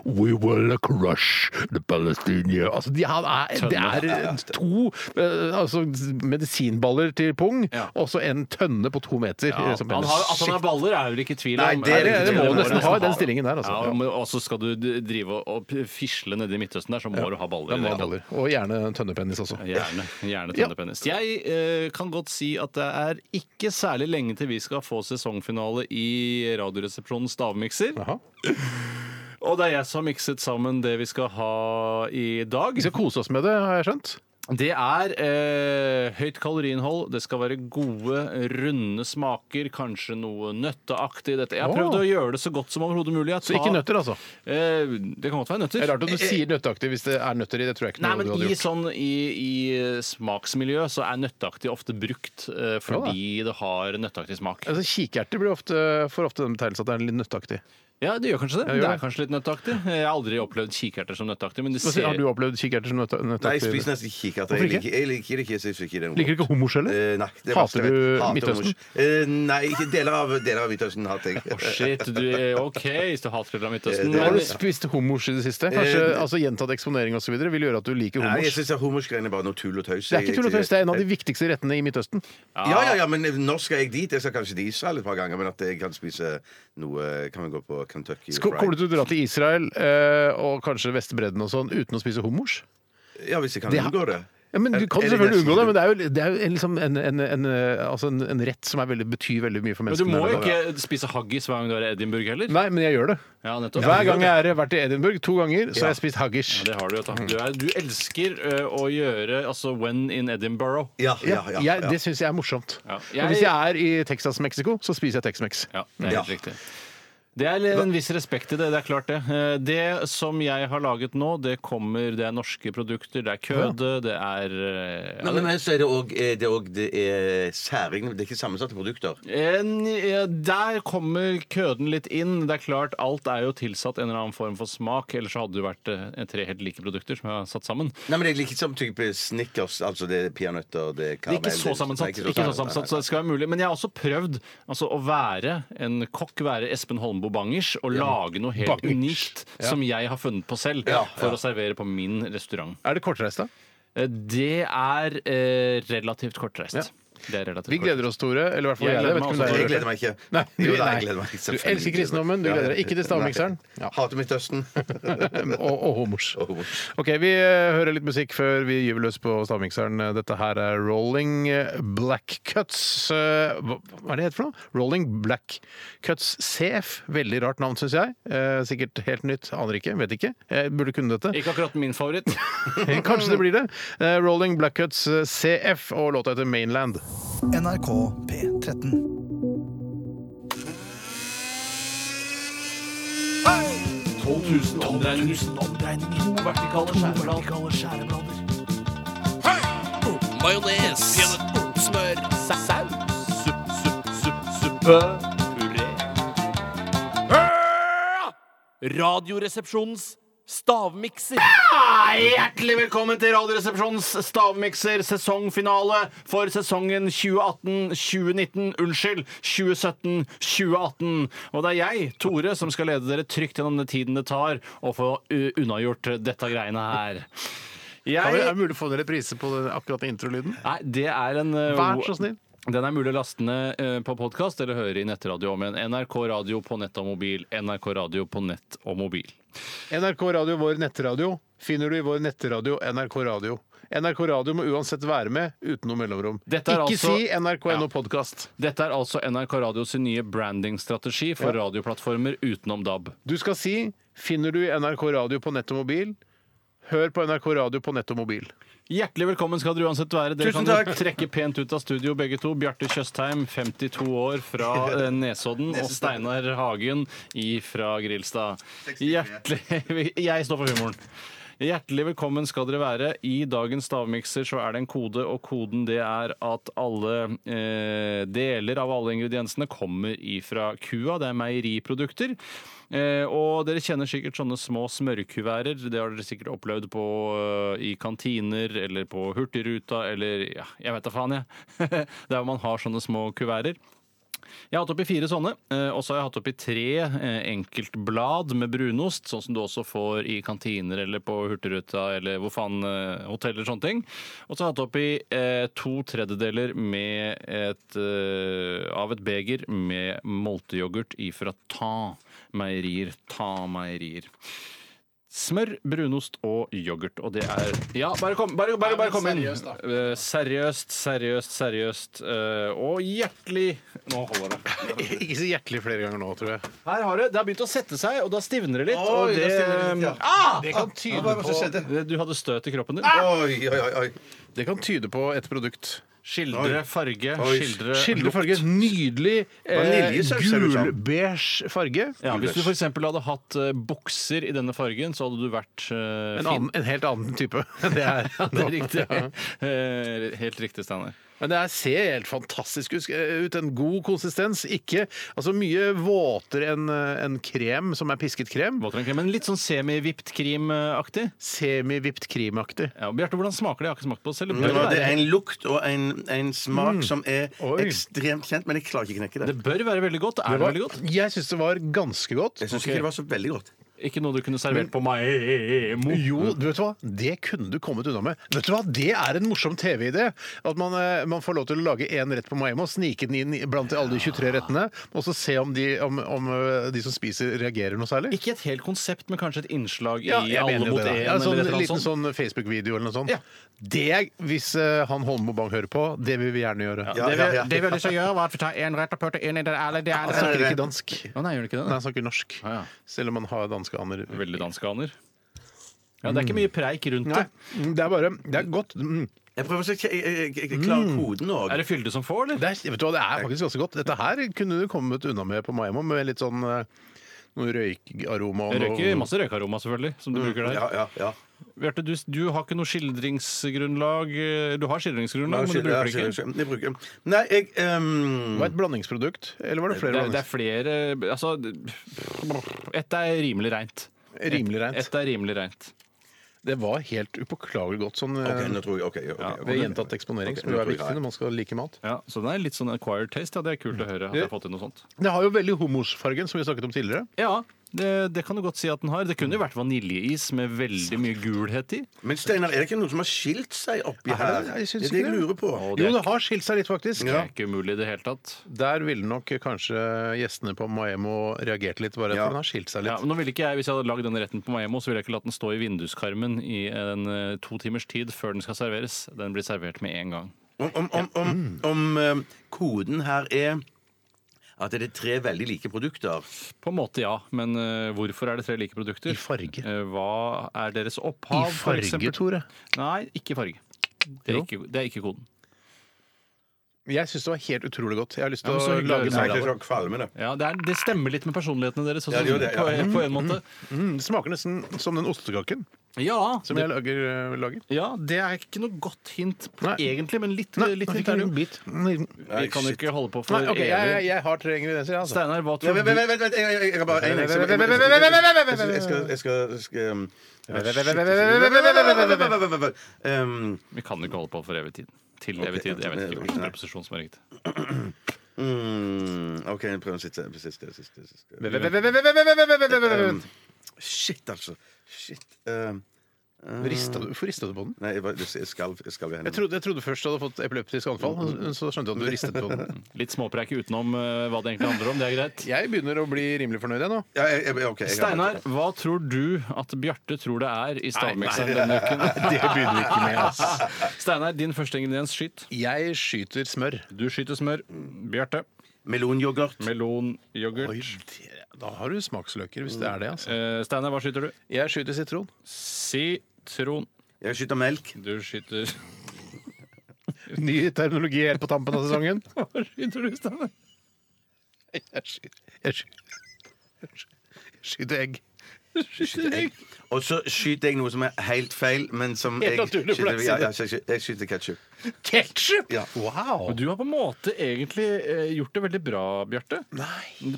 Speaker 2: We will crush the Palestinians altså, de, han er, Det er to eh, altså, medisinballer til pung,
Speaker 4: Ja.
Speaker 2: og så en tønne på to meter.
Speaker 4: Ja,
Speaker 2: som
Speaker 4: han
Speaker 2: penis.
Speaker 4: har, at han har baller, er vel ikke i tvil om.
Speaker 3: Nei, det er
Speaker 4: Er
Speaker 3: ikke
Speaker 4: det
Speaker 3: tvil om.
Speaker 4: må du
Speaker 3: Det må
Speaker 4: nesten ha
Speaker 2: du nesten ha, den stillingen der, altså.
Speaker 4: Ja, men også skal du d- drive og- og p- fisle nede i Midtøsten der, så må du ha baller.
Speaker 2: Han
Speaker 4: i det
Speaker 2: har
Speaker 4: hele tatt.
Speaker 2: baller. Og gjerne en tønnepenis også.
Speaker 4: Gjerne, gjerne
Speaker 2: Ja.
Speaker 4: tønnepennis. Jeg eh, kan godt si at det er ikke særlig lenge til vi skal få sesongfinale i Radioresepsjonens stavmikser.
Speaker 2: Jaha.
Speaker 4: Og det er jeg som har mikset sammen det vi skal ha i dag.
Speaker 2: Vi skal kose oss med det, har jeg skjønt.
Speaker 4: Det er eh, høyt kaloriinnhold, det skal være gode, runde smaker, kanskje noe nøtteaktig i dette. Jeg har
Speaker 2: Åh.
Speaker 4: prøvd å gjøre det så godt som overhodet mulig. Jeg
Speaker 2: Så ikke
Speaker 4: tar-
Speaker 2: nøtter, altså.
Speaker 4: Eh, det kan godt være nøtter.
Speaker 2: Det er rart at du sier nøtteaktig hvis det er nøtter i det. tror jeg ikke
Speaker 4: Nei,
Speaker 2: noe
Speaker 4: men
Speaker 2: du hadde
Speaker 4: i,
Speaker 2: gjort.
Speaker 4: sånn, i, I smaksmiljø så er nøtteaktig ofte brukt eh, fordi det har nøtteaktig smak.
Speaker 2: Altså, Kikerter blir ofte, får ofte den betegnelsen at det er litt nøtteaktig.
Speaker 4: Ja, det gjør kanskje det.
Speaker 2: gjør
Speaker 4: det
Speaker 2: det.
Speaker 4: er kanskje litt nøtteaktig. Jeg har aldri opplevd kikerter som nøtteaktig, men de
Speaker 2: Hva sier-
Speaker 4: ser
Speaker 2: Har du opplevd kikerter som nøtte-
Speaker 3: Nei, jeg
Speaker 2: nøtteaktig?
Speaker 3: spiser nesten ikke kikkert.
Speaker 2: Hvorfor
Speaker 3: Jeg
Speaker 2: ikke?
Speaker 3: liker, jeg liker det ikke. Jeg synes ikke det er noe
Speaker 2: Liker du ikke homoskjell?
Speaker 3: Eh, nei, det er
Speaker 2: Hater
Speaker 3: vanskelig.
Speaker 2: du
Speaker 3: Hater
Speaker 2: Midtøsten?
Speaker 3: mors- Eh, nei, ikke deler av, deler av Midtøsten hater jeg.
Speaker 4: Å, shit, du eh, OK, hvis du hater fra Midtøsten.
Speaker 2: Har du
Speaker 4: Men-
Speaker 2: spist hummus i det siste? Kanskje
Speaker 3: Eh,
Speaker 2: altså Gjentatt eksponering og så videre vil gjøre at du liker
Speaker 3: Nei, jeg
Speaker 2: hummus?
Speaker 3: syns hummersgreiene er bare noe tull og tøys.
Speaker 2: Det er ikke tull og tøys, det er en av de viktigste rettene i Midtøsten.
Speaker 3: Ja, ja, ja, men når skal jeg dit? Jeg skal kanskje til Israel et par ganger, men at jeg kan spise noe Kan vi gå på Kentucky
Speaker 2: Sko-
Speaker 3: Fried?
Speaker 2: Kommer du til å dra til Israel eh, og kanskje Vestbredden og sånn uten å spise hummus?
Speaker 3: Ja, hvis jeg kan
Speaker 2: Det-
Speaker 3: unngå det.
Speaker 2: Ja, men Du kan
Speaker 3: Eller nesten-
Speaker 2: selvfølgelig unngå det, men det er jo, det er jo en, liksom en, en, en, eh, altså en, en rett som er veldig, betyr veldig mye for
Speaker 4: Men du
Speaker 2: menneskene.
Speaker 4: må
Speaker 2: der
Speaker 4: jo
Speaker 2: nede.
Speaker 4: ikke spise haggis hver gang du er i Edinburgh heller.
Speaker 2: Nei, men jeg gjør det.
Speaker 4: Ja, nettopp.
Speaker 2: Hver gang jeg har vært i Edinburgh, to ganger, så har jeg spist haggis.
Speaker 4: Ja, det har du jo, takk. Du, er, du elsker ø, å gjøre altså when in Edinburgh.
Speaker 3: Ja, ja, ja, ja.
Speaker 2: Jeg, det syns jeg er morsomt.
Speaker 4: Ja.
Speaker 2: Og hvis jeg er i Texas, Mexico, så spiser jeg Tex-Mex.
Speaker 4: Ja, det er helt riktig. Det er en viss respekt i det. Det er klart det. Eh, Det som jeg har laget nå, det kommer Det er norske produkter, det er køde, det er eh, ja,
Speaker 3: Men, men så er det òg det, er også- det er særing. Det er ikke sammensatte produkter.
Speaker 4: En, ja, der kommer køden litt inn. Det er klart, Alt er jo tilsatt en eller annen form for smak. Ellers så hadde det jo vært eh, tre helt like produkter som jeg har satt sammen.
Speaker 3: Nei, men Det er litt som type Snickers. Altså det er peanøtter, det er
Speaker 4: Det
Speaker 3: karamell
Speaker 4: er ikke så
Speaker 3: Nei,
Speaker 4: sammensatt, ikke så sammensatt så det skal være mulig. Men jeg har også prøvd altså, å være en kokk, være Espen Holmboe Bangers, og lage noe helt
Speaker 2: Bangers.
Speaker 4: unikt som jeg har funnet på selv, for å servere på min restaurant.
Speaker 2: Er det kortreist, da?
Speaker 4: Eh, Det er eh, relativt kortreist.
Speaker 2: Ja.
Speaker 4: Det er relativt
Speaker 2: Vi gleder oss, Tore. Eller i hvert fall
Speaker 4: Jeg
Speaker 2: jeg. jeg
Speaker 4: gleder
Speaker 2: vet
Speaker 4: meg
Speaker 2: ikke om det
Speaker 4: også,
Speaker 3: Jeg
Speaker 2: er-
Speaker 3: gleder meg ikke.
Speaker 2: Nei,
Speaker 3: Jo da,
Speaker 2: nei.
Speaker 3: jeg gleder meg
Speaker 2: Du
Speaker 3: selvfølgelig.
Speaker 2: elsker kristendommen, du
Speaker 3: Ja, ja.
Speaker 2: gleder deg ikke til stavmikseren.
Speaker 3: Nei. Hater Midtøsten.
Speaker 2: og, og homers.
Speaker 3: Og homers.
Speaker 2: OK, vi eh, hører litt musikk før vi gyver løs på stavmikseren. Dette her er Rolling Black Cuts eh, Hva hva er det het for noe? Rolling Black Cuts CF. Veldig rart navn, syns jeg. Eh, Sikkert helt nytt. Aner ikke. Vet ikke. Jeg burde kunne dette.
Speaker 4: Ikke akkurat min favoritt.
Speaker 2: Kanskje det blir det. Eh, Rolling Black Cuts eh, CF og låta heter Mainland.
Speaker 9: NRK P13.
Speaker 8: Majones. Smør. Saus. Suppe. Puré. Radioresepsjonens stavmikser.
Speaker 4: Hjertelig velkommen til Radioresepsjonens stavmikser sesongfinale for sesongen 2018-2019. Unnskyld, 2017-2018. Og det er jeg, Tore, som skal lede dere trygt gjennom den tiden det tar å få u- unnagjort dette greiene her.
Speaker 2: Kan vi, er
Speaker 4: Jeg
Speaker 2: det mulig å få en reprise på den, akkurat den introlyden?
Speaker 4: Nei, det er en eh,
Speaker 2: Vær så snill.
Speaker 4: Den er mulig å laste ned eh, på podkast eller høre i nettradio om igjen. NRK Radio på nett og mobil. NRK Radio på nett og mobil.
Speaker 2: NRK Radio, vår nettradio, finner du i vår nettradio NRK Radio. NRK Radio må uansett være med uten noe mellomrom.
Speaker 4: Dette er
Speaker 2: Ikke
Speaker 4: altså-
Speaker 2: si NRK.no
Speaker 4: Ja.
Speaker 2: podkast.
Speaker 4: Dette er altså NRK Radios nye brandingstrategi for radioplattformer utenom DAB.
Speaker 2: Du skal si 'Finner du i NRK Radio på nett og mobil'? Hør på NRK Radio på nett og mobil.
Speaker 4: Hjertelig velkommen skal dere uansett være. Dere
Speaker 3: Tusen
Speaker 4: kan
Speaker 3: takk.
Speaker 4: trekke pent ut av studio begge to. Bjarte Tjøstheim, 52 år, fra eh, Nesodden. og Steinar Hagen i fra Grilstad. Hjertelig Jeg står for humoren. Hjertelig velkommen skal dere være. I dagens stavmikser så er det en kode, og koden det er at alle eh, deler av alle ingrediensene kommer ifra kua. Det er meieriprodukter. Eh, og dere kjenner sikkert sånne små smørkuverter. Det har dere sikkert opplevd på, eh, i kantiner eller på Hurtigruta eller ja, jeg vet da faen, jeg. Der hvor man har sånne små kuverter. Jeg har hatt oppi fire sånne, eh, og så har jeg hatt oppi tre eh, enkeltblad med brunost, sånn som du også får i kantiner eller på Hurtigruta eller hvor faen eh, hotell eller sånne ting. Og så har jeg hatt oppi eh, to tredjedeler med et, eh, av et beger med molteyoghurt ifra Ta meierier. Ta meierier. Smør, brunost og yoghurt. Og det er Ja, bare kom, bare, bare, bare kom inn! Eh, Seriøst, seriøst, seriøst. eh, Og hjertelig Nå holder det.
Speaker 2: Ikke si hjertelig flere ganger nå, tror jeg.
Speaker 4: Her har det. Det har begynt å sette seg, og da stivner det litt.
Speaker 3: Oi,
Speaker 4: og
Speaker 3: da
Speaker 4: det,
Speaker 3: stivner det litt, ja.
Speaker 4: ah!
Speaker 2: Det kan tyde
Speaker 3: Hva skjedde?
Speaker 4: Du hadde støt i kroppen
Speaker 2: Ah!
Speaker 4: din.
Speaker 3: Oi, oi, oi, oi.
Speaker 2: Det kan tyde på et produkt.
Speaker 4: Skildre farge,
Speaker 3: Oi.
Speaker 4: skildre
Speaker 2: Skildre farge. Nydelig
Speaker 3: Vaniljesaus, er det sant?
Speaker 2: Eh, gulbeige farge.
Speaker 4: Eh, Ja, hvis du f.eks. hadde hatt eh, bukser i denne fargen, så hadde du vært eh,
Speaker 2: En,
Speaker 4: fin.
Speaker 2: annen, en helt annen type. Det er,
Speaker 4: Ja, det er riktig. Eh, Helt riktig, Steinar.
Speaker 2: Men det her ser helt fantastisk ut. ut. En god konsistens. Ikke altså mye våtere enn en krem som er pisket krem.
Speaker 4: Våtere enn krem, Men litt sånn semi-vipped cream-aktig.
Speaker 2: Semi-vipped kremaktig.
Speaker 4: Ja, og Bjarte, hvordan smaker det? Jeg har ikke smakt på det
Speaker 2: Mm.
Speaker 4: selv. Det
Speaker 3: Det
Speaker 4: bør,
Speaker 3: er
Speaker 4: være,
Speaker 3: en lukt og en, en smak som er
Speaker 2: Oi.
Speaker 3: ekstremt kjent, men jeg klarer ikke å knekke
Speaker 4: det
Speaker 3: det.
Speaker 4: bør være veldig godt. Er det veldig godt?
Speaker 2: Jeg syns det var ganske godt.
Speaker 3: Jeg syns ikke det var så veldig godt.
Speaker 4: Ikke noe du kunne servert på Maemo.
Speaker 2: Jo, du vet hva? det kunne du kommet unna med. Vet du hva? Det er en morsom TV-idé. At man, eh, man får lov til å lage én rett på Maimo, snike den inn blant alle de 23 rettene, og så se om de, om, om eh, de som spiser, reagerer noe særlig.
Speaker 4: Ikke et helt konsept, men kanskje et innslag i
Speaker 2: Ja, jeg
Speaker 4: Alle
Speaker 2: mener jo
Speaker 4: mot
Speaker 2: det, da.
Speaker 4: én.
Speaker 2: Ja, sånn,
Speaker 4: eller et eller annet
Speaker 2: liten
Speaker 4: sånt.
Speaker 2: sånn Facebook-video eller noe sånt.
Speaker 4: Ja.
Speaker 2: Det, er- hvis eh, han Holmo Bang hører på, det vil vi gjerne gjøre.
Speaker 3: Ja, ja, ja.
Speaker 4: Det vi har lyst til å gjøre, var at vi tar én rett og putter inn i den eller det er
Speaker 2: Han snakker ikke dansk.
Speaker 4: Å nei, gjør det ikke
Speaker 2: Nei,
Speaker 4: det?
Speaker 2: han snakker norsk.
Speaker 4: Ah, ja.
Speaker 2: Selv om han har danske aner.
Speaker 4: Veldig danske aner. Ja, det er ikke mye preik rundt
Speaker 2: Nei,
Speaker 4: det.
Speaker 2: det er bare Det er godt. Mm.
Speaker 3: Jeg prøver å se- jeg, jeg, jeg, jeg klarer koden òg.
Speaker 4: Er det Fylde som får, eller?
Speaker 2: Det er, vet du hva, det er faktisk ganske godt. Dette her kunne du kommet unna med på Maimo, med litt sånn eh, noe røykaroma. og
Speaker 4: Jeg
Speaker 2: noe-
Speaker 4: røyker masse røykaroma, selvfølgelig, som du bruker der.
Speaker 3: Ja, ja, ja.
Speaker 4: Bjarte, du, du har ikke noe skildringsgrunnlag. eh, Du har skildringsgrunnlag, men du
Speaker 3: Unnskyld, ja,
Speaker 4: bruker det ikke.
Speaker 3: unnskyld, unnskyld. Jeg bruker Nei, jeg ehm,
Speaker 2: Det var et blandingsprodukt. Eller var det
Speaker 4: Det
Speaker 2: flere
Speaker 4: er, det er
Speaker 2: blandings?
Speaker 4: flere Altså, ett er rimelig reint.
Speaker 2: Rimelig reint.
Speaker 4: Ett er rimelig reint.
Speaker 2: Det var helt upåklagelig godt sånn eh,
Speaker 3: OK, nå tror jeg OK. ok, ok.
Speaker 2: ved gjentatt eksponering,
Speaker 3: Ok, nå
Speaker 2: som jo
Speaker 3: tror
Speaker 2: er
Speaker 3: jeg-
Speaker 2: viktig når man skal like mat.
Speaker 4: Ja, så den er litt sånn acquired taste. Ja, det er kult å høre at jeg har fått til noe sånt.
Speaker 2: Det har jo veldig humorsfargen, som vi snakket om tidligere.
Speaker 4: Ja, det, det kan du godt si at den har. Det kunne jo vært vaniljeis med veldig mye gulhet i.
Speaker 3: Men Steinar, er det ikke noen som har skilt seg oppi
Speaker 2: Er
Speaker 3: her?
Speaker 2: det det? Jeg syns
Speaker 3: det er det
Speaker 2: ikke
Speaker 3: jeg
Speaker 2: det.
Speaker 3: lurer på.
Speaker 4: Og det
Speaker 2: Jo,
Speaker 4: er,
Speaker 2: det har skilt seg litt, faktisk.
Speaker 4: det er ikke umulig i det hele tatt.
Speaker 2: Der ville nok kanskje gjestene på Maemo reagert litt, bare
Speaker 3: Ja.
Speaker 2: for den har skilt seg litt.
Speaker 4: Ja, men nå ville ikke jeg, Hvis jeg hadde lagd denne retten på Maemo, så ville jeg ikke latt den stå i vinduskarmen i en eh, to timers tid før den skal serveres. Den blir servert med en gang.
Speaker 3: Om, om, om, om, om ehm, koden her er at det er tre veldig like produkter.
Speaker 4: På en måte, ja. Men eh, hvorfor er det tre like produkter?
Speaker 2: I farge.
Speaker 4: Eh, hva er deres
Speaker 2: I
Speaker 4: opphav? for
Speaker 2: farge,
Speaker 4: eksempel?
Speaker 2: Tore.
Speaker 4: Nei, ikke i farge. Det er
Speaker 2: Jo.
Speaker 4: ikke, det er ikke koden.
Speaker 2: Jeg syns det var helt utrolig godt. Jeg har lyst til
Speaker 4: Ja, men så
Speaker 2: å
Speaker 4: hyggelig
Speaker 2: lage
Speaker 4: å høre.
Speaker 2: mer av det.
Speaker 3: sånn kvalme, det.
Speaker 4: Ja, det, er, det stemmer litt med personlighetene deres også,
Speaker 3: Ja, det gjør det, ja.
Speaker 4: på, på en måte.
Speaker 2: Mm, det smaker nesten som den ostekaken.
Speaker 4: Ja,
Speaker 2: som jeg lager. eh, lager.
Speaker 4: ja, det er ikke noe godt hint på,
Speaker 2: Nei.
Speaker 4: egentlig, men litt, eh,
Speaker 2: Nei,
Speaker 4: litt
Speaker 2: nå fikk
Speaker 4: hint er det
Speaker 2: jeg en
Speaker 4: jo.
Speaker 2: bit. Nei,
Speaker 4: Vi kan jo ikke holde på for
Speaker 2: ok, jeg, jeg,
Speaker 4: evig.
Speaker 2: jeg har tre ingredienser, jeg, altså.
Speaker 4: Steinar, hva
Speaker 3: Vent,
Speaker 4: tror
Speaker 3: vent,
Speaker 4: du?
Speaker 3: vent, vent, jeg- jeg jeg har bare en
Speaker 2: Vent,
Speaker 3: eksempel.
Speaker 2: vent, vent, vent, vent, vent, vent, vent,
Speaker 3: Jeg skal- jeg skal- jeg skal um, um,
Speaker 4: Vi kan ikke holde på for evig tid. Til evig tid. Jeg vet ikke hvilken preposisjon som er riktig.
Speaker 3: mm, OK, prøv den siste. siste, siste, siste. Shit, altså. Shit. um,
Speaker 2: Rista du- Hvorfor rista du på den?
Speaker 3: Nei, jeg bare- jeg skalv jeg skalv i
Speaker 2: Jeg
Speaker 3: hendene.
Speaker 2: trodde, jeg trodde først du hadde fått epileptisk anfall, så skjønte jeg at du ristet på den.
Speaker 4: Litt småpreik utenom eh, hva det egentlig handler om. Det er greit.
Speaker 2: Jeg begynner å bli rimelig fornøyd, jeg nå.
Speaker 3: Ja, jeg, jeg, ok, jeg har-
Speaker 4: Steinar, hva tror du at Bjarte tror det er i stavmikseren
Speaker 2: nei.
Speaker 4: denne uken?
Speaker 2: Det begynner vi ikke med, altså.
Speaker 4: Steinar, din første ingrediens skyt.
Speaker 2: Jeg skyter smør.
Speaker 4: Du skyter smør. Bjarte.
Speaker 3: Melonyoghurt.
Speaker 4: Melonyoghurt.
Speaker 2: Da har du smaksløker, hvis det er det, altså.
Speaker 4: Eh, Steinar, hva skyter du?
Speaker 2: Jeg skyter sitron.
Speaker 4: Sitron.
Speaker 3: Jeg skyter melk.
Speaker 4: Du skyter
Speaker 2: Ny terminologi helt på tampen av sesongen.
Speaker 4: Hva skyter du, Steinar?
Speaker 2: Jeg skyter, jeg skyter, jeg skyter egg.
Speaker 3: Og så skyter jeg noe som er helt feil, men som
Speaker 2: Helt
Speaker 3: jeg
Speaker 2: naturlig, for
Speaker 3: skyter,
Speaker 2: det
Speaker 3: ja,
Speaker 2: er siden.
Speaker 3: ja, så jeg skyter, jeg skyter ketsjup.
Speaker 2: Ketchup!
Speaker 3: Ja.
Speaker 2: Wow!
Speaker 4: Du har på en måte egentlig eh, gjort det veldig bra, Bjarte.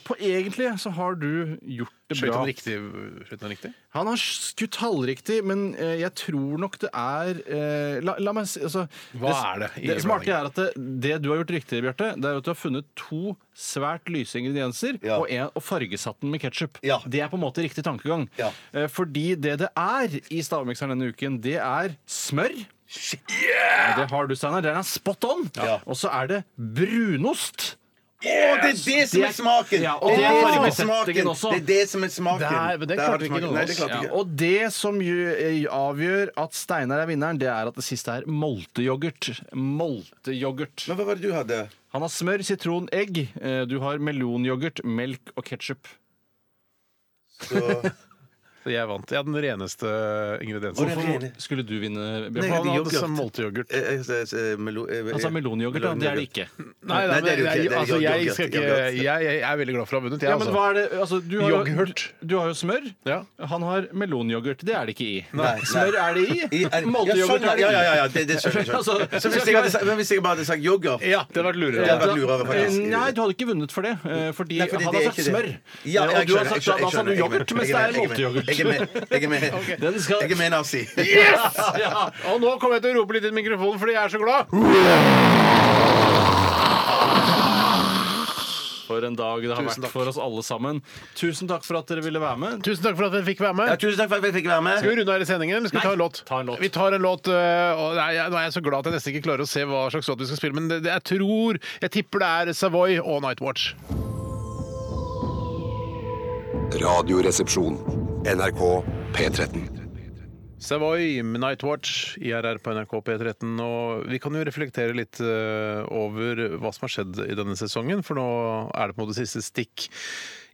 Speaker 4: På egentlig så har du gjort det
Speaker 2: Skjøt
Speaker 4: bra.
Speaker 2: han riktig? Skjøt han riktig?
Speaker 4: Han har skutt halvriktig, men eh, jeg tror nok det er eh, la, la meg si altså,
Speaker 2: Hva er det i
Speaker 4: Det smarte er at det, det du har gjort riktig, Bjarte, det er at du har funnet to svært lyse ingredienser
Speaker 3: Ja.
Speaker 4: og, en, og fargesatt den med ketsjup.
Speaker 3: Ja.
Speaker 4: Det er på en måte riktig tankegang.
Speaker 3: Ja.
Speaker 4: Eh, fordi det det er i stavmikseren denne uken, det er smør. Det har du, Steinar. Den er spot on.
Speaker 3: Ja.
Speaker 4: Og så er det brunost.
Speaker 3: Å, det er det som er smaken!
Speaker 4: Ja, og
Speaker 3: det er det som er
Speaker 4: fargesettingen
Speaker 3: smaken!
Speaker 4: også.
Speaker 3: Det er det som er smaken.
Speaker 2: Nei, men det
Speaker 3: Der
Speaker 2: klarte
Speaker 3: har du
Speaker 2: ikke
Speaker 3: smaken.
Speaker 2: noen
Speaker 3: Nei,
Speaker 2: av
Speaker 3: det
Speaker 2: altså. oss.
Speaker 3: klarte
Speaker 4: Ja,
Speaker 3: ikke.
Speaker 4: og det som ju- eh, avgjør at Steinar er vinneren, det er at det siste er molteyoghurt. Molteyoghurt.
Speaker 3: Men hva var det du hadde?
Speaker 4: Han har smør, sitron, egg. Eh, Du har melonyoghurt, melk og ketsjup.
Speaker 3: Så, eh,
Speaker 2: Så jeg vant. Jeg er den reneste ingrediensen.
Speaker 3: Hvorfor-
Speaker 4: Hvorfor skulle du vinne,
Speaker 2: Nei,
Speaker 4: Bjørn?
Speaker 2: han
Speaker 3: hadde
Speaker 2: hadde
Speaker 3: yoghurt.
Speaker 2: som molteyoghurt.
Speaker 3: eh, eh, eh, eh, melo- eh, eh,
Speaker 4: Han sa melonyoghurt, ja. Det er det ikke.
Speaker 2: Nei,
Speaker 3: Nei,
Speaker 2: nei,
Speaker 3: det er
Speaker 2: men
Speaker 3: det jo ikke.
Speaker 2: jeg,
Speaker 3: Det er
Speaker 2: altså, jeg,
Speaker 3: yoghurt.
Speaker 2: skal ikke,
Speaker 3: Yoghurt.
Speaker 2: jeg, jeg er veldig glad for å ha vunnet, jeg,
Speaker 4: Ja, men
Speaker 2: altså.
Speaker 4: hva er det? Altså, du, har,
Speaker 2: Yoghurt.
Speaker 4: du har jo smør.
Speaker 2: Ja.
Speaker 4: Han har melonyoghurt. Det er det ikke i.
Speaker 3: Nei,
Speaker 4: Smør
Speaker 3: nei.
Speaker 4: er det i.
Speaker 3: I- er- ja,
Speaker 4: Molteyoghurt
Speaker 3: sånn,
Speaker 4: er det
Speaker 3: ja, ja, ja,
Speaker 4: ikke i.
Speaker 3: ja, det, det skjønner jeg.
Speaker 4: Altså,
Speaker 3: skjønner. Så hvis jeg, hadde, sagt- men hvis jeg bare hadde sagt yoghurt
Speaker 2: Ja, det hadde vært
Speaker 3: Det
Speaker 2: lurere.
Speaker 3: hadde vært lurere, faktisk.
Speaker 4: Eh, Nei, du hadde ikke vunnet for det. eh, Fordi,
Speaker 3: Nei, fordi det
Speaker 4: han har
Speaker 3: er
Speaker 4: sagt
Speaker 3: ikke
Speaker 4: smør.
Speaker 3: det. Ja,
Speaker 4: Eh,
Speaker 3: jeg
Speaker 4: og du har
Speaker 3: skjønner, jeg
Speaker 4: sagt,
Speaker 3: skjønner,
Speaker 4: da
Speaker 3: jeg
Speaker 4: sa du
Speaker 3: skjønner. Jeg
Speaker 4: yoghurt, mens det
Speaker 3: er
Speaker 4: er
Speaker 3: med,
Speaker 4: molteyoghurt.
Speaker 3: Jeg er med. Jeg er med. Jeg er med.
Speaker 4: Den skal-
Speaker 3: Jeg er med nazi.
Speaker 4: Ja.
Speaker 2: Og nå kommer jeg til å rope litt i mikrofonen fordi jeg er så glad!
Speaker 4: For en dag det har
Speaker 2: Tusen
Speaker 4: vært
Speaker 2: takk.
Speaker 4: for oss alle sammen. Tusen takk for at dere ville være med.
Speaker 2: Tusen takk for at dere fikk være med.
Speaker 3: Ja, tusen takk for at jeg fikk være med.
Speaker 2: Skal vi runde her i sendingen, eller skal vi ta en låt?
Speaker 4: ta en låt.
Speaker 2: Vi tar en låt, øh, og nei, jeg, Nå er jeg så glad at jeg nesten ikke klarer å se hva slags låt vi skal spille, men det, det, jeg tror Jeg tipper det er Savoy og Nightwatch.
Speaker 5: Radioresepsjon. NRK P13.
Speaker 2: Savoy med Nightwatch, IRR på NRK P13. Og vi kan jo reflektere litt eh, over hva som har skjedd i denne sesongen, for nå er det på en måte siste stikk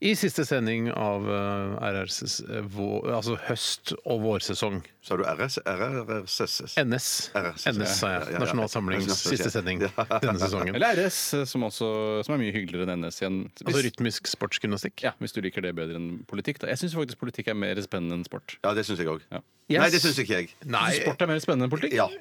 Speaker 2: i siste sending av eh, RRs eh, vå- altså høst- og vårsesong.
Speaker 3: Sa du RS? RRSS?
Speaker 2: NS,
Speaker 3: RRS,
Speaker 2: NS sa
Speaker 3: ja, ja,
Speaker 2: jeg.
Speaker 3: ja.
Speaker 2: Nasjonal Samlings
Speaker 3: Nasjonal-
Speaker 2: siste sending
Speaker 3: Ja.
Speaker 2: denne sesongen.
Speaker 4: Eller RS, som, også, som er mye hyggeligere enn NS igjen. Hvis,
Speaker 2: Altså rytmisk sportsgymnastikk.
Speaker 4: ja, hvis du liker det bedre enn politikk. Da. Jeg syns faktisk politikk er mer spennende enn sport.
Speaker 3: Ja, det syns jeg òg.
Speaker 4: Ja.
Speaker 3: Nei, det syns ikke jeg.
Speaker 4: Synes du Sport er mer spennende enn politikk?
Speaker 3: Ja.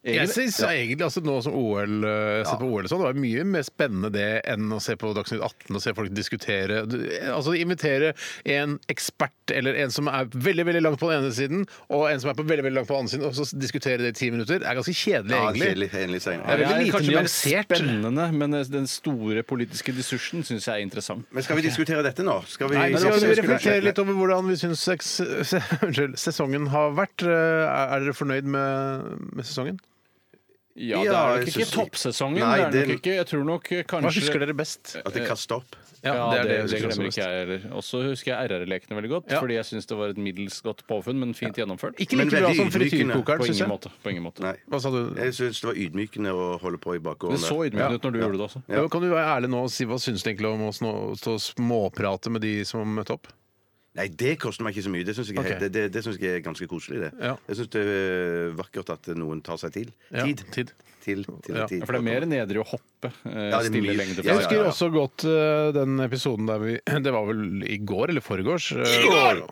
Speaker 2: Jeg
Speaker 4: Egentlig.
Speaker 2: synes egentlig altså nå som OL eh, se på OL og sånn, det var mye mer spennende det enn å se på Dagsnytt 18 og se folk diskutere. Du- Altså invitere en ekspert eller en som er veldig veldig langt på den ene siden, og en som er på veldig veldig langt på den andre siden, og så diskutere det i ti minutter, er ganske kjedelig,
Speaker 3: Ja,
Speaker 2: egentlig.
Speaker 3: kjedelig, enig, Steinar.
Speaker 2: Det er
Speaker 4: Det
Speaker 2: veldig
Speaker 4: er
Speaker 2: lite
Speaker 4: kanskje mer
Speaker 2: nyansert.
Speaker 4: spennende, men eh, den store politiske diskursen syns jeg er interessant.
Speaker 3: Men skal vi diskutere dette nå? Skal vi,
Speaker 2: Nei, vi skal
Speaker 3: Nei,
Speaker 2: reflektere litt over hvordan vi syns seks, se, unnskyld, sesongen har vært. Eh, Er er dere fornøyd med, med sesongen?
Speaker 4: Ja,
Speaker 3: Ja,
Speaker 4: det er nok
Speaker 3: jeg
Speaker 4: ikke
Speaker 3: synes-
Speaker 4: toppsesongen.
Speaker 3: Nei,
Speaker 4: det er nok
Speaker 3: det-
Speaker 4: ikke, jeg tror nok eh,
Speaker 2: Hva
Speaker 4: kanskje
Speaker 2: husker dere best?
Speaker 3: At det kaster opp.
Speaker 4: Ja, det, det,
Speaker 2: jeg husker
Speaker 4: glemmer
Speaker 2: også
Speaker 4: ikke
Speaker 2: best.
Speaker 4: jeg heller. Også husker jeg RR-lekene veldig godt, fordi jeg syns det var et middels godt påfunn, men fint gjennomført.
Speaker 2: Ikke
Speaker 3: Men
Speaker 2: like bra
Speaker 3: veldig
Speaker 2: som
Speaker 3: ydmykende.
Speaker 2: frityrkokeren,
Speaker 4: på
Speaker 2: syns jeg.
Speaker 4: ingen måte. På ingen måte.
Speaker 3: Nei.
Speaker 2: Hva sa du?
Speaker 3: Jeg syns det var ydmykende å holde på i bakgården.
Speaker 4: Det så
Speaker 3: der.
Speaker 4: ydmykende ut når du gjorde det også.
Speaker 2: Ja. men Kan du være ærlig nå og si hva syns du egentlig om oss nå, stå og småprate med de som møtte opp?
Speaker 3: Nei, det koster meg ikke så mye. Det syns jeg, er helt-
Speaker 2: Ok.
Speaker 3: det, det, det synes jeg er ganske koselig, det.
Speaker 2: Ja.
Speaker 3: Jeg syns det er vakkert at noen tar seg tid.
Speaker 2: Ja,
Speaker 3: Tid.
Speaker 2: tid.
Speaker 3: Til, til,
Speaker 2: Ja,
Speaker 3: tid.
Speaker 4: Ja, for det er mer nedrig å hoppe eh,
Speaker 3: Ja, det er
Speaker 4: stille
Speaker 3: mye-
Speaker 4: lengde.
Speaker 3: Ja, ja,
Speaker 2: Jeg husker
Speaker 3: ja.
Speaker 2: også godt eh, den episoden der vi Det var vel i går eller foregårs? I går!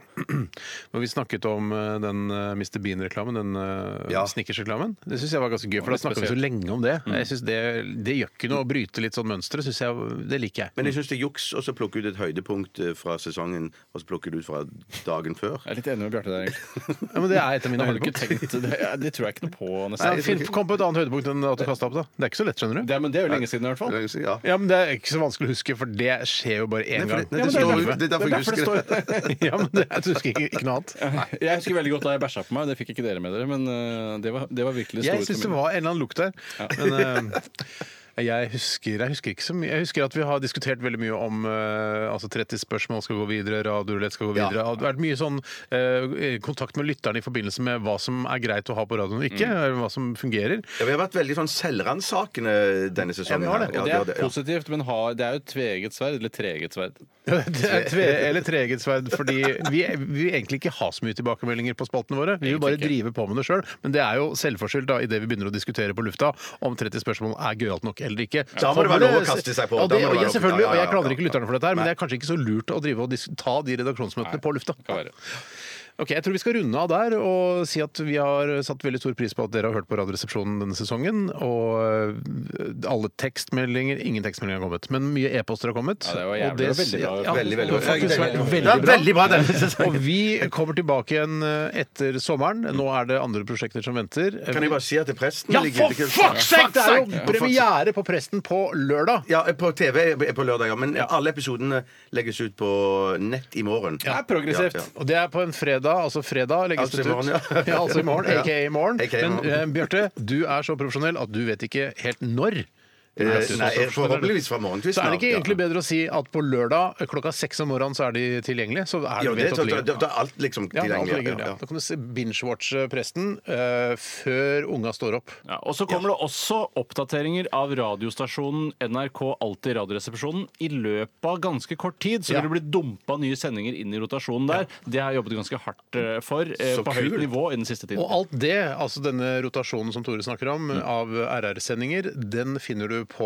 Speaker 2: Når vi snakket om eh, den eh, Mr. Bean-reklamen, den eh,
Speaker 3: Ja.
Speaker 2: Snickers-reklamen. Det syns jeg var Mm. ganske gøy, for da snakka vi så lenge om det. Jeg synes det. Det gjør ikke noe å bryte litt sånn mønstre, synes jeg. Det liker jeg.
Speaker 3: Men jeg syns det er juks og så plukke ut et høydepunkt eh, fra sesongen og så plukke det ut fra dagen før.
Speaker 4: Jeg er litt enig med Bjarte der, egentlig.
Speaker 2: Ja, men det er et av
Speaker 4: Da
Speaker 2: mine
Speaker 4: har du ikke
Speaker 2: høydepunkt.
Speaker 4: tenkt det, det tror jeg ikke noe på,
Speaker 2: Nei,
Speaker 4: nesten.
Speaker 2: Finn, kom på et annet høydepunkt enn at du kasta opp, da. Det er ikke så lett, skjønner du.
Speaker 4: Det, er- men det er jo lenge siden, i hvert fall.
Speaker 3: Det er jo så- Ja.
Speaker 2: Ja, men Det er ikke så vanskelig å huske, for det skjer jo bare én
Speaker 3: Nei, for
Speaker 2: gang.
Speaker 3: det- nei, det
Speaker 2: Ja, men
Speaker 3: står jo- det er derfor jeg husker
Speaker 2: det. står jo- ja, men det, jeg husker ikke, ikke noe annet.
Speaker 4: Jeg husker veldig godt da jeg bæsja på meg. Det fikk ikke dere med dere, men eh, det var, det var virkelig
Speaker 2: Jeg
Speaker 4: store
Speaker 2: syns det var en eller annen lukt der. Men eh, jeg, husker, jeg husker ikke så mye. Jeg husker at vi har diskutert veldig mye om eh, altså 30 spørsmål skal gå videre, radiorulett skal gå videre. Det har vært mye sånn eh, kontakt med lytterne i forbindelse med hva som er greit å ha på radioen og
Speaker 3: Mm.
Speaker 2: ikke, eller hva som fungerer.
Speaker 3: Ja, vi har vært veldig sånn selvransakende denne sesongen.
Speaker 2: vi har
Speaker 3: her.
Speaker 2: det,
Speaker 3: Ja,
Speaker 4: Og
Speaker 3: vi
Speaker 4: det
Speaker 3: har
Speaker 4: er
Speaker 3: ja.
Speaker 4: positivt, men har, det er jo et tveegget sverd. Eller treegget sverd.
Speaker 2: Det er tve, eller treeget sverd, fordi vi, vi vil egentlig ikke ha så mye tilbakemeldinger på spaltene våre. Vi vil bare drive på med det sjøl. Men det er jo selvforskyldt da, idet vi begynner å diskutere på lufta om 30 spørsmål er gøyalt nok eller ikke.
Speaker 3: Da må det være
Speaker 2: Kommer
Speaker 3: lov å kaste seg på.
Speaker 2: Ja,
Speaker 3: Da må det være
Speaker 2: det, og jeg,
Speaker 3: lov å- ja,
Speaker 2: selvfølgelig,
Speaker 3: ja,
Speaker 2: og
Speaker 3: ja,
Speaker 2: jeg klager ikke
Speaker 3: ja.
Speaker 2: lytterne for dette her, men det er kanskje ikke så lurt å drive og dis- ta de redaksjonsmøtene på lufta.
Speaker 4: Kan være.
Speaker 2: Ok, Jeg tror vi skal runde av der og si at vi har satt veldig stor pris på at dere har hørt på Radioresepsjonen denne sesongen. Og øh, alle tekstmeldinger Ingen tekstmeldinger har kommet, men mye e-poster har kommet.
Speaker 4: Ja, det var jævlig, det var veldig
Speaker 3: Veldig,
Speaker 4: bra.
Speaker 3: veldig bra.
Speaker 2: det har faktisk vært
Speaker 3: Det er veldig bra denne
Speaker 2: Og
Speaker 3: sesongen.
Speaker 2: vi kommer tilbake igjen øh, etter sommeren. Nå er det andre prosjekter som venter.
Speaker 3: Kan jeg bare si at det er presten
Speaker 2: Ja,
Speaker 3: ligger-
Speaker 2: for fuck's sake! Det er jo premiere på Presten på lørdag.
Speaker 3: Ja, på TV er på lørdag, ja. Men alle episodene legges ut på nett i morgen.
Speaker 4: Det er progressivt.
Speaker 3: Ja, ja.
Speaker 2: Og det er på en fredag, altså fredag legges
Speaker 3: Altså i
Speaker 2: det ut.
Speaker 3: morgen, ja.
Speaker 2: ja, altså i morgen,
Speaker 3: Ja.
Speaker 2: aka i morgen.
Speaker 3: AKA i
Speaker 2: Men
Speaker 3: morgen.
Speaker 2: eh, Bjarte, du er så profesjonell at du vet ikke helt når.
Speaker 3: Eh, Nei, forhåpentligvis fra morgenkvisten.
Speaker 2: Så er det ikke
Speaker 3: av, ja.
Speaker 2: egentlig bedre å si at på lørdag klokka seks om morgenen så er de tilgjengelige? Så er
Speaker 3: Jo,
Speaker 2: du
Speaker 3: det, da,
Speaker 2: vet at de
Speaker 3: da,
Speaker 2: ligger.
Speaker 3: da er alt liksom
Speaker 2: Ja, da alt
Speaker 3: tilgjengelig.
Speaker 2: ligger, ja. Da kan du se- binge-watche presten eh, før unga står opp.
Speaker 4: Ja, og så kommer det også oppdateringer av radiostasjonen NRK Alltid Radioresepsjonen i løpet av ganske kort tid. Så
Speaker 2: Ja.
Speaker 4: vil det bli dumpa nye sendinger inn i rotasjonen der. Det har jeg jobbet ganske hardt eh, for eh,
Speaker 3: Så
Speaker 4: på høyt
Speaker 3: kult.
Speaker 4: nivå i den siste tiden.
Speaker 2: Og alt det, altså denne rotasjonen som Tore snakker om,
Speaker 3: Mm.
Speaker 2: av RR-sendinger, den finner du på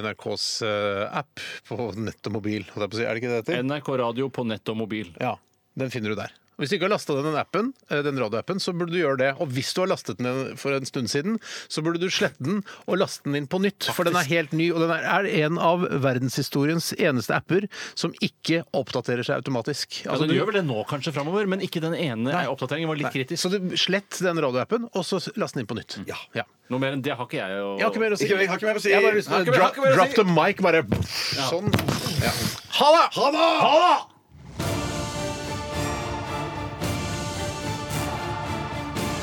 Speaker 2: NRKs eh, app på nett og mobil. holdt jeg på å si. Er det ikke det det heter?
Speaker 4: NRK Radio på nett og mobil.
Speaker 2: Ja, den finner du der. Og Hvis du ikke har lasta den appen, eh, den radioappen, så burde du gjøre det. Og hvis du har lastet den ned for en stund siden, så burde du slette den og laste den inn på nytt. For den er helt ny, og den er, er en av verdenshistoriens eneste apper som ikke oppdaterer seg automatisk.
Speaker 4: Altså,
Speaker 2: du-
Speaker 4: du gjør vel det nå kanskje framover, men ikke den ene oppdateringen var litt
Speaker 2: Nei.
Speaker 4: kritisk.
Speaker 2: Så du slett den radioappen, og så last den inn på nytt. Ja.
Speaker 4: Noe mer enn det har ikke jeg å
Speaker 2: Jeg har ikke mer å si.
Speaker 3: Ikke- jeg har ikke mer å si.
Speaker 2: Jeg har bare lyst til
Speaker 3: Har
Speaker 2: å
Speaker 3: ikke mer-
Speaker 2: drop,
Speaker 3: har ikke mer å
Speaker 2: drop
Speaker 3: si.
Speaker 2: the mic, bare sånn. Ha det! Ha det!